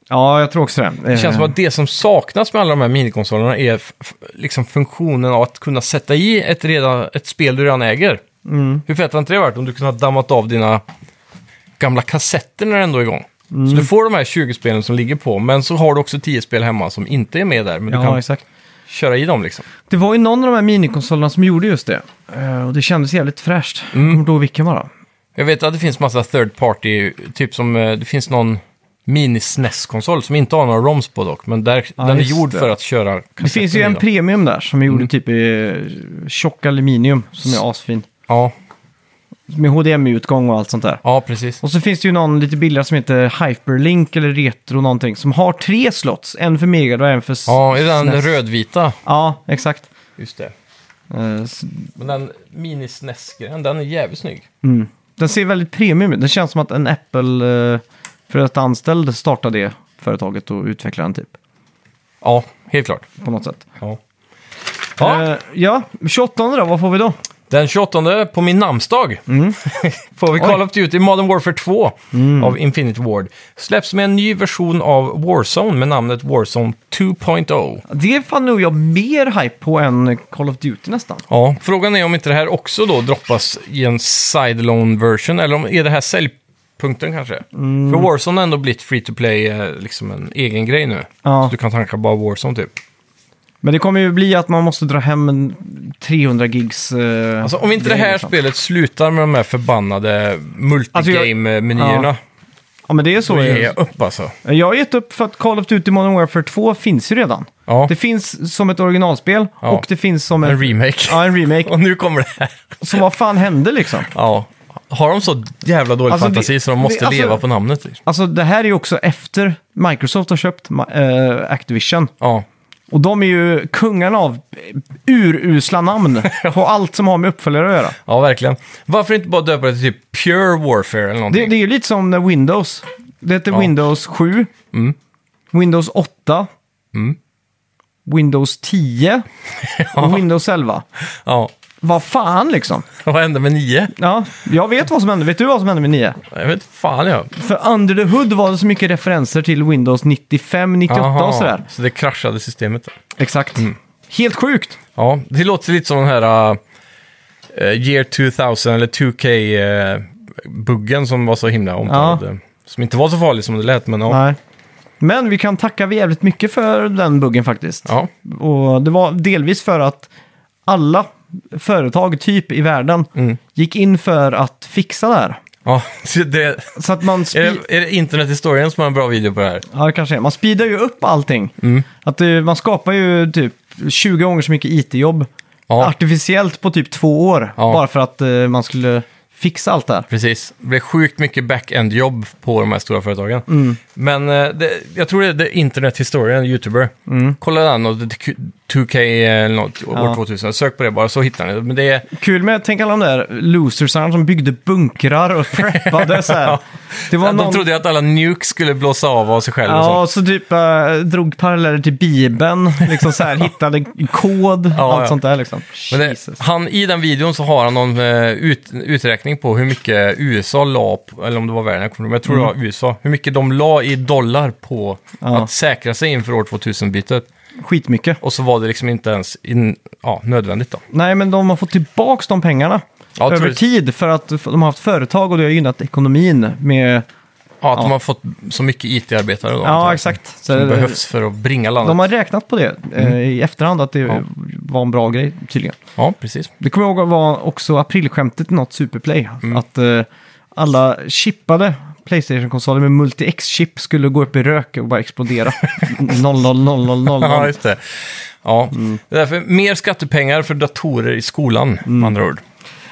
[SPEAKER 2] Ja, jag tror också det. Eh,
[SPEAKER 1] Det känns som att det som saknas med alla de här minikonsolerna är f- f- liksom funktionen av att kunna sätta i ett, redan, ett spel du redan äger.
[SPEAKER 2] Mm.
[SPEAKER 1] Hur fett hade inte det varit om du kunde ha dammat av dina gamla kassetter när det ändå är igång?
[SPEAKER 2] Mm.
[SPEAKER 1] Så du får de här 20 spelen som ligger på, men så har du också 10 spel hemma som inte är med där, men du
[SPEAKER 2] Ja,
[SPEAKER 1] kan
[SPEAKER 2] exakt.
[SPEAKER 1] köra i dem liksom.
[SPEAKER 2] Det var ju någon av de här minikonsolerna som gjorde just det. Eh, och det kändes jävligt fräscht. Mm. Kommer du ihåg vilken var det?
[SPEAKER 1] Jag vet att det finns massa third party, typ som eh, det finns någon mini SNES-konsol som inte har några ROMs på dock, men där,
[SPEAKER 2] Ja,
[SPEAKER 1] den är
[SPEAKER 2] just
[SPEAKER 1] gjord
[SPEAKER 2] det.
[SPEAKER 1] för att köra
[SPEAKER 2] Det finns ju
[SPEAKER 1] kassetten i
[SPEAKER 2] en
[SPEAKER 1] dem.
[SPEAKER 2] premium där som är gjord i typ eh, tjock aluminium som är asfin.
[SPEAKER 1] Ja,
[SPEAKER 2] Med HDMI-utgång och allt sånt där.
[SPEAKER 1] ja, precis.
[SPEAKER 2] Och så finns det ju någon lite billigare som heter Hyperlink eller Retro någonting som har tre slots. En för Mega och en för s-
[SPEAKER 1] Ja, i den
[SPEAKER 2] SNES.
[SPEAKER 1] rödvita.
[SPEAKER 2] Ja, exakt.
[SPEAKER 1] Just det.
[SPEAKER 2] Eh, s-
[SPEAKER 1] Men den mini SNES-grejen, den är jävligt snygg.
[SPEAKER 2] Mm. Den ser väldigt premium ut. Det känns som att en Apple eh, för att anställd startade det företaget och utvecklade den typ.
[SPEAKER 1] Ja, helt klart.
[SPEAKER 2] På något sätt.
[SPEAKER 1] Ja. Ja,
[SPEAKER 2] Eh, ja 28 då, vad får vi då?
[SPEAKER 1] den 28 på min namnsdag
[SPEAKER 2] Mm.
[SPEAKER 1] får vi Call of Duty Modern Warfare 2 av Infinite Ward. Släpps med en ny version av Warzone med namnet Warzone oh. 2.0.
[SPEAKER 2] Det fann nog jag mer hype på än Call of Duty nästan.
[SPEAKER 1] Ja, frågan är om inte det här också då droppas i en sidelone version, eller om är det här säljpunkten kanske?
[SPEAKER 2] Mm.
[SPEAKER 1] För Warzone har ändå blivit free to play, eh, liksom en egen grej nu.
[SPEAKER 2] Ja.
[SPEAKER 1] Så du kan tanka bara Warzone typ.
[SPEAKER 2] Men det kommer ju bli att man måste dra hem en 300 gigs... eh,
[SPEAKER 1] Alltså om inte det
[SPEAKER 2] grejer
[SPEAKER 1] här
[SPEAKER 2] och sånt.
[SPEAKER 1] spelet slutar med de här förbannade multigame-menyerna,
[SPEAKER 2] Alltså, Ja men det är så.
[SPEAKER 1] då ger
[SPEAKER 2] Jag,
[SPEAKER 1] jag upp alltså.
[SPEAKER 2] jag har gett upp för att Call of Duty Modern Warfare 2 finns ju redan.
[SPEAKER 1] Ja,
[SPEAKER 2] Det finns som ett originalspel
[SPEAKER 1] Ja.
[SPEAKER 2] och det finns som
[SPEAKER 1] en
[SPEAKER 2] en,
[SPEAKER 1] remake.
[SPEAKER 2] ja, en remake.
[SPEAKER 1] Och nu kommer det här.
[SPEAKER 2] Så vad fan hände liksom?
[SPEAKER 1] Ja. Har de så jävla dålig
[SPEAKER 2] Alltså, det-
[SPEAKER 1] fantasi så de måste
[SPEAKER 2] det- alltså-
[SPEAKER 1] leva på namnet? liksom?
[SPEAKER 2] Alltså det här är ju också efter Microsoft har köpt eh, Activision.
[SPEAKER 1] Ja.
[SPEAKER 2] Och de är ju kungarna av urusla namn på allt som har med uppföljare att göra.
[SPEAKER 1] ja, verkligen. Varför inte bara döpa det till typ Pure Warfare eller någonting?
[SPEAKER 2] Det, det är ju lite som när Windows. Det heter
[SPEAKER 1] Ja. Mm.
[SPEAKER 2] Windows 7. Windows 8. Windows 10. Och Windows 11.
[SPEAKER 1] Ja.
[SPEAKER 2] Vad fan liksom?
[SPEAKER 1] Vad hände med nio?
[SPEAKER 2] Ja, jag vet vad som hände. Vet du vad som hände med 9?
[SPEAKER 1] Jag vet fan jag.
[SPEAKER 2] För under the hood var det så mycket referenser till Windows 95, 98 och sådär.
[SPEAKER 1] så det kraschade systemet.
[SPEAKER 2] Exakt.
[SPEAKER 1] Mm.
[SPEAKER 2] Helt sjukt.
[SPEAKER 1] Ja, det låter lite som den här eh, Year 2000 eller 2K-buggen som var så himla omtalad. Som inte var så farlig som det lät, men ja.
[SPEAKER 2] Nej. Men vi kan tacka jävligt mycket för den buggen faktiskt.
[SPEAKER 1] ja.
[SPEAKER 2] Och det var delvis för att alla företag typ i världen
[SPEAKER 1] Mm.
[SPEAKER 2] gick in för att fixa det här.
[SPEAKER 1] ja. så Det,
[SPEAKER 2] Så att man,
[SPEAKER 1] är,
[SPEAKER 2] spe-
[SPEAKER 1] det, är det Internethistorien som har en bra video på det här?
[SPEAKER 2] ja, det kanske är. man speedar ju upp allting.
[SPEAKER 1] Mm.
[SPEAKER 2] Att det, man skapar ju typ 20 gånger så mycket IT-jobb
[SPEAKER 1] Ja.
[SPEAKER 2] artificiellt på typ två år.
[SPEAKER 1] Ja.
[SPEAKER 2] Bara för att eh, man skulle fixa allt det här.
[SPEAKER 1] Precis. Det blev sjukt mycket back-end-jobb på de här stora företagen.
[SPEAKER 2] Mm.
[SPEAKER 1] Men eh, det, jag tror det är det internethistorien, YouTuber. Kolla den och det- 2K eh, eller något, år
[SPEAKER 2] Mm. Ja.
[SPEAKER 1] 2000. Sök på det bara så hittar ni det. Men det är...
[SPEAKER 2] Kul med, tänk alla de där losersarna som byggde bunkrar och preppade så här. Det var
[SPEAKER 1] De
[SPEAKER 2] någon...
[SPEAKER 1] trodde ju att alla nukes skulle blåsa av av sig själv och
[SPEAKER 2] Ja,
[SPEAKER 1] sånt.
[SPEAKER 2] och så typ eh, drog paralleller till Bibeln, liksom så här, hittade kod,
[SPEAKER 1] Ja,
[SPEAKER 2] allt
[SPEAKER 1] ja.
[SPEAKER 2] sånt där liksom.
[SPEAKER 1] Men det,
[SPEAKER 2] Jesus.
[SPEAKER 1] han, I den videon så har han någon eh, ut, uträkning på hur mycket USA la, på, eller om det var världen, jag kommer inte ihåg, men jag tror det var USA, hur mycket de la i dollar på
[SPEAKER 2] Mm. Ja.
[SPEAKER 1] att säkra sig inför år 2000-bytet.
[SPEAKER 2] Skitmycket.
[SPEAKER 1] Och så var det liksom inte ens in, ja, nödvändigt då.
[SPEAKER 2] Nej, men de har fått tillbaka de pengarna
[SPEAKER 1] Ja,
[SPEAKER 2] över
[SPEAKER 1] tror-
[SPEAKER 2] tid för att f- de har haft företag och det har gynnat ekonomin med...
[SPEAKER 1] Ja, att
[SPEAKER 2] Ja.
[SPEAKER 1] de har fått så mycket IT-arbetare då. antar
[SPEAKER 2] Ja,
[SPEAKER 1] jag,
[SPEAKER 2] exakt. Så
[SPEAKER 1] Som
[SPEAKER 2] det-
[SPEAKER 1] behövs för att bringa landet.
[SPEAKER 2] De har räknat på det eh, i efterhand, att det
[SPEAKER 1] Ja.
[SPEAKER 2] var en bra grej tydligen.
[SPEAKER 1] Ja, precis.
[SPEAKER 2] Det kommer jag ihåg var också aprilskämtet i något Superplay.
[SPEAKER 1] Mm.
[SPEAKER 2] Att eh, alla chippade Playstation-konsoler med multi-X-chip skulle gå upp i rök och bara explodera. 00000.
[SPEAKER 1] Ja, just det. Ja.
[SPEAKER 2] Mm.
[SPEAKER 1] Det är därför mer skattepengar för datorer i skolan,
[SPEAKER 2] Mm.
[SPEAKER 1] med andra ord.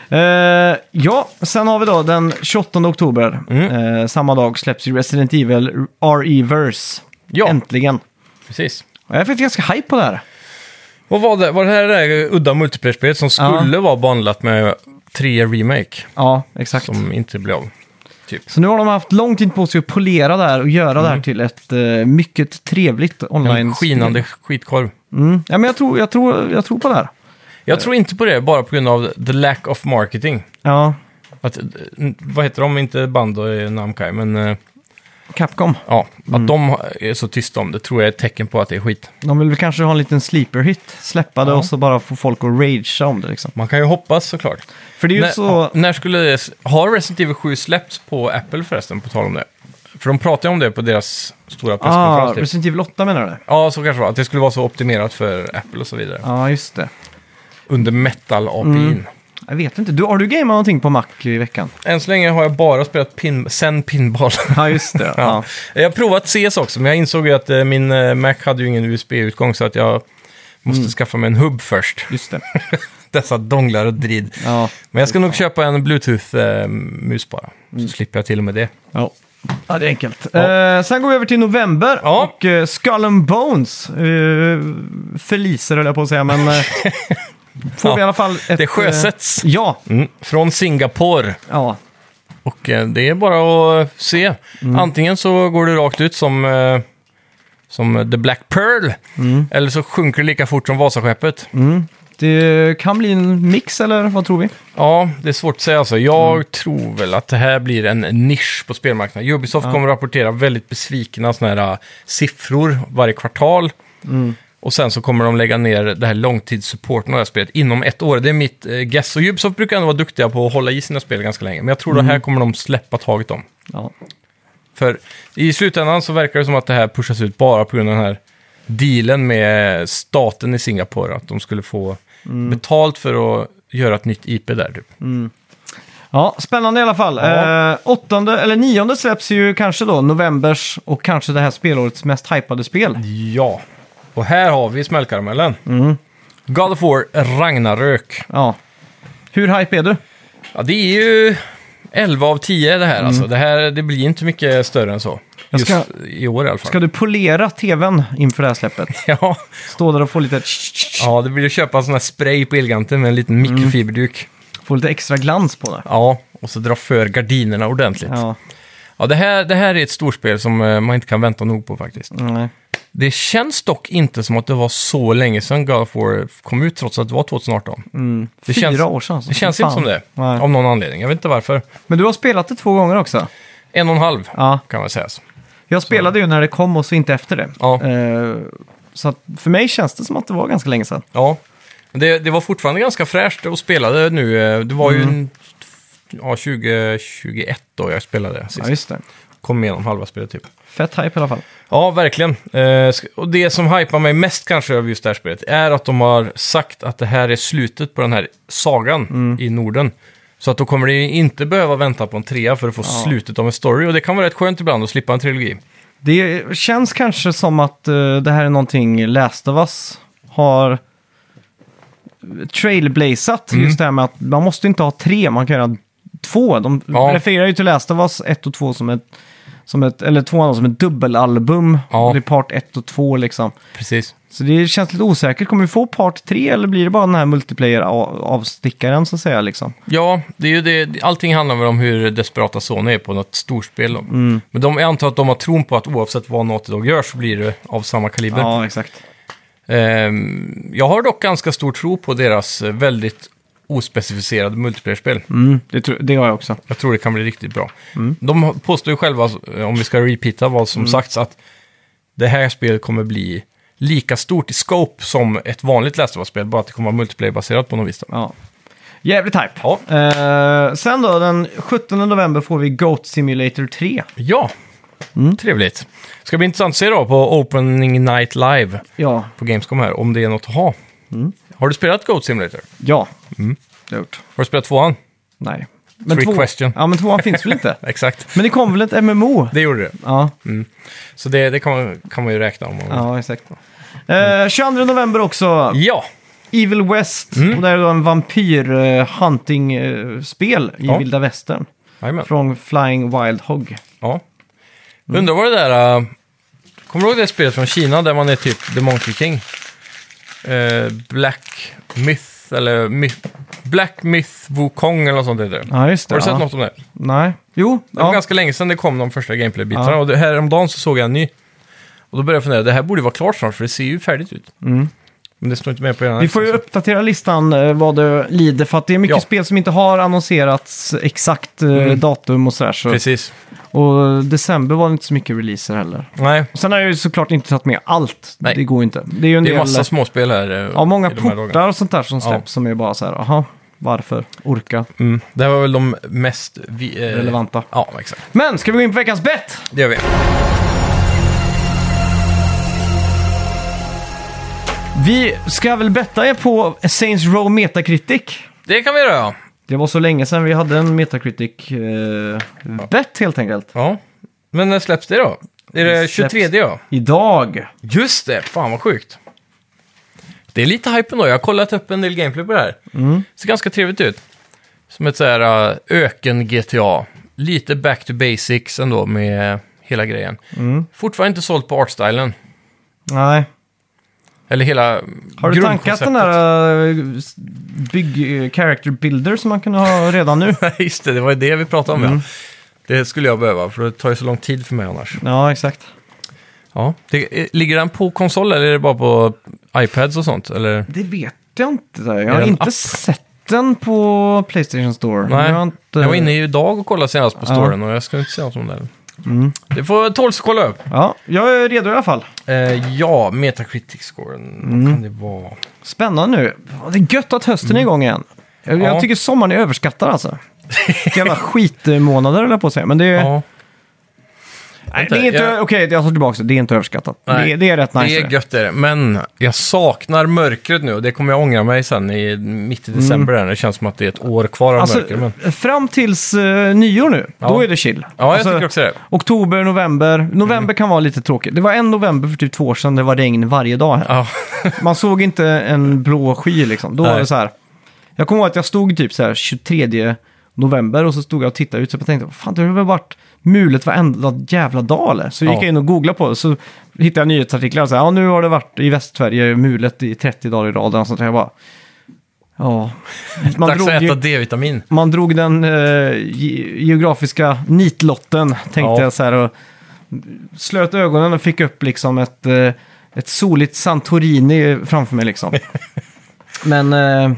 [SPEAKER 2] Eh, ja, sen har vi då den 28 oktober.
[SPEAKER 1] Mm.
[SPEAKER 2] Eh, samma dag släpps ju Resident Evil RE-verse.
[SPEAKER 1] Ja.
[SPEAKER 2] Äntligen.
[SPEAKER 1] Precis.
[SPEAKER 2] Och Jag fick ganska hype på det här.
[SPEAKER 1] Vad var det? Var det här det där udda multiplayer-spelet som skulle vara bandlat med 3 Remake?
[SPEAKER 2] Ja, exakt.
[SPEAKER 1] Som inte blev av. Typ.
[SPEAKER 2] Så nu har de haft lång tid på sig att polera det här och göra det här
[SPEAKER 1] Mm.
[SPEAKER 2] till ett eh, mycket trevligt online
[SPEAKER 1] En skinande skitkorv.
[SPEAKER 2] Mm. Ja, men jag tror, jag, tror, jag tror på det här.
[SPEAKER 1] Jag tror inte på det, bara på grund av the lack of marketing.
[SPEAKER 2] Ja,
[SPEAKER 1] Att, eh, n- vad heter de? Inte band och Namkai, men eh,
[SPEAKER 2] Capcom.
[SPEAKER 1] ja, att
[SPEAKER 2] Mm.
[SPEAKER 1] de har- är så tysta om det tror jag är ett tecken på att det är skit.
[SPEAKER 2] De vill väl kanske ha en liten sleeper hit. Släppa det
[SPEAKER 1] Ja.
[SPEAKER 2] och så bara få folk att ragea om det liksom.
[SPEAKER 1] Man kan ju hoppas såklart.
[SPEAKER 2] För det är ju
[SPEAKER 1] När,
[SPEAKER 2] så...
[SPEAKER 1] när skulle det... Har Resident Evil 7 släppts på Apple förresten, på tal om det? För de pratade om det på deras stora
[SPEAKER 2] Ah,
[SPEAKER 1] presskonferens. typ.
[SPEAKER 2] Resident Evil 8 menar du?
[SPEAKER 1] Ja, så kanske det var. Att det skulle vara så optimerat för Apple och så vidare.
[SPEAKER 2] Ja, just det.
[SPEAKER 1] Under metal-APIn.
[SPEAKER 2] Jag vet inte. Du, har du gameat någonting på Mac i veckan?
[SPEAKER 1] Än så länge har jag bara spelat pin... sen pinball.
[SPEAKER 2] Ja, just det.
[SPEAKER 1] ja. Jag har provat CS också, men jag insåg ju att eh, min eh, Mac hade ju ingen USB-utgång så att jag måste skaffa mig en hub först.
[SPEAKER 2] Just det.
[SPEAKER 1] Dessa donglar och drid.
[SPEAKER 2] Ja.
[SPEAKER 1] Men jag ska nog köpa en Bluetooth-mus bara. Så slipper jag till och med det.
[SPEAKER 2] Ja. ja, det är enkelt. Eh, sen går vi över till november
[SPEAKER 1] Ja.
[SPEAKER 2] och eh, Skull and Bones. Eh, förliser höll jag på att säga, men... eh, får
[SPEAKER 1] Ja,
[SPEAKER 2] vi i alla fall ett...
[SPEAKER 1] det sjösätts.
[SPEAKER 2] Eh, ja,
[SPEAKER 1] Mm. Från Singapore.
[SPEAKER 2] ja.
[SPEAKER 1] Och eh, det är bara att se. Antingen så går du rakt ut som, eh, som The Black Pearl. Eller så sjunker det lika fort som Vasaskeppet.
[SPEAKER 2] Det kan bli en mix, eller vad tror vi?
[SPEAKER 1] Ja, det är svårt att säga alltså. Jag tror väl att det här blir en nisch på spelmarknaden. Ubisoft kommer att rapportera väldigt besvikna såna här eh, siffror varje kvartal. Och sen så kommer de lägga ner det här långtidssupporten av det här spelet inom ett år. Det är mitt eh, guess. Och Ubisoft brukar ändå vara duktiga på att hålla i sina spel ganska länge. Men jag tror det här kommer de släppa taget om.
[SPEAKER 2] Ja.
[SPEAKER 1] För i slutändan så verkar det som att det här pushas ut bara på grund av den här dealen med staten i Singapore. Att de skulle få
[SPEAKER 2] Mm.
[SPEAKER 1] betalt för att göra ett nytt IP där typ.
[SPEAKER 2] Ja, spännande i alla fall.
[SPEAKER 1] Ja.
[SPEAKER 2] Eh, åttonde, eller nionde släpps ju kanske då novembers och kanske det här spelårets mest hypade spel.
[SPEAKER 1] Ja. Och här har vi smällkaramellen.
[SPEAKER 2] Mm.
[SPEAKER 1] God of War Ragnarök.
[SPEAKER 2] Ja. Hur hype är du?
[SPEAKER 1] Ja, det är ju 11 av 10 det här alltså. Det här det blir inte mycket större än så.
[SPEAKER 2] Mm. Jag
[SPEAKER 1] Just
[SPEAKER 2] ska-
[SPEAKER 1] i år i alla fall.
[SPEAKER 2] Ska du polera tvn inför det här släppet?
[SPEAKER 1] Ja.
[SPEAKER 2] Stå där och få lite,
[SPEAKER 1] ja, det blir att köpa en sån här spray på Elganten med en liten mikrofiberduk.
[SPEAKER 2] få lite extra glans på det.
[SPEAKER 1] Ja, och så dra för gardinerna ordentligt.
[SPEAKER 2] Ja,
[SPEAKER 1] Ja, det här, det här är ett storspel som eh, man inte kan vänta nog på faktiskt.
[SPEAKER 2] nej.
[SPEAKER 1] Det känns dock inte som att det var så länge sedan God of War kom ut, trots att det var 2018. Det
[SPEAKER 2] Mm. Fyra
[SPEAKER 1] känns-
[SPEAKER 2] år sedan. alltså.
[SPEAKER 1] Det känns
[SPEAKER 2] Fan.
[SPEAKER 1] inte som det,
[SPEAKER 2] Nej.
[SPEAKER 1] av någon anledning. Jag vet inte varför.
[SPEAKER 2] Men du har spelat det två gånger också.
[SPEAKER 1] En och en halv,
[SPEAKER 2] Ja.
[SPEAKER 1] kan man säga. så.
[SPEAKER 2] Jag spelade ju när det kom och så inte efter det.
[SPEAKER 1] Ja.
[SPEAKER 2] Eh, så att för mig känns det som att det var ganska länge sedan.
[SPEAKER 1] Ja. Men Det, det var fortfarande ganska fräscht att spela det nu. eh, Det var
[SPEAKER 2] Mm.
[SPEAKER 1] ju en, ja, 2021 då jag spelade
[SPEAKER 2] Ja,
[SPEAKER 1] sist.
[SPEAKER 2] just det.
[SPEAKER 1] Kom igenom halva spelet typ.
[SPEAKER 2] Fett hype i alla fall.
[SPEAKER 1] Ja, verkligen. Eh, sk- och det som hypar mig mest kanske över just det här spelet är att de har sagt att det här är slutet på den här sagan i Norden. Så att då kommer det inte behöva vänta på en trea för att få slutet av en story. Och det kan vara rätt skönt ibland att slippa en trilogi.
[SPEAKER 2] Det känns kanske som att eh, det här är någonting Last of Us har trailblazat. Just det här med att man måste inte ha tre, man kan göra två. De
[SPEAKER 1] Ja.
[SPEAKER 2] refererar ju till Last of Us 1 och 2 som ett, som ett eller tvåan som ett dubbelalbum.
[SPEAKER 1] Ja.
[SPEAKER 2] Det är part 1 och 2 liksom.
[SPEAKER 1] Precis.
[SPEAKER 2] Så det känns lite osäkert. Kommer vi få part 3 eller blir det bara den här multiplayer-avstickaren så att säga liksom?
[SPEAKER 1] Ja, det är ju det. allting handlar väl om hur desperata Sony är på något storspel. Men de, jag antar att de har tron på att oavsett vad Naughty Dog gör så blir det av samma kaliber.
[SPEAKER 2] Ja, exakt.
[SPEAKER 1] Ehm, jag har dock ganska stor tro på deras eh, väldigt ospecificerade multiplayer-spel.
[SPEAKER 2] Mm, det, tror, det har jag också.
[SPEAKER 1] Jag tror det kan bli riktigt bra. De påstår ju själva, eh, om vi ska repeata vad som sagts, att det här spelet kommer bli lika stort i scope som ett vanligt Last of Us-spel, bara att det kommer vara multiplayer-baserat på något vis. Då.
[SPEAKER 2] Ja. Jävligt hype.
[SPEAKER 1] Ja.
[SPEAKER 2] Eh, sen då, den 17 november får vi Goat Simulator 3.
[SPEAKER 1] Ja, trevligt. Ska bli intressant att se då på Opening Night Live
[SPEAKER 2] Ja,
[SPEAKER 1] på Gamescom här, om det är något att ha. Har du spelat Goat Simulator?
[SPEAKER 2] ja. Det har jag gjort.
[SPEAKER 1] Har du spelat tvåan?
[SPEAKER 2] Nej. Men
[SPEAKER 1] Mm. Trick question.
[SPEAKER 2] Ja, men tvåan finns väl inte?
[SPEAKER 1] Exakt.
[SPEAKER 2] Men det kom väl ett MMO?
[SPEAKER 1] Det gjorde det.
[SPEAKER 2] Ja,
[SPEAKER 1] Mm. Så det, det kan, man, kan man ju räkna om. man vill.
[SPEAKER 2] ja exakt. Eh, 22 november också,
[SPEAKER 1] ja.
[SPEAKER 2] Evil West.
[SPEAKER 1] Mm.
[SPEAKER 2] Och det här är då en eh, vampyr-hunting-spel eh, i
[SPEAKER 1] Ja.
[SPEAKER 2] vilda västern.
[SPEAKER 1] Jajamän.
[SPEAKER 2] Från Flying Wild Hog.
[SPEAKER 1] Ja.
[SPEAKER 2] Mm.
[SPEAKER 1] Undrar vad det där... äh, kommer du ihåg det spelet från Kina där man är typ The Monkey King? Eh, Black Myth eller Myth, Black Myth Wukong eller något sånt heter det.
[SPEAKER 2] Ja, just det.
[SPEAKER 1] Har du sett
[SPEAKER 2] ja.
[SPEAKER 1] något om det? Det
[SPEAKER 2] Nej. Jo,
[SPEAKER 1] var
[SPEAKER 2] ja.
[SPEAKER 1] ganska länge sedan det kom de första gameplay-bitarna.
[SPEAKER 2] Ja.
[SPEAKER 1] Och det, häromdagen så såg jag en ny. Och då började jag fundera, det här borde ju vara klart snart för det ser ju färdigt ut. Men det står inte med på er.
[SPEAKER 2] Mm. Vi får ju uppdatera listan eh, vad det lider, för att det är mycket
[SPEAKER 1] Ja.
[SPEAKER 2] spel som inte har annonserats exakt eh,
[SPEAKER 1] Mm.
[SPEAKER 2] datum och sådär. Så.
[SPEAKER 1] Precis.
[SPEAKER 2] Och december var det inte så mycket releaser heller.
[SPEAKER 1] Nej,
[SPEAKER 2] Och sen har jag ju såklart inte tagit med allt.
[SPEAKER 1] Nej.
[SPEAKER 2] Det går ju inte. Det är ju en
[SPEAKER 1] det är
[SPEAKER 2] del,
[SPEAKER 1] massa småspel här. eh,
[SPEAKER 2] ja, många
[SPEAKER 1] i de här dagarna.
[SPEAKER 2] portar och sånt där som
[SPEAKER 1] Ja.
[SPEAKER 2] släpps som är bara så här, aha, varför? Orka?
[SPEAKER 1] Mm. Det här var väl de mest... Vi, eh,
[SPEAKER 2] Relevanta.
[SPEAKER 1] Ja, exakt.
[SPEAKER 2] Men ska vi gå in på veckans bett?
[SPEAKER 1] Det gör vi.
[SPEAKER 2] Vi ska väl betta er på Saints Row Metacritic.
[SPEAKER 1] Det kan vi göra, ja.
[SPEAKER 2] Det var så länge sedan vi hade en Metacritic-bett helt enkelt.
[SPEAKER 1] ja. Men när släpps det då? Är det
[SPEAKER 2] Det släpps-
[SPEAKER 1] 23 ja?
[SPEAKER 2] Idag.
[SPEAKER 1] Just det, fan vad sjukt. Det är lite hype ändå. Jag har kollat upp en del gameplay på det här.
[SPEAKER 2] Mm.
[SPEAKER 1] Ser ganska trevligt ut. Som ett så här uh, öken-GTA. Lite back to basics ändå med hela grejen.
[SPEAKER 2] Mm.
[SPEAKER 1] Fortfarande inte sålt på artstylen.
[SPEAKER 2] Nej.
[SPEAKER 1] Eller hela
[SPEAKER 2] Har du tankat
[SPEAKER 1] grundkonceptet.
[SPEAKER 2] den där eh, bygg eh, character builder som man kunde ha redan nu?
[SPEAKER 1] Nej, just det. Det var ju det vi pratade om,
[SPEAKER 2] Mm.
[SPEAKER 1] ja. Det skulle jag behöva, för det tar ju så lång tid för mig annars.
[SPEAKER 2] ja, exakt.
[SPEAKER 1] Ja. Det, eh, ligger den på konsol eller är det bara på iPads och sånt? Eller?
[SPEAKER 2] Det vet jag inte. Jag
[SPEAKER 1] Är
[SPEAKER 2] har
[SPEAKER 1] det en
[SPEAKER 2] inte
[SPEAKER 1] app?
[SPEAKER 2] sett den på Playstation Store.
[SPEAKER 1] Nej,
[SPEAKER 2] Jag, har
[SPEAKER 1] jag,
[SPEAKER 2] inte...
[SPEAKER 1] var inne idag och kollade senast på
[SPEAKER 2] eh, Ja. Mm.
[SPEAKER 1] storen och jag skulle inte säga något om det. här. Det får tåls att kolla upp.
[SPEAKER 2] Ja, jag är redo i alla fall.
[SPEAKER 1] Eh, ja, Metacritic-scoren,
[SPEAKER 2] Mm.
[SPEAKER 1] vad kan det vara?
[SPEAKER 2] Spännande nu. Ja, Det är gött att hösten är igång igen. Jag, jag
[SPEAKER 1] Mm. Ja.
[SPEAKER 2] tycker sommaren är överskattad alltså. Jävla skitmånader höll jag på att säga. Men det är,
[SPEAKER 1] Ja,
[SPEAKER 2] nej, det är inte...
[SPEAKER 1] jag-
[SPEAKER 2] Okej, jag tar tillbaka det. Det är inte överskattat.
[SPEAKER 1] nej,
[SPEAKER 2] Eh, Det, är- det är rätt nice.
[SPEAKER 1] Det är gött är det. Men jag saknar mörkret nu och det kommer jag ångra mig sen i mitt i december. här. Det känns som att det är ett år kvar av
[SPEAKER 2] Mm. Alltså,
[SPEAKER 1] mörker. Men...
[SPEAKER 2] fram tills eh, nyår nu, då
[SPEAKER 1] Ja.
[SPEAKER 2] är det chill.
[SPEAKER 1] Ja, jag
[SPEAKER 2] alltså,
[SPEAKER 1] tycker också det.
[SPEAKER 2] Oktober, november. November
[SPEAKER 1] Mm.
[SPEAKER 2] kan vara lite tråkigt. Det var en november för typ två år sedan det var regn varje dag. här.
[SPEAKER 1] Ja,
[SPEAKER 2] Man såg inte en blå sky liksom. Då var
[SPEAKER 1] Nej.
[SPEAKER 2] det så här. Jag kommer ihåg att jag stod typ så här 23 november och så stod jag och tittade ut så jag tänkte, fan det har väl varit mulet varenda jävla dag eller? Så gick
[SPEAKER 1] Ja.
[SPEAKER 2] jag in och googlade på det så hittade jag nyhetsartiklar och så här, ja nu har det varit i Västsverige mulet i 30 dagar i rad och sånt där. Jag bara, ja. Man
[SPEAKER 1] dags att
[SPEAKER 2] drog ju-
[SPEAKER 1] äta D-vitamin.
[SPEAKER 2] man drog den eh, ge- geografiska nitlotten, tänkte
[SPEAKER 1] Ja.
[SPEAKER 2] jag så här. Och slöt ögonen och fick upp liksom ett, eh, ett soligt Santorini framför mig liksom. men eh,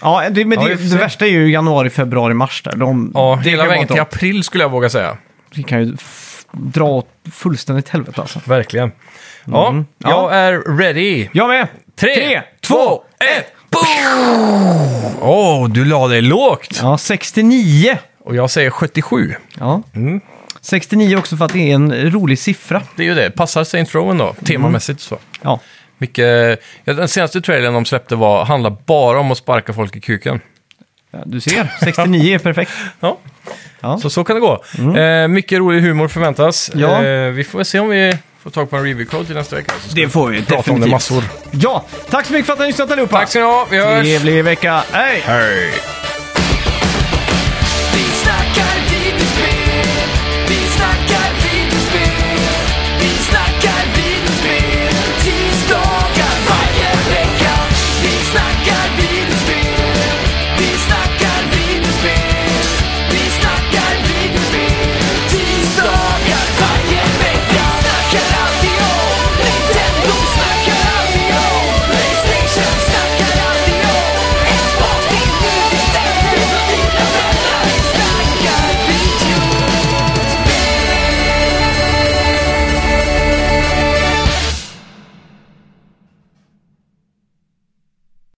[SPEAKER 2] ja, det, men
[SPEAKER 1] Ja,
[SPEAKER 2] det,
[SPEAKER 1] i och för
[SPEAKER 2] det
[SPEAKER 1] sig.
[SPEAKER 2] värsta är ju januari, februari, mars där. De,
[SPEAKER 1] Ja,
[SPEAKER 2] det
[SPEAKER 1] hela
[SPEAKER 2] kan vara
[SPEAKER 1] vägen till
[SPEAKER 2] inte-
[SPEAKER 1] april skulle jag våga säga.
[SPEAKER 2] Det kan ju f- dra åt fullständigt helvete alltså.
[SPEAKER 1] Verkligen. Ja, jag
[SPEAKER 2] Mm. Ja.
[SPEAKER 1] är ready.
[SPEAKER 2] Jag med!
[SPEAKER 1] Tre,
[SPEAKER 2] Tre,
[SPEAKER 1] två, ett, boom! Åh, du la dig lågt.
[SPEAKER 2] Ja, 69!
[SPEAKER 1] Och jag säger 77.
[SPEAKER 2] Ja.
[SPEAKER 1] Mm.
[SPEAKER 2] 69 också för att det är en rolig siffra.
[SPEAKER 1] Det är ju det. Passar Saints Row ändå, temamässigt så.
[SPEAKER 2] Ja,
[SPEAKER 1] Mycket, ja, den senaste trailern de släppte var, handlar bara om att sparka folk i kuken.
[SPEAKER 2] Ja, du ser. 69 är perfekt.
[SPEAKER 1] Ja.
[SPEAKER 2] Ja. Mm.
[SPEAKER 1] Så så kan det gå. Eh, mycket rolig humor förväntas.
[SPEAKER 2] Ja.
[SPEAKER 1] Eh, vi får väl se om vi får tag på en review code till nästa vecka. Så ska
[SPEAKER 2] Det får vi
[SPEAKER 1] vi prata om det
[SPEAKER 2] definitivt.
[SPEAKER 1] massor.
[SPEAKER 2] Ja, tack så mycket för att ni har lyssnat allihopa.
[SPEAKER 1] Tack ska ni ha. Vi hörs.
[SPEAKER 2] Trevlig vecka. Hej!
[SPEAKER 1] Hej.